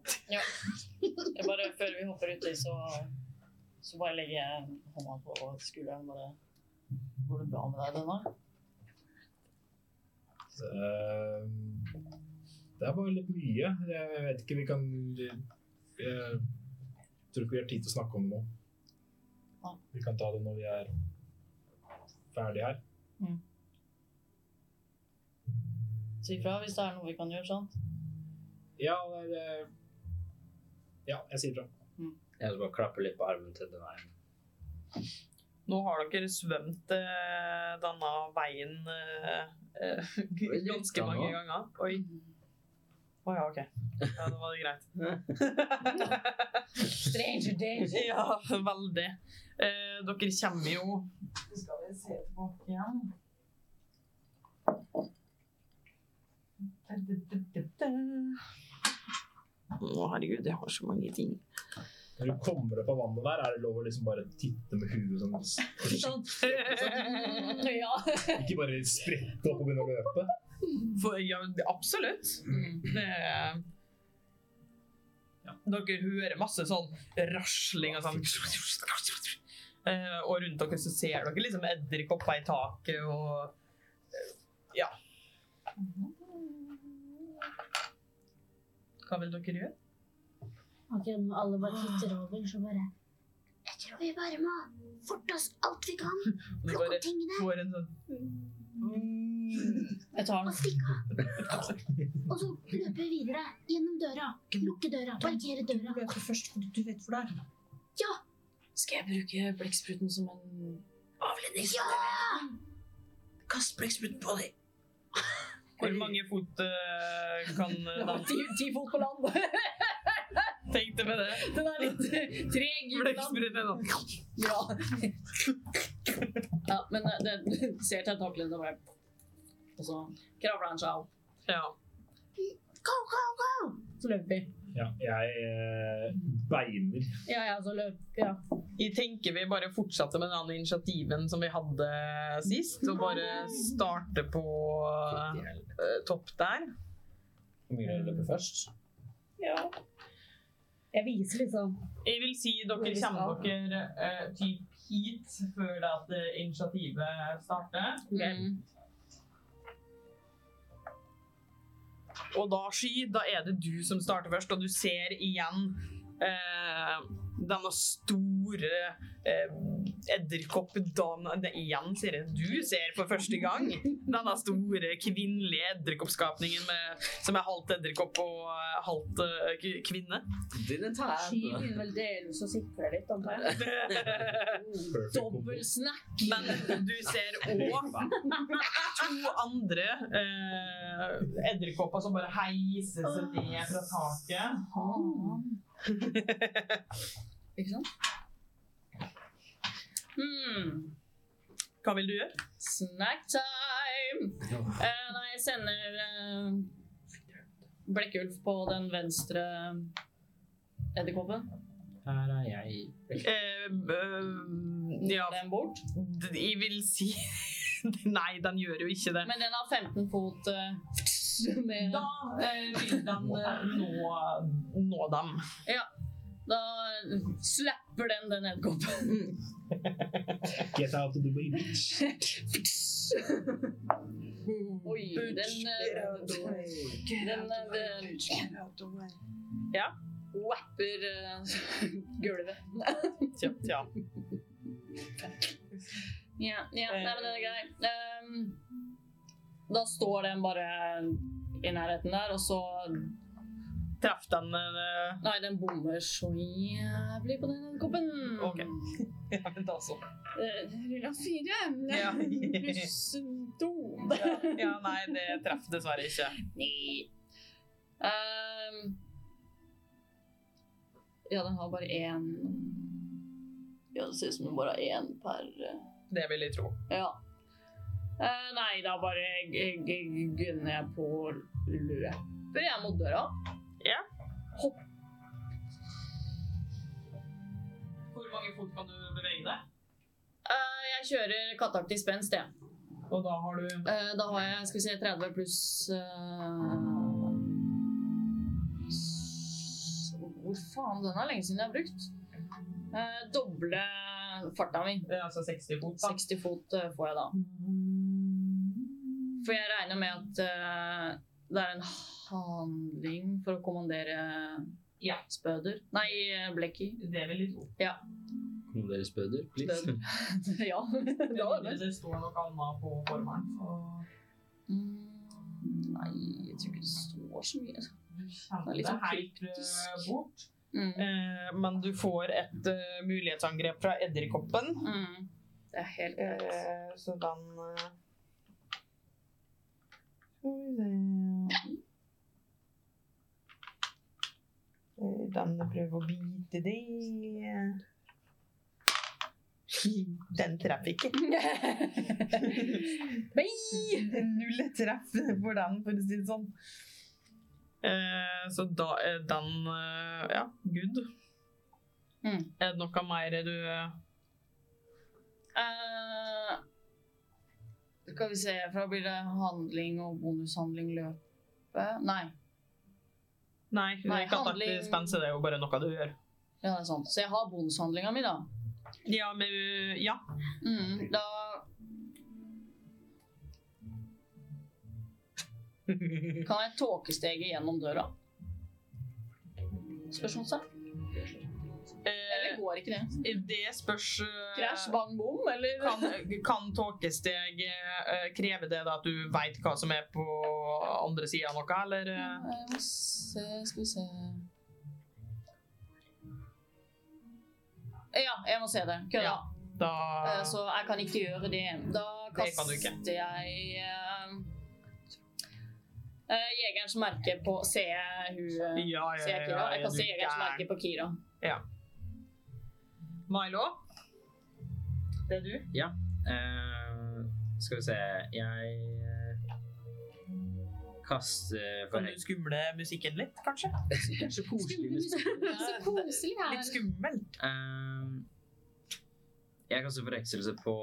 Speaker 7: Jeg bare, før vi hopper uti, så, så bare legger jeg hånda på skulderen. Bare Går det bra med deg, Donna?
Speaker 2: Eh, det er bare litt mye. Jeg vet ikke, vi kan Jeg tror ikke vi har tid til å snakke om det nå.
Speaker 7: Nei.
Speaker 2: Vi kan ta det når vi er ferdig her.
Speaker 7: Si ifra hvis det er noe vi kan gjøre, sant?
Speaker 2: Ja, det er, eh, ja jeg sier fra.
Speaker 5: Jeg skal bare klappe litt på armen til den her.
Speaker 1: Nå har dere svømt eh, denne veien eh, eh,
Speaker 5: Oi,
Speaker 1: ganske
Speaker 5: lukta
Speaker 1: mange
Speaker 5: nå.
Speaker 1: ganger. Oi. Å ja, OK. Ja, da var det greit.
Speaker 7: Stranger danger.
Speaker 1: ja, veldig. Eh, dere kommer jo Skal vi se tilbake igjen. Å, herregud, jeg har så mange ting.
Speaker 2: Når du kommer opp av vannet der, er det lov å liksom bare titte med huet sånn forsiktig.
Speaker 7: Ja.
Speaker 2: Ikke bare sprette opp og begynne å løpe.
Speaker 1: For, ja, det- absolutt. Det Dere hører masse sånn rasling og sånn. Eh, Og rundt dere så ser dere liksom edderkopper i taket og eh, Ja. Hva vil dere gjøre?
Speaker 4: Akkurat når alle bare titter over, så bare Jeg tror vi bare må forte oss alt vi kan,
Speaker 1: Du
Speaker 4: plukke
Speaker 1: bare
Speaker 4: opp tingene
Speaker 1: får en sånn
Speaker 7: Jeg tar
Speaker 4: og
Speaker 7: den.
Speaker 4: stikke av. Og så løpe videre gjennom døra. Lukke døra, parkere døra.
Speaker 10: vet først fordi du vet hvor det er.
Speaker 7: Skal jeg bruke blekkspruten som en
Speaker 4: Ja!
Speaker 10: Kast blekkspruten på deg.
Speaker 1: Hvor mange fot eh, kan den
Speaker 7: Ti, ti fot på land.
Speaker 1: tenkte med det?
Speaker 7: Den er litt treg i land.
Speaker 1: Blekkspruten er sånn.
Speaker 7: Ja. ja, men eh, den ser tentaklene og bare Og så kravler han seg opp.
Speaker 1: Ja.
Speaker 4: Go, go, go!
Speaker 7: Så løper vi.
Speaker 2: Ja, jeg eh, beiner.
Speaker 7: Ja, ja, så løp. Ja.
Speaker 1: Jeg tenker vi bare fortsetter med den initiativen som vi hadde sist, og bare starter på eh, topp der.
Speaker 5: Hvor mye løper først?
Speaker 7: Jeg viser
Speaker 4: sånn
Speaker 7: liksom
Speaker 1: Jeg vil si dere kommer dere eh, typ hit før det at eh, initiativet starter. Og da, Sky, da er det du som starter først, og du ser igjen eh, denne store eh, edderkoppdama Nei, Igjen sier jeg du ser for første gang denne store kvinnelige edderkoppskapningen med, som er halvt edderkopp og eh, halvt eh, k- kvinne.
Speaker 5: Didn't
Speaker 3: Sky begynner vel delvis å sikre litt, antar jeg.
Speaker 2: Perfect combo.
Speaker 3: Dobbel snack!
Speaker 1: Men du ser òg to andre eh, edderkopper som bare heiser seg ned fra taket. Ah.
Speaker 3: Ikke sant? Hmm.
Speaker 1: Hva vil du gjøre?
Speaker 3: Snack time! Eh, nei, jeg sender eh, Blekkulf på den venstre edderkoppen.
Speaker 5: Her er jeg.
Speaker 1: Eh, eh, ja,
Speaker 3: Den bort.
Speaker 1: d- jeg vil si Nei, den gjør jo ikke det.
Speaker 3: Men den har 15 fot eh, med
Speaker 1: Da eh, vil den eh, nå, nå dem.
Speaker 3: Da slapper den den edderkoppen.
Speaker 1: Mm.
Speaker 2: Get out of the way, bitch.
Speaker 3: Oi, den, eh, den, eh, den
Speaker 1: Ja.
Speaker 3: wapper eh, gulvet.
Speaker 1: Kjøpt, ja.
Speaker 3: Ja, ja, nei, men den er grei. Ehm, da står den bare i nærheten der, og så
Speaker 1: Traff den eh,
Speaker 3: Nei, den bommer så jævlig på den koppen.
Speaker 1: Ok. Ja, men da altså. så.
Speaker 3: Eh, Rulla fire.
Speaker 1: Ja.
Speaker 3: Pluss to.
Speaker 1: Ja, nei, det traff dessverre ikke.
Speaker 3: Nei. Ehm, ja, den har bare én Ja, det ser ut som den bare har én per eh,
Speaker 1: Det vil jeg tro.
Speaker 3: Ja. Eh, nei, da bare g- g- gunner jeg på løper jeg mot døra.
Speaker 1: Ja.
Speaker 3: Hopp.
Speaker 1: Hvor mange fot kan du bevege deg?
Speaker 3: Eh, jeg kjører kattaktig spenst, jeg.
Speaker 1: Og da har du
Speaker 3: Eh, da har jeg skal vi se, 30 pluss eh, s- Hvor faen? Den er lenge siden jeg har brukt. Eh, doble farta mi.
Speaker 1: eh, altså 60 fot. Da.
Speaker 3: 60 fot eh, får jeg da.
Speaker 1: Mm.
Speaker 3: For jeg regner med at eh, det er en handling for å kommandere
Speaker 1: Ja.
Speaker 3: spøder. Nei, eh, blekki.
Speaker 1: Det vil jeg tro.
Speaker 5: Kom dere spøder, please.
Speaker 3: Spøder. ja. det var det.
Speaker 1: det står noe annet på formelen. så
Speaker 3: Mm, Nei, jeg tror ikke det står så mye.
Speaker 1: Du kjenner
Speaker 3: Det er litt
Speaker 1: det
Speaker 3: sånn
Speaker 1: helt
Speaker 3: kryptisk.
Speaker 1: eh, bort.
Speaker 3: Mm.
Speaker 1: Eh, men du får et eh, mulighetsangrep fra edderkoppen.
Speaker 3: Mm. Det er helt greit.
Speaker 1: Eh, så den eh, Skal vi se Eh, Den prøver å bite deg. Den treffer ikke. Null treff for den, for å si det sånn. Eh, så da er den eh, Ja, good.
Speaker 3: Mm.
Speaker 1: Er det noe mer du
Speaker 3: Eh, skal vi se, for da blir det handling og bonushandling løpe. Nei,
Speaker 1: Nei,
Speaker 3: Nei, handling-
Speaker 1: kontakter spenser, det er jo bare noe du gjør.
Speaker 3: ja, det er sant. Så jeg har bonushandlinga mi, da.
Speaker 1: Ja, men uh, ja.
Speaker 3: Mm, da kan jeg tåkestege gjennom døra. Spørsmålstegn. Eller
Speaker 1: Eh,
Speaker 3: går ikke det?
Speaker 1: det spørs eh,
Speaker 3: Crash, bang, bom, eller?
Speaker 1: kan, kan tåkesteg eh, kreve det da at du veit hva som er på andre sida av noe, eller? eh?
Speaker 3: Jeg må se, skal vi se Ja, jeg må se det. Kødda.
Speaker 1: Ja. Da
Speaker 3: Eh, Så jeg kan ikke gjøre det. Da
Speaker 1: Det kan du
Speaker 3: kaster
Speaker 1: ikke.
Speaker 3: jeg eh, eh, Jegerens merke på Ser jeg hun eh,
Speaker 1: ja,
Speaker 3: Ser jeg Kira? Jeg kaster Jegerens merke på Kira.
Speaker 1: Milo? Det er du?
Speaker 5: Eh, skal vi se Jeg eh, kaster for
Speaker 1: Kan du skumle musikken litt, kanskje?
Speaker 5: Så koselig musikk.
Speaker 3: Så koselig
Speaker 1: Litt skummelt.
Speaker 5: Ehm, jeg kaster forhekselse på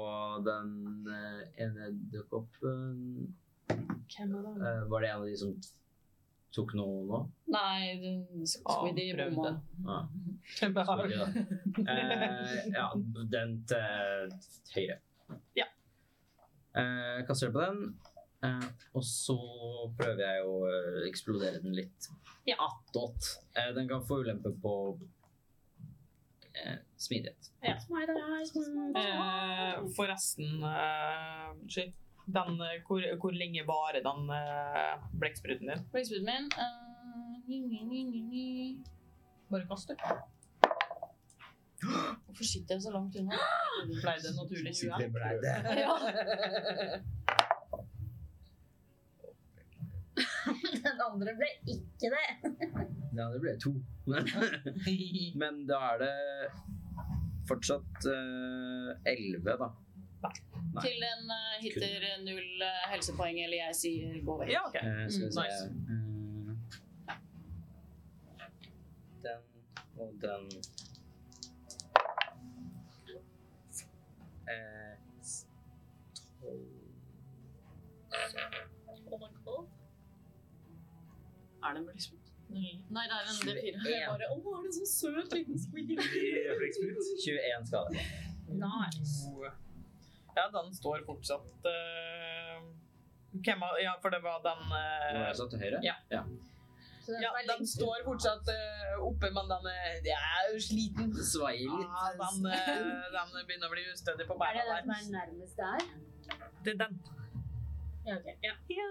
Speaker 5: den eh, ene edderkoppen. Eh, var det en av de som tok noe nå?
Speaker 3: Nei, du- Squiddy
Speaker 1: Ja, prøvde.
Speaker 3: bomma.
Speaker 5: Ah, sorry, da. Eh, ja, den til høyre.
Speaker 1: Ja.
Speaker 5: Eh, kaster på den. Eh, og så prøver jeg å eh, eksplodere den litt.
Speaker 1: Ja.
Speaker 5: Attåt. Eh, den kan få ulempe på eh, smidighet.
Speaker 1: Eh, forresten, eh, unnskyld. Den, eh, hvor, hvor lenge varer den eh, blekkspruten din?
Speaker 3: Blekkspruten min eh, ni, ni, ni, ni, ni.
Speaker 1: Bare kast, du.
Speaker 3: Hvorfor sitter jeg så langt unna?
Speaker 1: Ble det naturlig
Speaker 5: Sitter i blæde.
Speaker 3: Ja.
Speaker 4: Den andre ble ikke det.
Speaker 5: Ja, det ble to.
Speaker 1: hue?
Speaker 5: Men da er det fortsatt eh, elleve, da. Nei.
Speaker 3: Til den eh, hitter null eh, helsepoeng, eller jeg sier gå vekk.
Speaker 1: ja, OK.
Speaker 5: Eh, skal vi
Speaker 1: Mm,
Speaker 5: se
Speaker 1: nice.
Speaker 5: Eh, Den og den Eh, s-
Speaker 3: Oh Er det en blekksprut? Nei, det er en D4. Jeg
Speaker 5: 21.
Speaker 3: bare, Å, er det en så søt liten squeal?
Speaker 2: I blekksprut.
Speaker 5: 21 skade.
Speaker 1: Ja, den står fortsatt eh, hvem av- Ja, for det var den
Speaker 5: Nå
Speaker 1: eh,
Speaker 5: er jeg satt til høyre.
Speaker 1: Ja.
Speaker 4: Så den
Speaker 1: Ja,
Speaker 4: var
Speaker 1: den
Speaker 4: lengst
Speaker 1: står fortsatt eh, oppe, men den er, jeg er jo sliten.
Speaker 5: Eh, Svaier
Speaker 1: Ja,
Speaker 5: litt.
Speaker 1: den, eh, den begynner å bli ustødig på
Speaker 4: ut. Er det
Speaker 1: beina
Speaker 4: den som
Speaker 1: der.
Speaker 4: er nærmest der?
Speaker 1: Det er den.
Speaker 4: Ja, ok. Ja.
Speaker 1: Ja.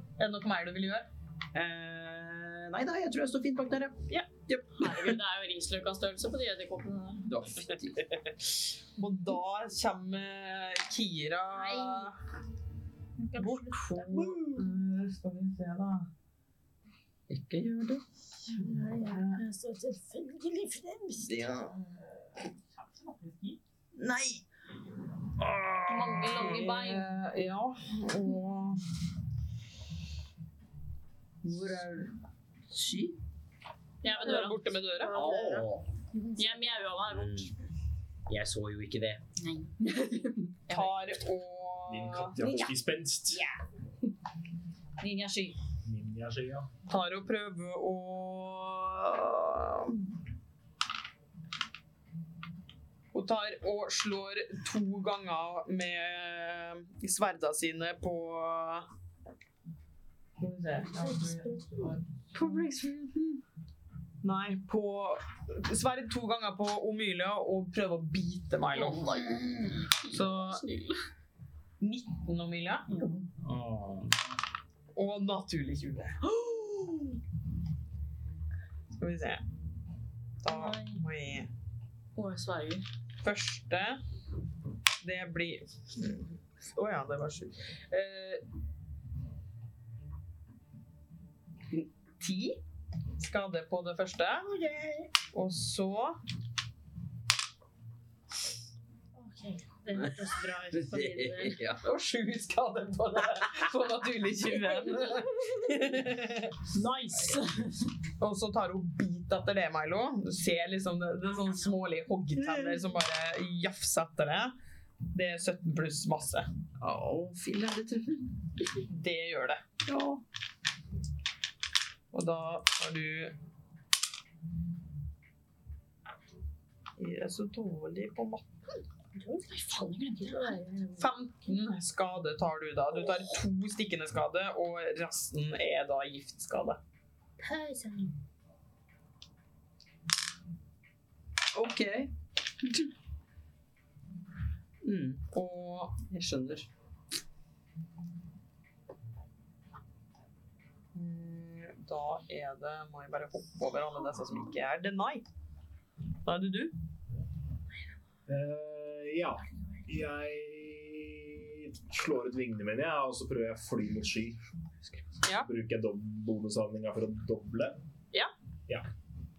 Speaker 1: Er det noe mer du vil gjøre?
Speaker 5: Eh, nei da, jeg tror jeg står fint bak der, ja. ja.
Speaker 3: Herregud, det er jo Risløkka-størrelse på de edderkoppene. der.
Speaker 5: Da, fytti.
Speaker 1: Og da kommer eh, Kira bort. Hun- Skal vi se, da.
Speaker 5: Ikke gjør det.
Speaker 4: Jeg står selvfølgelig fremst.
Speaker 5: Ja.
Speaker 3: Mange lange bein.
Speaker 1: Eh, Ja, og
Speaker 5: Hvor er Sky?
Speaker 3: Jeg er ved døra.
Speaker 1: borte med døra.
Speaker 5: Åh,
Speaker 3: Jeg mjaua meg bort.
Speaker 5: Mm. Jeg så jo ikke det.
Speaker 1: Tar
Speaker 2: Din
Speaker 1: og
Speaker 2: katt jakter spenst.
Speaker 3: Ninja sky.
Speaker 2: Ninjaskia.
Speaker 1: tar og prøver å Hun tar og slår to ganger med sverda sine på Skal vi se. Ja, for- På Blixfruten. Nei, på Sverd to ganger på Omylia og prøver å bite Milo. Så 19 Omylia og naturlig 20. Skal vi se. Da må jeg
Speaker 3: Å, jeg sverger.
Speaker 1: Første Det blir Å ja, det var sju. Eh, ti skade på det første. Og så
Speaker 4: Det hørtes bra ut for min del.
Speaker 5: ja.
Speaker 1: Og sju skade på det på naturlig 20.
Speaker 3: Nice!
Speaker 1: Og så tar hun bit etter det, Milo. Du ser liksom det, det er sånne smålige hoggtenner som bare jafser etter det. Det er 17 pluss masse.
Speaker 5: Åh, filler, det treffer.
Speaker 1: Det gjør det. Og da har du Jeg er så dårlig på matte.
Speaker 3: Nei, faen, jeg glemte det.
Speaker 1: 15 skade tar du da. Du tar to stikkende skade, og resten er da giftskade.
Speaker 4: Pause.
Speaker 5: Ok. Mm,
Speaker 1: Og
Speaker 5: jeg skjønner.
Speaker 1: Mm, Da er det Må jeg bare hoppe over alle disse som ikke er deny. Da er det du.
Speaker 2: Eh, ja. Jeg slår ut vingene mine, jeg, og så prøver jeg å fly mot sky.
Speaker 1: Ja.
Speaker 2: Så bruker jeg dob- bonushandlinga for å doble.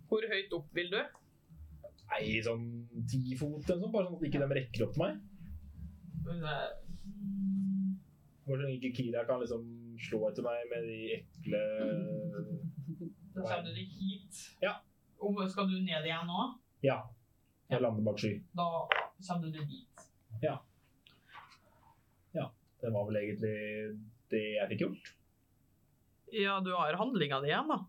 Speaker 1: Hvor høyt opp vil du?
Speaker 2: Nei, sånn ti fot eller sånn, bare sånn at ikke de rekker opp til meg. Bare sånn at ikke Kira kan liksom slå etter meg med de ekle
Speaker 1: Da kommer du hit.
Speaker 2: Ja.
Speaker 1: Og skal du ned igjen nå?
Speaker 2: Ja. Jeg lander bak sky.
Speaker 1: Da kommer du dit.
Speaker 2: Det var vel egentlig det jeg fikk gjort.
Speaker 1: Ja, du har handlinga di igjen, da.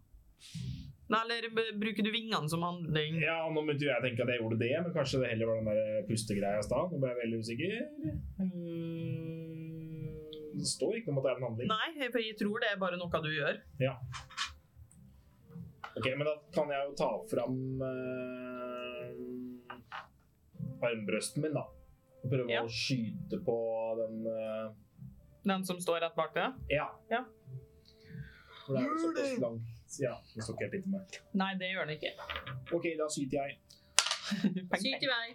Speaker 1: Nei, eller b- bruker du vingene som handling?
Speaker 2: Ja, nå begynte jo jeg å tenke at jeg gjorde det, men kanskje det heller var den der pustegreia i stad. Nå ble jeg veldig usikker. Mm, Det står ikke noe om at det er en handling.
Speaker 1: Nei, for jeg tror det er bare noe du gjør.
Speaker 2: Ja. Ok, men da kan jeg jo ta fram eh, armbrøsten min, da. Og prøve
Speaker 1: Ja.
Speaker 2: å skyte på den eh,
Speaker 1: Den som står rett bak deg?
Speaker 2: Ja.
Speaker 1: Ja.
Speaker 2: For det er jo såpass langt. Ja, den står ikke helt inntil meg.
Speaker 1: Nei, det gjør den ikke.
Speaker 2: OK, da skyter jeg.
Speaker 11: Skyt i vei.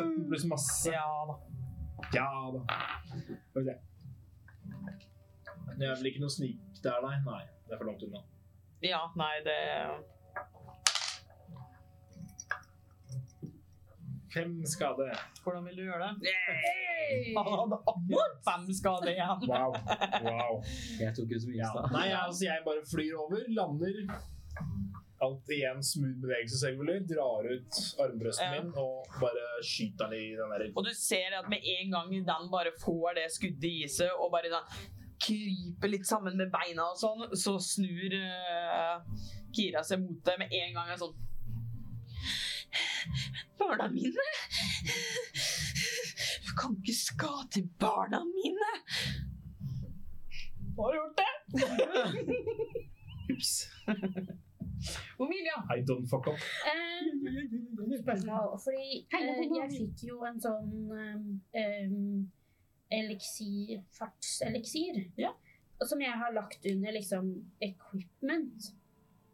Speaker 2: 17 pluss masse.
Speaker 1: Ja da.
Speaker 2: Ja da. Skal vi se. Det er vel ikke noe snik der, nei? Nei, det er for langt unna.
Speaker 1: Ja, nei, det
Speaker 2: 5 skade.
Speaker 1: Hvordan vil du gjøre det?
Speaker 11: Hey!
Speaker 1: Han hadde akkurat fem skader igjen.
Speaker 2: Wow. Wow.
Speaker 5: Jeg tok ut så mye i
Speaker 2: Ja.
Speaker 5: stad.
Speaker 2: Nei, altså jeg bare flyr over, lander alt i en smooth bevegelse selvfølgelig, drar ut armbrøsten
Speaker 1: Ja.
Speaker 2: min og bare skyter den i den der.
Speaker 1: Og du ser at med en gang den bare får det skuddet i seg og bare sånn kryper litt sammen med beina og sånn, så snur eh, Kira seg mot deg med en gang. og Sånn Barna mine! Du kan ikke skade barna mine! Har du gjort det?
Speaker 2: Ups.
Speaker 1: Omilia.
Speaker 2: I don't fuck up.
Speaker 4: Eh, spørsmål. Fordi eh, jeg fikk jo en sånn eh, em, eliksir, fartseliksir,
Speaker 1: Ja.
Speaker 4: og som jeg har lagt under liksom equipment,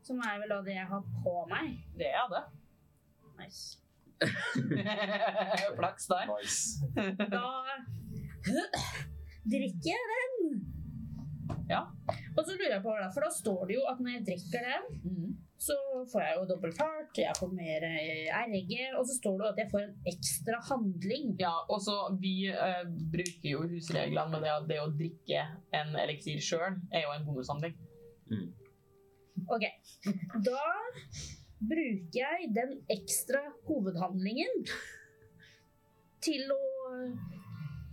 Speaker 4: som er vel da det jeg har på meg.
Speaker 1: Det er det.
Speaker 4: Nice.
Speaker 1: Flaks der.
Speaker 2: Nice.
Speaker 4: Da drikker jeg den.
Speaker 1: Ja.
Speaker 4: Og så lurer jeg på hva det er, for da står det jo at når jeg drikker den,
Speaker 1: Mhm.
Speaker 4: så får jeg jo dobbelt fart, jeg får mer eh, RG, og så står det jo at jeg får en ekstra handling.
Speaker 1: Ja, og så vi eh, bruker jo husreglene med det at det å drikke en eliksir sjøl er jo en bonushandling.
Speaker 4: Ok, da bruker jeg den ekstra hovedhandlingen til å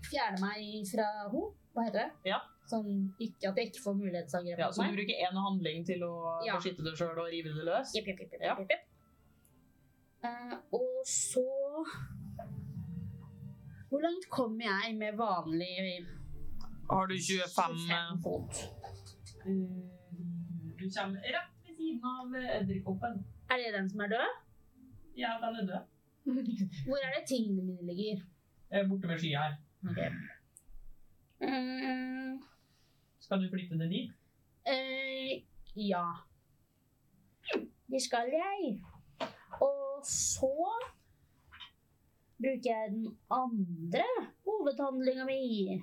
Speaker 4: fjerne meg fra ho, hva heter det?
Speaker 1: Ja.
Speaker 4: Sånn ikke, at jeg ikke får mulighetsangrep
Speaker 1: Ja,
Speaker 4: mot
Speaker 1: så du
Speaker 4: meg.
Speaker 1: bruker én handling til å
Speaker 4: Ja.
Speaker 1: beskytte deg sjøl og rive det løs?
Speaker 4: Jepp, jepp, jepp, jepp,
Speaker 1: Ja.
Speaker 4: jepp, jepp. Eh, og så Hvor langt kommer jeg med vanlig
Speaker 1: Har du eh? 25
Speaker 4: 25 fot?
Speaker 1: Du kommer rett ved siden av eh, edderkoppen.
Speaker 4: Er det den som er død?
Speaker 1: Ja, den er død.
Speaker 4: Hvor er det tingene mine ligger?
Speaker 1: Eh, Borte ved skia her.
Speaker 4: Mm,
Speaker 1: Skal du flytte det dit?
Speaker 4: eh, ja. Det skal jeg. Og så bruker jeg den andre hovedhandlinga mi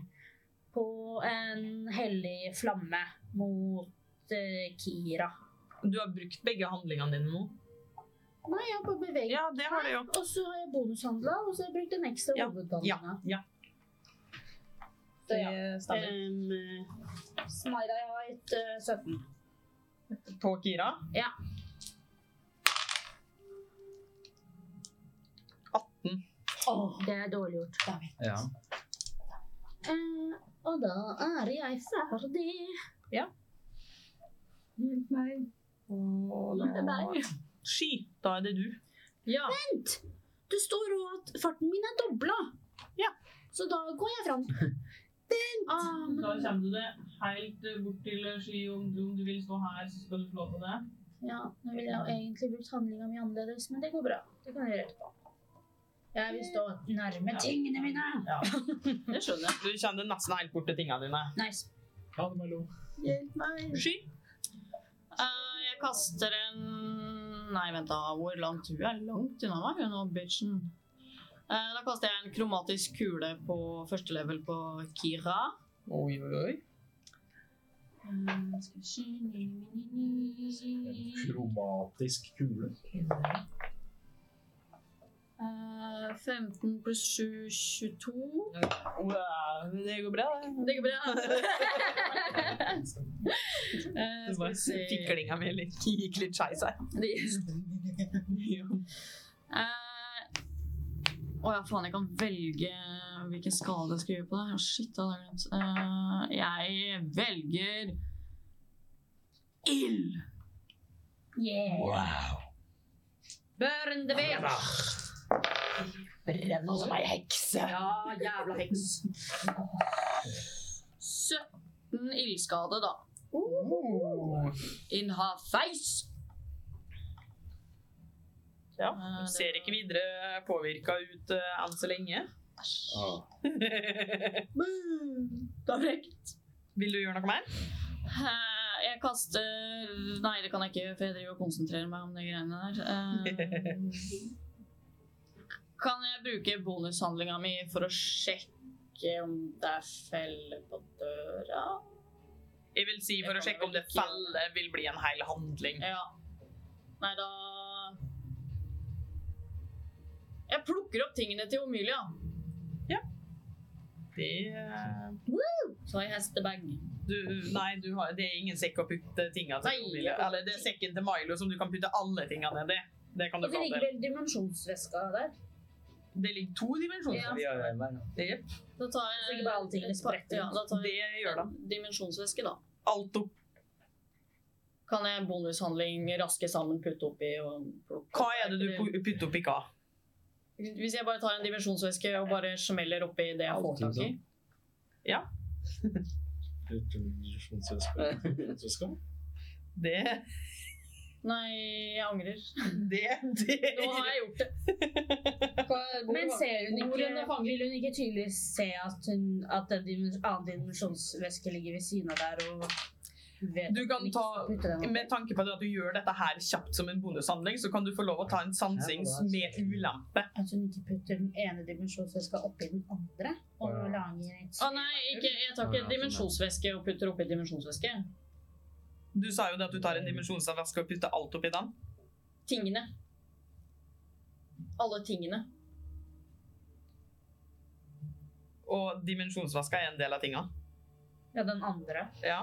Speaker 4: på en hellig flamme mot eh, Kira.
Speaker 1: Du har brukt begge handlingene dine nå.
Speaker 4: Nei, jeg har bare beveget
Speaker 1: Ja, det har du jo.
Speaker 4: Og så har jeg bonushandla, og så har jeg brukt en ekstra
Speaker 1: Ja, ja,
Speaker 4: hovedhandlinga.
Speaker 1: ja. Eh,
Speaker 4: Så ja.
Speaker 1: stemmer.
Speaker 4: Um, Smaira jeg har et eh, 17.
Speaker 1: På Kira?
Speaker 4: Ja.
Speaker 1: 18.
Speaker 4: Det er dårlig gjort.
Speaker 5: Ja.
Speaker 4: Eh, og da er jeg ferdig.
Speaker 1: Ja.
Speaker 4: Hjelp meg.
Speaker 1: Og
Speaker 4: Det er meg.
Speaker 1: Sky, da er det du.
Speaker 11: Ja.
Speaker 4: Vent! Det står òg at farten min er dobla.
Speaker 1: Ja.
Speaker 4: Så da går jeg fram. Vent! Ah, men,
Speaker 3: Da kommer du det helt eh, bort til eh, sky. Om du, om du vil stå her, så skal du slå på det.
Speaker 4: ja, nå ville jeg jo egentlig brukt handlinga mi annerledes, men det går bra. Det kan jeg gjøre etterpå. Jeg vil stå nærme tingene mine.
Speaker 1: Det skjønner jeg. Du kjenner nesten helt bort til tingene dine.
Speaker 4: Nice.
Speaker 2: Ha det, Milo.
Speaker 4: Hjelp meg.
Speaker 1: Sky?
Speaker 3: Eh, jeg kaster en Nei, vent, da. Hvor langt? Hun er langt unna meg, hun og bitchen. Eh, da kaster jeg en kromatisk kule på første level på Kira.
Speaker 1: Oi, oi, oi.
Speaker 3: Eh, skal vi se. Ni, ni, ni,
Speaker 2: En
Speaker 3: ni.
Speaker 2: kromatisk kule.
Speaker 3: Eh, 15 pluss 7, 22.
Speaker 1: Wow, det går bra, det.
Speaker 3: Det går bra. Eh, skal vi se.
Speaker 1: Fiklinga mi litt- gikk litt skeis her.
Speaker 3: Eh, Å ja, faen, jeg kan velge hvilken skade jeg skal gjøre på det. Å, shit, det hadde jeg glemt. Eh, jeg velger ild!
Speaker 4: Yeah.
Speaker 11: Burn the bitch!
Speaker 1: Brenn som ei hekse.
Speaker 11: Ja, jævla heks.
Speaker 3: 17 ildskade, da.
Speaker 1: Oh.
Speaker 3: In her face!
Speaker 1: Ja,
Speaker 3: Eh,
Speaker 1: du
Speaker 3: det-
Speaker 1: ser ikke videre påvirka ut eh, enn så lenge.
Speaker 5: Ah.
Speaker 1: da frekt. Vil du gjøre noe mer?
Speaker 3: Eh, Jeg kaster Nei, det kan jeg ikke, for jeg driver og konsentrerer meg om de greiene der. Eh, Kan jeg bruke bonushandlinga mi for å sjekke om det er felle på døra?
Speaker 1: Jeg vil si for
Speaker 3: Jeg
Speaker 1: å
Speaker 3: kan
Speaker 1: sjekke om
Speaker 3: vel
Speaker 1: det
Speaker 3: ikke gjøre
Speaker 1: felle vil bli en hel handling.
Speaker 3: Ja. Nei, da Jeg plukker opp tingene til Omilia.
Speaker 1: Det, eh,
Speaker 3: Så I has the bag.
Speaker 1: du, nei, du har, det er ingen sekk å putte tinga til.
Speaker 3: Nei,
Speaker 1: Milo.
Speaker 3: jeg kan-
Speaker 1: Eller det er sekken til Milo som du kan putte alle tinga nedi. Det kan du
Speaker 4: Og så
Speaker 1: få
Speaker 4: ligger
Speaker 1: til.
Speaker 4: vel dimensjonsveska der.
Speaker 1: Det ligger to dimensjoner.
Speaker 5: Vi har jo en vei nå.
Speaker 1: Jep,
Speaker 3: Da tar
Speaker 4: Så
Speaker 3: jeg
Speaker 4: ikke bare alle tingene spretter ut.
Speaker 3: Ja, da tar
Speaker 1: Det
Speaker 3: jeg
Speaker 1: gjør det.
Speaker 3: dimensjonsvæske, da.
Speaker 1: Alt opp.
Speaker 3: Kan jeg bonushandling raske sammen, putte oppi og plukke
Speaker 1: Hva
Speaker 3: opp?
Speaker 1: er det du pu- putter oppi hva?
Speaker 3: Hvis jeg bare tar en dimensjonsvæske og bare smeller oppi det jeg får tak i?
Speaker 1: Det,
Speaker 3: Nei, jeg angrer.
Speaker 1: det, det.
Speaker 3: Nå har jeg gjort det.
Speaker 4: Men ser hun
Speaker 3: Hvor
Speaker 4: ikke,
Speaker 3: hun er fanget.
Speaker 4: vil hun ikke tydelig se at, hun, at en dimens- annen dimensjonsveske ligger ved siden av der og vet
Speaker 1: Du
Speaker 4: at
Speaker 1: kan
Speaker 4: hun ikke
Speaker 1: ta-
Speaker 4: skal putte den opp?
Speaker 1: Med tanke på det at du gjør dette her kjapt som en bonushandling, så kan du få lov å ta en sansing med ulempe.
Speaker 4: At hun ikke putter den ene dimensjonsveska oppi den andre og
Speaker 2: Ja.
Speaker 4: lager et
Speaker 3: Å Ah, nei, ikke, jeg tar ikke dimensjonsvæske og putter oppi dimensjonsvæske.
Speaker 1: Du sa jo det at du tar en dimensjonsavask og putter alt oppi den.
Speaker 3: Tingene. Alle tingene.
Speaker 1: Og dimensjonsvaska er en del av tinga.
Speaker 4: Ja, den andre.
Speaker 1: Ja.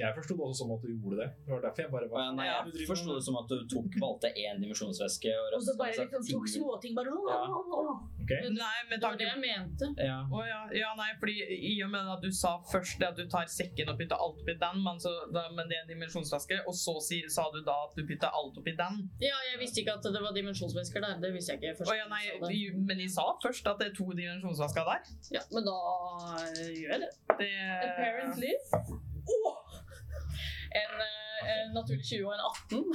Speaker 2: Jeg forsto det også som at du gjorde det. Det var derfor jeg bare
Speaker 5: Å ja,
Speaker 2: var
Speaker 5: nei,
Speaker 1: Ja,
Speaker 2: du
Speaker 5: jeg
Speaker 2: driver
Speaker 5: forsto det som at du tok, valgte én dimensjonsvæske og
Speaker 4: Og så
Speaker 5: rastet
Speaker 4: bare
Speaker 5: seg
Speaker 4: liksom
Speaker 5: ting
Speaker 4: tok
Speaker 5: ut.
Speaker 4: småting bare å,
Speaker 5: Ja.
Speaker 4: å, å, å.
Speaker 2: Ok.
Speaker 1: Nei, med
Speaker 3: Det var det
Speaker 1: tanke
Speaker 3: jeg mente.
Speaker 5: Ja.
Speaker 1: Å ja. ja, nei, fordi i og med at du sa først det at du tar sekken og putter alt oppi den, men, så, da, men det er en dimensjonsvaske, og så si, sa du da at du putter alt oppi den.
Speaker 3: Ja, jeg visste ikke at det var dimensjonsvæsker der. Det visste jeg ikke først.
Speaker 1: Å ja, nei,
Speaker 3: du sa det.
Speaker 1: vi- men jeg sa først at det er to dimensjonsvasker der.
Speaker 3: ja, men da eh, gjør jeg det.
Speaker 1: Det,
Speaker 3: Apparently. En eh, en naturlig 20 og en 18.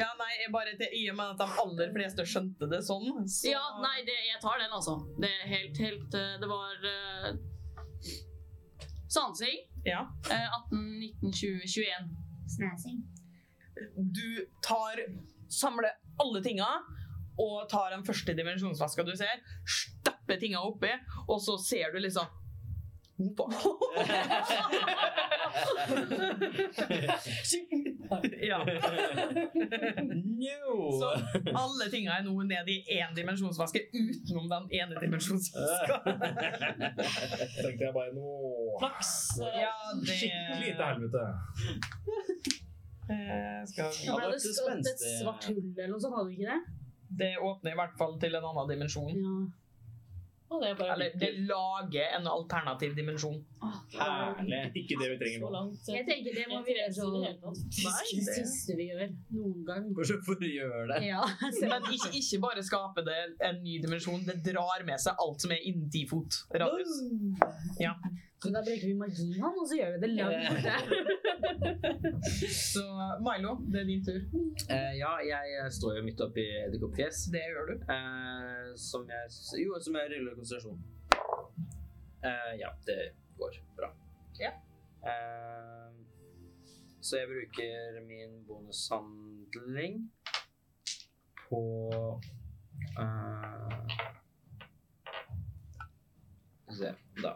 Speaker 1: Ja, nei, jeg bare til, i og med at de aller fleste skjønte det sånn, så
Speaker 3: Ja, nei, det, jeg tar den, altså. Det er helt, helt eh, Det var eh, sansing.
Speaker 1: Ja.
Speaker 3: Eh, 18, 19, 20, 21.
Speaker 4: Snæsing.
Speaker 1: du tar, samler alle tinga og tar den første dimensjonsvaska du ser, stapper tinga oppi, og så ser du liksom «Oh, fuck». ja. Så
Speaker 2: sånn,
Speaker 5: no!
Speaker 1: alle tinga er nå ned i én dimensjonsvaske utenom den ene dimensjonsvaska.
Speaker 2: Så tenkte jeg bare nå
Speaker 3: Flaks.
Speaker 1: Ja, det
Speaker 2: Skikkelig til helvete.
Speaker 1: Eh, skal vi-
Speaker 5: Ja,
Speaker 4: Ble
Speaker 5: det var
Speaker 4: det
Speaker 5: ikke
Speaker 4: skapt et
Speaker 5: spenstig.
Speaker 4: svart hull eller noe sånt? Hadde du ikke det?
Speaker 1: Det åpner i hvert fall til en annen dimensjon.
Speaker 4: Ja.
Speaker 3: Og det er bare
Speaker 1: Eller det lager en alternativ dimensjon.
Speaker 5: Herlig.
Speaker 2: Ikke det vi trenger
Speaker 3: så
Speaker 2: nå.
Speaker 3: langt. eh.
Speaker 4: Jeg tenker det må vi gjøre
Speaker 3: så
Speaker 4: sånn. Det
Speaker 1: det-
Speaker 4: siste vi gjør noen gang.
Speaker 5: Bare for å gjøre det.
Speaker 4: Ja.
Speaker 1: Men ikke, ikke bare skaper det en ny dimensjon, det drar med seg alt som er innen ti fot radius. Ja.
Speaker 4: Så da bruker vi magien, og så gjør vi det
Speaker 3: Eh,
Speaker 4: langt borte.
Speaker 1: Så Milo, det er din tur.
Speaker 5: Eh, ja, jeg står jo midt oppi edderkoppfjes.
Speaker 1: Det gjør du.
Speaker 5: Eh, som jeg Jo, som jeg ruller konsentrasjon. Eh, ja, det går bra.
Speaker 1: Ja.
Speaker 5: Eh, så jeg bruker min bonushandling på eh, Skal vi se Da.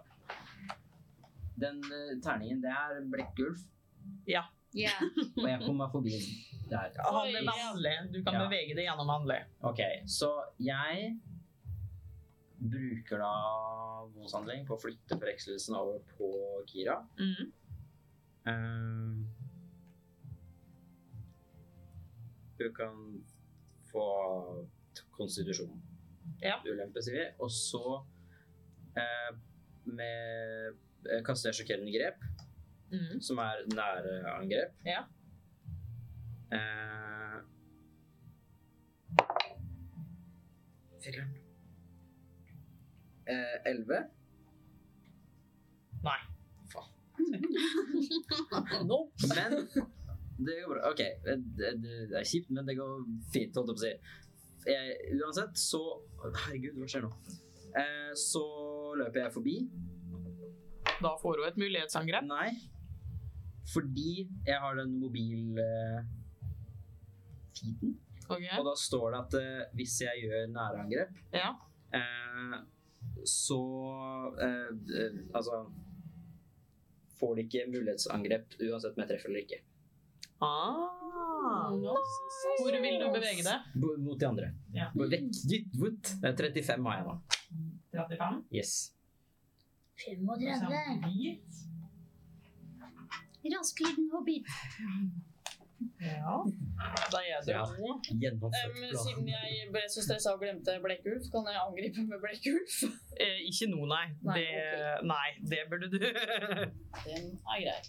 Speaker 5: Den eh, terningen, det er Blekkulf, og jeg kom meg forbi der.
Speaker 1: Han
Speaker 3: Oi.
Speaker 1: er vanlig. Du kan
Speaker 5: Ja.
Speaker 1: bevege deg gjennom vanlig.
Speaker 5: Ok, så jeg bruker da bonushandling på å flytte forvekselsen over på Kira.
Speaker 1: Mm.
Speaker 5: Ehm, du kan få t- konstitusjon.
Speaker 1: Ja.
Speaker 5: Ulempe, sier vi. Og så eh, med, eh, kaster jeg sjokkerende grep,
Speaker 1: Mm.
Speaker 5: som er nære angrep.
Speaker 1: Ja.
Speaker 5: Eh, Filler'n. Eh, 11.
Speaker 1: Nei.
Speaker 5: Men det går bra. OK. eh, Det, det er kjipt, men det går fint, holdt jeg på å si. Jeg, uansett, så Herregud, hva skjer nå? Eh, så løper jeg forbi.
Speaker 1: Da får hun et mulighetsangrep.
Speaker 5: Nei. Fordi jeg har den mobil... Eh, feeden.
Speaker 1: Ok.
Speaker 5: Og da står det at eh, hvis jeg gjør nærangrep,
Speaker 1: Ja.
Speaker 5: eh, så eh, eh, Altså Får de ikke mulighetsangrep uansett om jeg treffer eller ikke.
Speaker 1: Ah. Hvor vil du bevege deg?
Speaker 5: B- Mot de andre.
Speaker 1: Ja.
Speaker 5: B- Vekk, gitt, vot. Det er 35 har jeg nå.
Speaker 1: 35.
Speaker 5: Yes.
Speaker 4: 35. Rasklydden hobbit.
Speaker 1: Ja. Da er det
Speaker 5: Ja.
Speaker 1: to.
Speaker 5: Gjennomført
Speaker 3: Em, siden jeg ble så stressa og glemte blekkulv, kan jeg angripe med blekkulv?
Speaker 1: Eh, ikke nå, nei.
Speaker 3: Nei,
Speaker 1: det, nei. Det burde du
Speaker 3: Den er grei.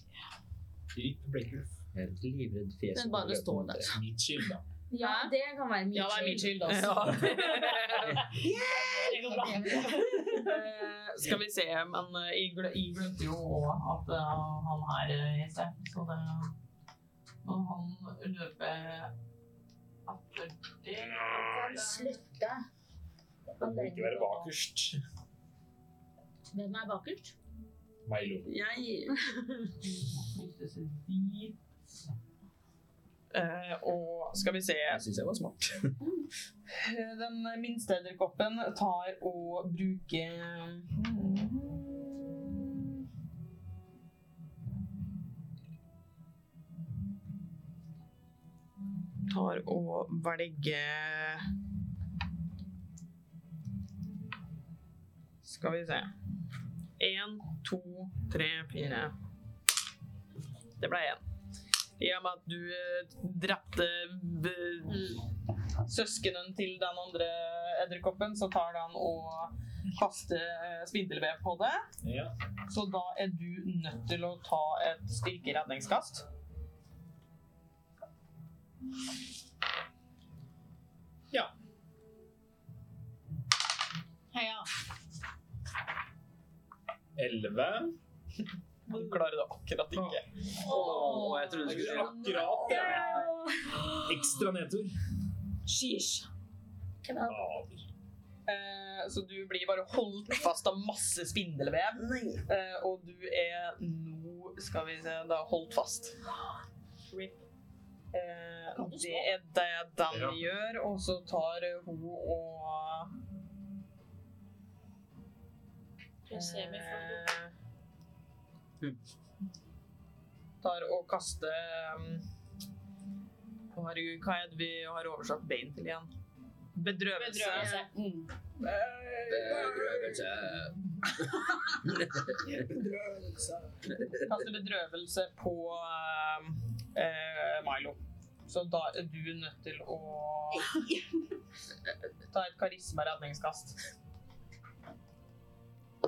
Speaker 2: Grip Blekkulf.
Speaker 5: Jeg er livredd fjeset.
Speaker 3: Den bare
Speaker 5: overlever
Speaker 3: står
Speaker 5: mot
Speaker 3: der.
Speaker 5: det.
Speaker 2: Mitt skyld, da.
Speaker 4: Ja,
Speaker 3: Hæ?
Speaker 4: det kan være min
Speaker 3: Ja, det er min
Speaker 4: skyld.
Speaker 3: skyld, altså.
Speaker 1: ja.
Speaker 3: Det går bra.
Speaker 1: Eh, Skal vi se, men eh, jeg gle- jeg glemte jo også at eh, han her eh, heter jeg, så det Og han løper etter det.
Speaker 4: Slutte.
Speaker 2: Det må ikke være bakerst.
Speaker 4: Hvem er bakerst?
Speaker 2: Milo.
Speaker 1: Flytte seg dit. Eh, og skal vi se
Speaker 5: Jeg syns jeg var smart.
Speaker 1: Den minste edderkoppen tar og bruker Tar og velger Skal vi se. Én, to, tre, fire. Det ble én. I og med at du eh, drepte eh, b- søskenen til den andre edderkoppen, så tar han og kaster eh, spindelvev på det.
Speaker 2: Ja.
Speaker 1: Så da er du nødt til å ta et styrkeredningskast.
Speaker 3: Heia.
Speaker 2: 11.
Speaker 1: Du klarer det akkurat ikke.
Speaker 5: Og jeg trodde du
Speaker 2: Det
Speaker 5: skulle
Speaker 2: er akkurat det. Ekstra nedtur.
Speaker 3: Sheesh.
Speaker 2: Fader.
Speaker 1: Eh, Så du blir bare holdt fast av masse spindelvev. Eh, Og du er nå, skal vi se, da holdt fast. Rip. Eh,
Speaker 3: Kan du slå?
Speaker 1: Det er det den
Speaker 2: Ja.
Speaker 1: gjør, og så tar hun og
Speaker 3: Jeg ser meg for-
Speaker 1: Eh, Tar og kaster um, å, Herregud, hva er det vi har oversatt bein til igjen? Bedrøvelse.
Speaker 3: Bedrøvelse. Mm.
Speaker 5: eh,
Speaker 1: Kaster bedrøvelse på um, eh, Milo. Så da er du nødt til å ta et karisma-redningskast.
Speaker 3: Du er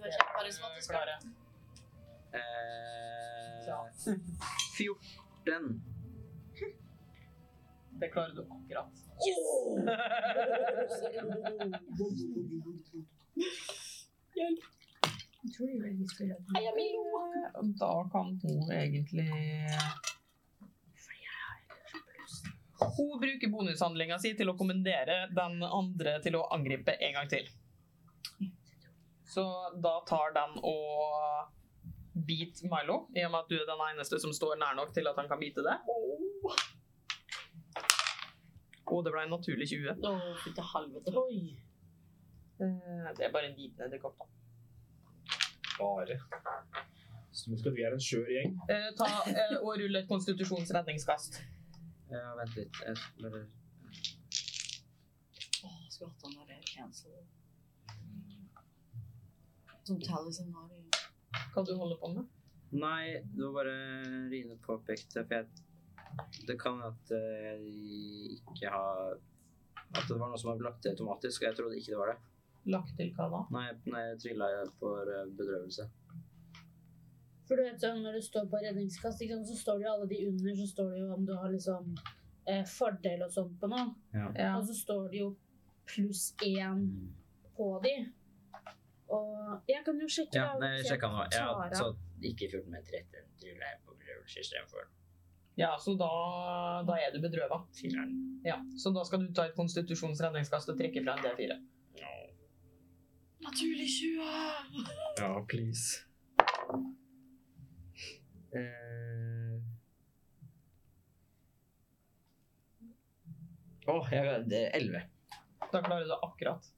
Speaker 3: kjempekarismatisk. da.
Speaker 1: Klare.
Speaker 5: Eh, 14.
Speaker 1: Det klarer du akkurat.
Speaker 4: Jeg tror de vil spille den.
Speaker 1: Da kan hun egentlig Hun bruker bonushandlinga si til å kommandere den andre til å angripe en gang til. Så da tar den og biter Milo, i og med at du er den eneste som står nær nok til at han kan bite det. Og det ble en naturlig 20.
Speaker 3: Å, fy til helvete.
Speaker 1: Eh, Det er bare en liten edderkopp, da.
Speaker 2: Bare. Som skal vi er en skjør gjeng.
Speaker 1: Eh, Ta eh, og rull et konstitusjonsredningskast.
Speaker 5: Ja, vent litt. Jeg skal bare
Speaker 3: Å, skulle hatt han der cancel. Som Taliesin har i
Speaker 1: Hva du holder på med?
Speaker 5: Nei, det var bare Rine påpekte, for jeg Det kan at eh, jeg ikke har At det var noe som var lagt til automatisk, og jeg trodde ikke det var det.
Speaker 1: Lagt til hva da?
Speaker 5: Nei, nei jeg trilla for eh, bedrøvelse.
Speaker 4: For du vet sånn, Når du står på redningskast, ikke sant, så står det jo alle de under, så står det jo om du har liksom eh, fordel og sånt på noe.
Speaker 1: Ja.
Speaker 4: Og så står det jo pluss én på de. Og jeg kan jo sjekke
Speaker 5: Ja,
Speaker 4: da,
Speaker 5: nei, jeg
Speaker 4: hvis
Speaker 5: sjekka nå. Ja,
Speaker 4: tar av.
Speaker 5: så ikke 14 meter etter. Trilla jeg på bedrøvelse istedenfor.
Speaker 1: Ja, så da, da er du bedrøva. Ja, så da skal du ta et konstitusjonsredningskast og trekke fra en D4.
Speaker 7: Naturlig 20!
Speaker 2: Ja, please.
Speaker 5: Eh. Åh, jeg det er 11.
Speaker 1: Da klarer du det akkurat.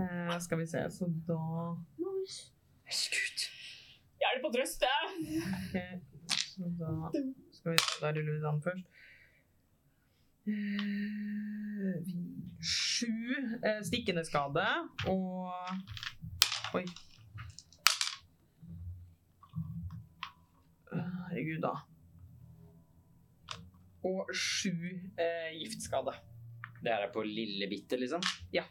Speaker 1: Eh, skal vi se, så da
Speaker 7: Hjelp og trøst, det!
Speaker 1: ok, Så da skal vi se, da ruller vi den først. Eh, vi- Sju eh, stikkende skade og Oi. Herregud, da. Og sju eh, giftskade.
Speaker 5: Det her er på lille bitte, liksom?
Speaker 1: Ja.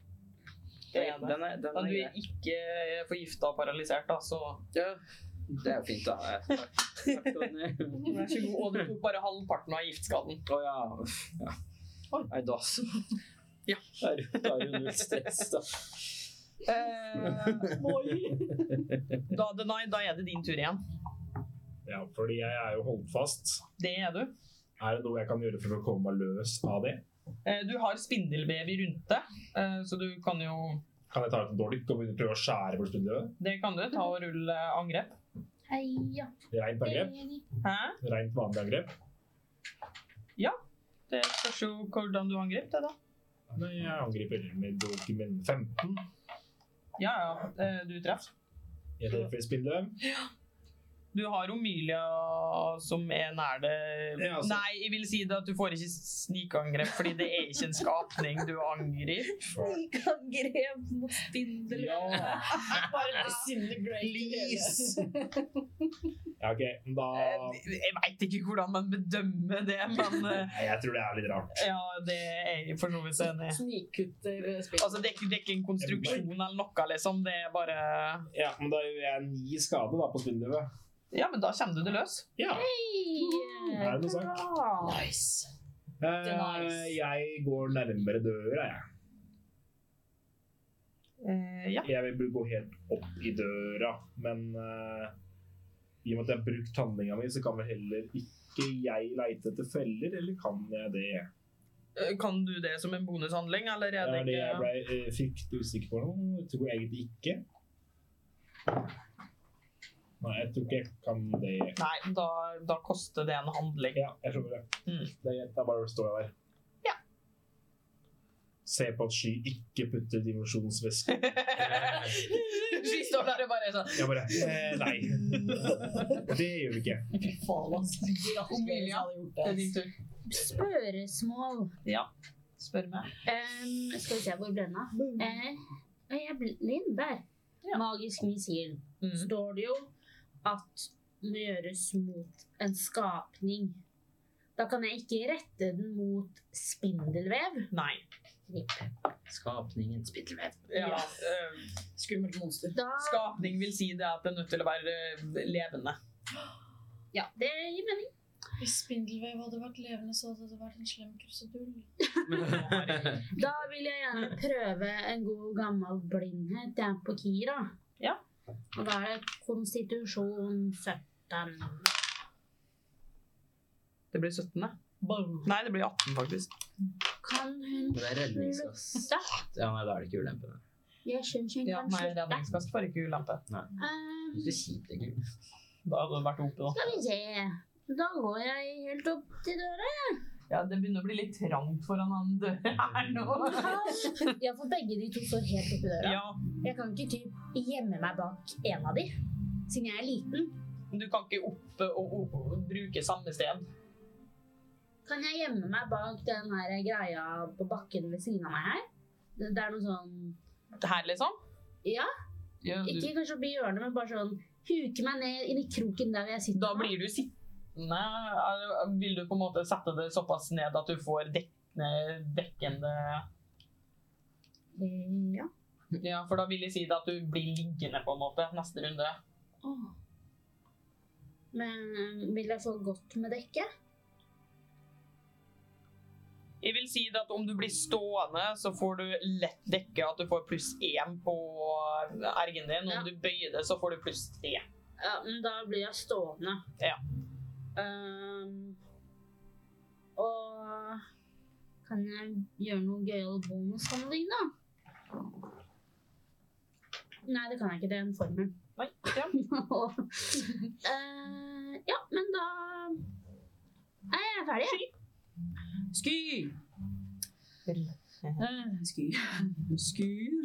Speaker 5: Det er, den er, den
Speaker 1: Da
Speaker 5: er
Speaker 1: du
Speaker 5: grei.
Speaker 1: er ikke forgifta og paralysert, da, så
Speaker 5: Ja, det er jo fint, da. Eh, Takk, takk Tonje.
Speaker 1: Vær så god. Og du tok bare halvparten av giftskaden.
Speaker 5: Å ja. uff, ja. Nei, da så.
Speaker 1: Ja.
Speaker 5: Da er jo- da er jo null stress, da.
Speaker 1: Eh, Da, Denai, da er det din tur igjen.
Speaker 2: Ja, fordi jeg er jo holdt fast.
Speaker 1: Det er du.
Speaker 2: Er det noe jeg kan gjøre for å komme meg løs av det?
Speaker 1: Eh, Du har spindelvev i rundt deg, eh, så du kan jo
Speaker 2: Kan jeg ta ut en dolk og begynne å prøve å skjære bort spillet?
Speaker 1: Det kan du. Ta og rulle angrep.
Speaker 4: Heia.
Speaker 2: Rent angrep?
Speaker 1: Hæ?
Speaker 2: Rent vanlig angrep?
Speaker 1: Det spørs jo hvordan du angrep det, da.
Speaker 2: Nei, jeg angriper med dolken min 15.
Speaker 1: Ja, ja. eh, Du treffer.
Speaker 2: Jeg treffer spillet.
Speaker 1: Du har Omilia som er nær det
Speaker 2: Ja, altså.
Speaker 1: Nei, jeg vil si det at du får ikke snikangrep, fordi det er ikke en skapning du angriper.
Speaker 4: Angrep mot spindel.
Speaker 2: Ja.
Speaker 7: Bare disintegrate
Speaker 1: Please!
Speaker 2: Ja, ok, men da...
Speaker 1: Eh, Jeg veit ikke hvordan man bedømmer det, men eh,
Speaker 2: Nei, jeg tror det er litt rart.
Speaker 1: Ja, det er jeg for så vidt enig i.
Speaker 3: Snikkutter eh, spillet.
Speaker 1: Altså, det er, ikke, det er ikke en konstruksjon eller noe, liksom. Det er bare
Speaker 2: Ja, men da gjør jeg ni skade da på spillet.
Speaker 1: Ja, men da kommer du det løs.
Speaker 2: Ja, det er noe sånt.
Speaker 3: nice.
Speaker 2: Eh, jeg går nærmere døra, jeg.
Speaker 1: Eh, ja.
Speaker 2: Jeg vil gå helt opp i døra, men eh, i og med at jeg har brukt handlinga mi, så kan vel heller ikke jeg leite etter feller, eller kan jeg det?
Speaker 1: Eh, Kan du det som en bonushandling, eller
Speaker 2: Det
Speaker 1: er
Speaker 2: er
Speaker 1: det
Speaker 2: det jeg
Speaker 1: ikke
Speaker 2: ble eh, fryktelig usikker på nå. Jeg tror egentlig ikke. Nei, jeg tror ikke jeg kan det.
Speaker 1: Nei, da, da koster det en handling.
Speaker 2: Ja, jeg skjønner det.
Speaker 1: Mm.
Speaker 2: Det er da bare står jeg der.
Speaker 1: Ja.
Speaker 2: Se på at Sky ikke putter dimensjonsveske.
Speaker 1: Sky står der og bare sånn
Speaker 2: Jeg bare eh, Nei. Det gjør vi ikke.
Speaker 3: Faen, ass.
Speaker 1: Omilia, Det er din tur.
Speaker 4: Spørsmål.
Speaker 1: Spør meg.
Speaker 4: Em, skal vi se, hvor ble den av? Eh, jeg ble blind der.
Speaker 1: Ja.
Speaker 4: Magisk missil.
Speaker 1: Mm.
Speaker 4: Står det jo at må gjøres mot en skapning. Da kan jeg ikke rette den mot spindelvev.
Speaker 1: Nei.
Speaker 5: Skapningen spittelvev.
Speaker 1: Ja.
Speaker 3: Ja.
Speaker 1: eh,
Speaker 3: Skummelt monster.
Speaker 4: Da,
Speaker 1: Skapning vil si det at det er nødt til å være eh, levende.
Speaker 4: ja, det gir mening.
Speaker 7: Hvis spindelvev hadde vært levende, så hadde det vært en slem krusedull.
Speaker 4: Da vil jeg gjerne prøve en god gammel blindhet jeg på Kira.
Speaker 1: Ja.
Speaker 4: Og da er det konstitusjon 17.
Speaker 1: Det blir 17. da. Nei, det blir 18, faktisk.
Speaker 4: Kan hun
Speaker 5: Men det er redningskast.
Speaker 4: slutte?
Speaker 5: Ja, nei, da er det ikke ulempe. det.
Speaker 4: Jeg syns hun
Speaker 1: Ja,
Speaker 4: kan
Speaker 1: nei,
Speaker 4: slutte.
Speaker 1: redningskast får ikke ulempe.
Speaker 4: Um,
Speaker 5: Det er kjipt, egentlig.
Speaker 1: Da hadde det vært oppe, da.
Speaker 4: skal vi se. Da går jeg helt opp til døra.
Speaker 1: Ja, det begynner å bli litt trangt foran han døren her nå.
Speaker 4: Ja, for begge de to står helt oppi døra.
Speaker 1: Ja,
Speaker 4: Jeg kan ikke typ gjemme meg bak en av de, siden jeg er liten.
Speaker 1: men du kan ikke oppe og, og, og bruke samme sted.
Speaker 4: Kan jeg gjemme meg bak den her greia på bakken ved siden av meg her? Det det er noe sånn
Speaker 1: Her, liksom?
Speaker 4: Ja.
Speaker 1: Ja, du,
Speaker 4: Ikke kanskje oppi hjørnet, men bare sånn huke meg ned inn i kroken der hvor jeg sitter.
Speaker 1: da
Speaker 4: nå.
Speaker 1: blir du sittende Er- Vil du på en måte sette det såpass ned at du får dekkende, dekkende
Speaker 4: Eh, Ja.
Speaker 1: Ja, for da vil jeg si det at du blir liggende, på en måte, neste runde.
Speaker 4: Åh. Men eh, vil jeg få godt med dekket?
Speaker 1: Jeg vil si det at om du blir stående, så får du lett dekke at du får pluss én på ergen din. Om
Speaker 4: Ja.
Speaker 1: du bøyer det, så får du pluss tre.
Speaker 4: Ja, men da blir jeg stående.
Speaker 1: Ja.
Speaker 4: Ehm, kan jeg gjøre noe gøyale bonushandling, da? Nei, det kan jeg ikke. Det er en formel.
Speaker 1: Nei, ja.
Speaker 4: Eh, ja, men da er jeg ferdig. jeg.
Speaker 3: Sky! Eh, Sky. Skyr.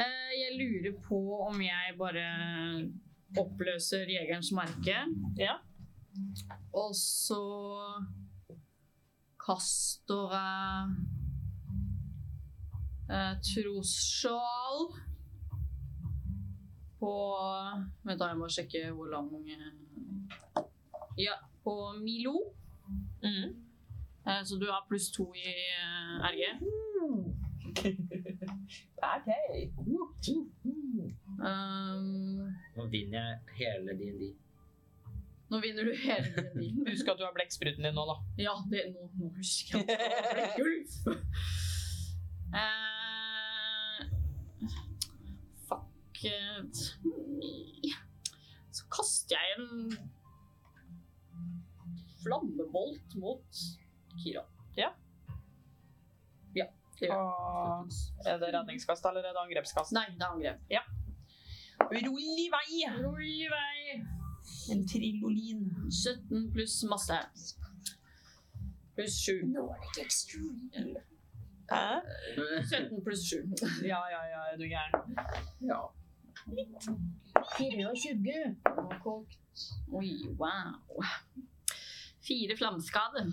Speaker 3: Eh, jeg lurer på om jeg bare oppløser jegerens merke.
Speaker 1: Ja.
Speaker 3: Og så kaster jeg eh, trosskjål på Vent, da, jeg må sjekke hvor lang eh, Ja, på Milo.
Speaker 1: Mm.
Speaker 3: Eh, Så du har pluss to i eh, RG.
Speaker 4: Mm.
Speaker 1: OK.
Speaker 3: Um,
Speaker 5: Nå vinner jeg hele DND.
Speaker 3: nå vinner du hele din bil.
Speaker 1: Husk at du har blekkspruten din nå, da.
Speaker 3: Ja, det, nå, nå husker jeg at det ble gulv. Eh, fuck it. Så kaster jeg en flammebolt mot Kira.
Speaker 1: Ja.
Speaker 3: Ja, det gjør jeg.
Speaker 1: Og er det redningskast eller er det angrepskast?
Speaker 3: Nei, det er angrep. Ja.
Speaker 1: Rull i vei!
Speaker 3: Rull i vei.
Speaker 1: En trillolin.
Speaker 3: 17 pluss masse. Pluss 7.
Speaker 1: Hæ?
Speaker 3: 17 pluss 7.
Speaker 1: Ja, ja, ja, er du gæren?
Speaker 3: Ja.
Speaker 4: 24.
Speaker 3: Oi, wow. Fire flammeskader.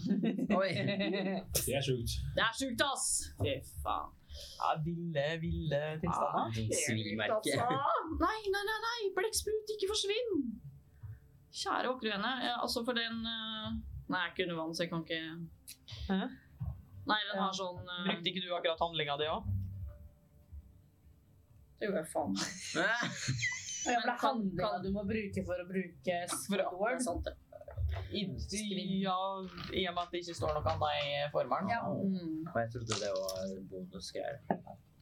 Speaker 5: Oi!
Speaker 2: Det er sjukt.
Speaker 3: Det er sjukt, ass! Fy faen.
Speaker 1: Ja, ville, ville tilstander. altså.
Speaker 5: Svimerke.
Speaker 3: Ah, Nei, nei, nei, nei. blekksprut, ikke forsvinn! Kjære åkre vene. Ja, altså, for den eh, Nei, jeg er ikke under vann, så jeg kan ikke
Speaker 1: Hæ?
Speaker 3: Nei, den
Speaker 1: Ja.
Speaker 3: har sånn eh,
Speaker 1: Brukte ikke du akkurat handlinga di òg?
Speaker 3: Det gjorde jeg faen.
Speaker 12: Ja, for det
Speaker 3: Men
Speaker 12: er
Speaker 3: kan-
Speaker 12: handlinga
Speaker 3: kan-
Speaker 12: du må bruke for å bruke
Speaker 3: Det er
Speaker 12: sword.
Speaker 3: sant, det. Skriv.
Speaker 1: Ja, I og med at det ikke står noe annet i formelen.
Speaker 12: Ja.
Speaker 3: Mm.
Speaker 5: Og Ah, jeg trodde det var bonusgreier.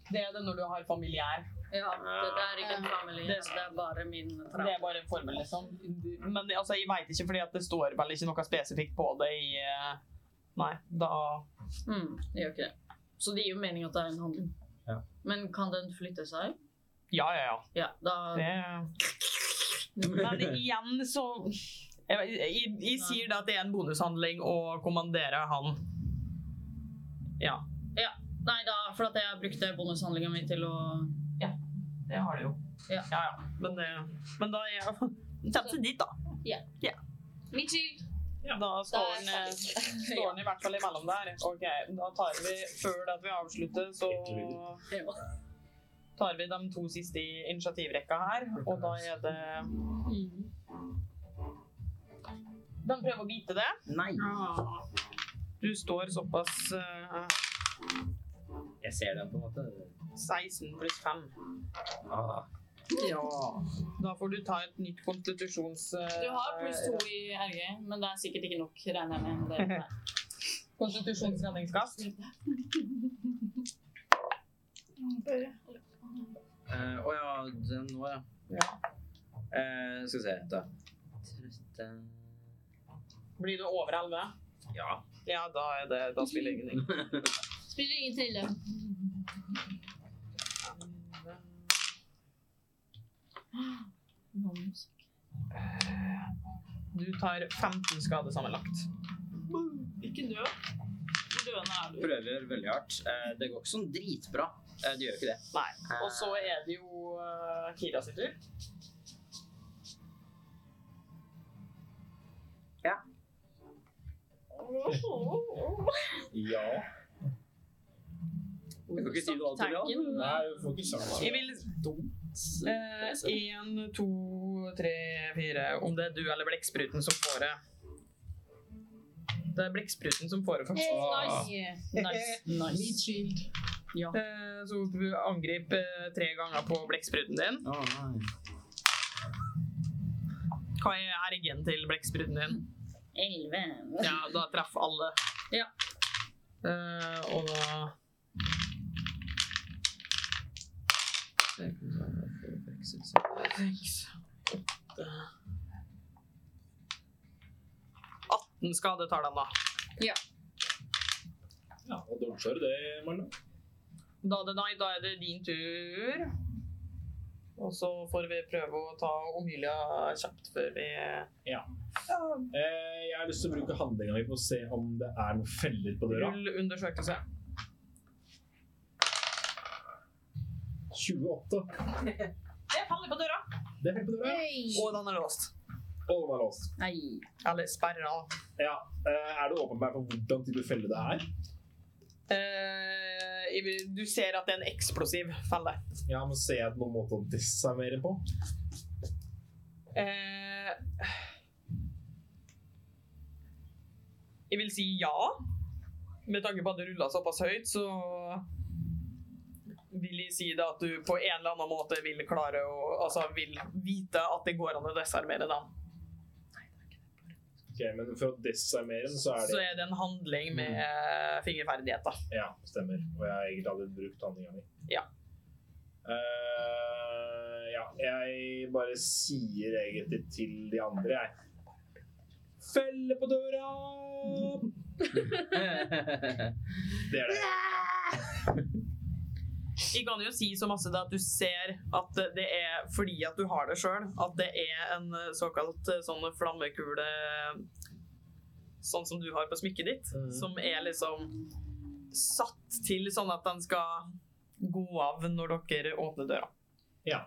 Speaker 1: Det er det når du har familiær.
Speaker 3: Ja, det, det er ikke en family,
Speaker 1: Det-
Speaker 3: det, det er bare min
Speaker 1: Det er bare en formel, liksom. Men altså, jeg veit ikke, fordi at det står vel ikke noe spesifikt på det i eh, Nei, da
Speaker 3: Mm, det gjør ikke det. Så det gir jo mening at det er en handling.
Speaker 5: Ja.
Speaker 3: Men kan den flytte seg?
Speaker 1: Ja, ja, ja.
Speaker 3: Ja, da
Speaker 1: Det Men igjen så Jeg, jeg, jeg sier da at det er en bonushandling å kommandere han.
Speaker 3: Nei da, for at jeg brukte bonushandlinga mi til å
Speaker 1: Det har du jo.
Speaker 3: Ja.
Speaker 1: ja. ja. Men, det, men da er jeg Sett seg dit, da.
Speaker 3: Mitchell!
Speaker 1: Da står den, eh, står den i hvert fall imellom der. Ok, da tar vi, før at vi avslutter, så
Speaker 3: Ja.
Speaker 1: tar vi de to siste i initiativrekka her, og da er det
Speaker 4: Mm.
Speaker 1: De prøver å bite det.
Speaker 5: Nei!
Speaker 1: Du står såpass eh,
Speaker 5: Jeg ser den på en måte.
Speaker 1: 16 pluss 5.
Speaker 5: Ah,
Speaker 1: Da får du ta et nytt konstitusjons... eh,
Speaker 3: Du har pluss to i RG, men det er sikkert ikke nok, regner jeg med. Det, Nei.
Speaker 1: konstitusjonsredningskast.
Speaker 5: eh, å ja, den nå, ja.
Speaker 1: Ja.
Speaker 5: Eh, skal vi se, da. 13
Speaker 1: Blir du over 11?
Speaker 5: Ja.
Speaker 1: Ja, da, er det, da spiller det ingenting.
Speaker 4: Spiller ingen trille.
Speaker 1: Du tar 15 skade sammenlagt.
Speaker 3: Ikke dø. Hvor døende er du?
Speaker 5: Prøver veldig hardt. Eh, det går ikke sånn dritbra. Eh, det gjør ikke det.
Speaker 1: Nei.
Speaker 5: Eh,
Speaker 1: Og så er det jo eh, Kira sin tur.
Speaker 5: Ja.
Speaker 2: Ja.
Speaker 5: Jeg kan ikke si noe annet til det.
Speaker 2: Nei, du får ikke sjans.
Speaker 1: Jeg vil Én, to, tre, fire. Om det er du eller blekkspruten som får det. Det er blekkspruten som får det, faktisk.
Speaker 12: Ah.
Speaker 3: Nice. nice.
Speaker 1: Eh, Så du angriper eh, tre ganger på blekkspruten din.
Speaker 5: Å, nei.
Speaker 1: Hva er RG-en til blekkspruten din?
Speaker 3: Elleve.
Speaker 1: Ja, da treffer alle.
Speaker 3: Ja.
Speaker 1: Eh, og da Seks, åtte 18 skade tar den, da.
Speaker 3: Ja.
Speaker 2: Ja, og dodger det, Marlon.
Speaker 1: Da, er det- nei, da er det din tur. Og så får vi prøve å ta Omilia kjapt før vi
Speaker 2: Eh, jeg har lyst til å bruke handlinga mi på å se om det er noen feller på døra.
Speaker 1: ruller undersøkelse.
Speaker 2: 28.
Speaker 1: Det faller på døra.
Speaker 2: Det er feller på døra.
Speaker 1: Og den er låst.
Speaker 2: Og den er låst.
Speaker 7: Nei.
Speaker 1: Eller sperra.
Speaker 2: Ja. Eh, er du åpenbar for hvordan type felle det er?
Speaker 1: Eh, i- du ser at det er en eksplosiv felle.
Speaker 2: Ja, men ser jeg noen måte å desarmere på?
Speaker 1: Eh, jeg vil si ja. Med tanke på at det rulla såpass høyt, så vil jeg si det at du på en eller annen måte vil klare å Altså vil vite at det går an å desarmere den.
Speaker 2: Ok, men for å desarmere den, så er
Speaker 1: Så
Speaker 2: det
Speaker 1: er det en handling med eh, fingerferdighet, da.
Speaker 2: Ja, stemmer. Og jeg har egentlig aldri brukt handlinga mi.
Speaker 1: Ja.
Speaker 2: Eh, ja, jeg bare sier egentlig til de andre, jeg. Felle på døra! Det er det.
Speaker 1: Jeg kan jo si så masse det at du ser at det er fordi at du har det sjøl, at det er en eh, såkalt eh, sånn flammekule Sånn som du har på smykket ditt,
Speaker 2: Mhm.
Speaker 1: som er liksom satt til sånn at den skal gå av når dere åpner døra.
Speaker 2: Ja.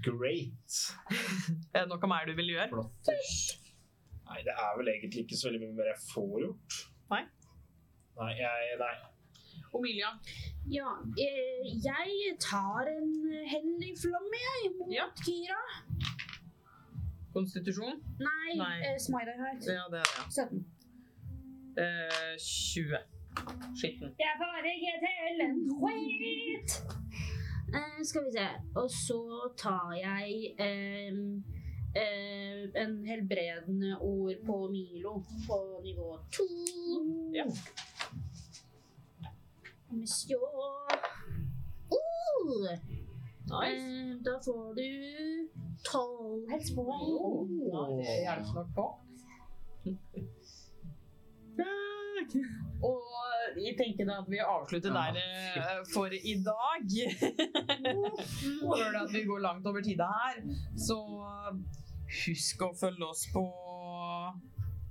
Speaker 2: Great.
Speaker 1: Er det noe mer du vil gjøre?
Speaker 2: Flott. Nei, det er vel egentlig ikke så veldig mye mer jeg får gjort.
Speaker 1: Nei.
Speaker 2: Nei, jeg, nei.
Speaker 1: Omilia,
Speaker 4: Ja, eh, jeg tar en hellig flamme, jeg, mot
Speaker 1: Ja.
Speaker 4: Kira.
Speaker 1: konstitusjon?
Speaker 4: Nei,
Speaker 1: Nei.
Speaker 4: Eh, Smiley Heart.
Speaker 1: Ja, det er det.
Speaker 4: 17.
Speaker 1: Eh, 20. Skitten.
Speaker 4: Jeg får ikke til en skit! Eh, skal vi se. Og så tar jeg em, eh, en helbredende ord på Milo på nivå to.
Speaker 1: Ja.
Speaker 4: Monsieur Oh! Eh, da får du tolv helsepoeng.
Speaker 1: Det hjelper nok på. Og jeg tenker da at vi avslutter der eh, for i dag. Hører du at vi går langt over tida her, så eh, husk å følge oss på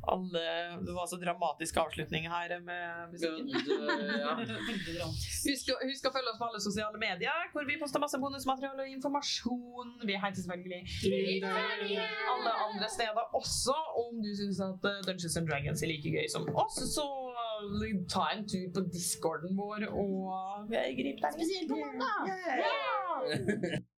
Speaker 1: alle Det var så dramatisk avslutning her med musikken. Husk, å- husk å følge oss på alle sosiale medier, hvor vi poster masse bonusmateriale og informasjon. Vi heter selvfølgelig alle andre steder også. Og om du syns at eh, Dungeons and Dragons er like gøy som oss, så eh, ta en tur på discorden vår og eh, grip der.
Speaker 4: Spesielt på mandag.
Speaker 1: Ja!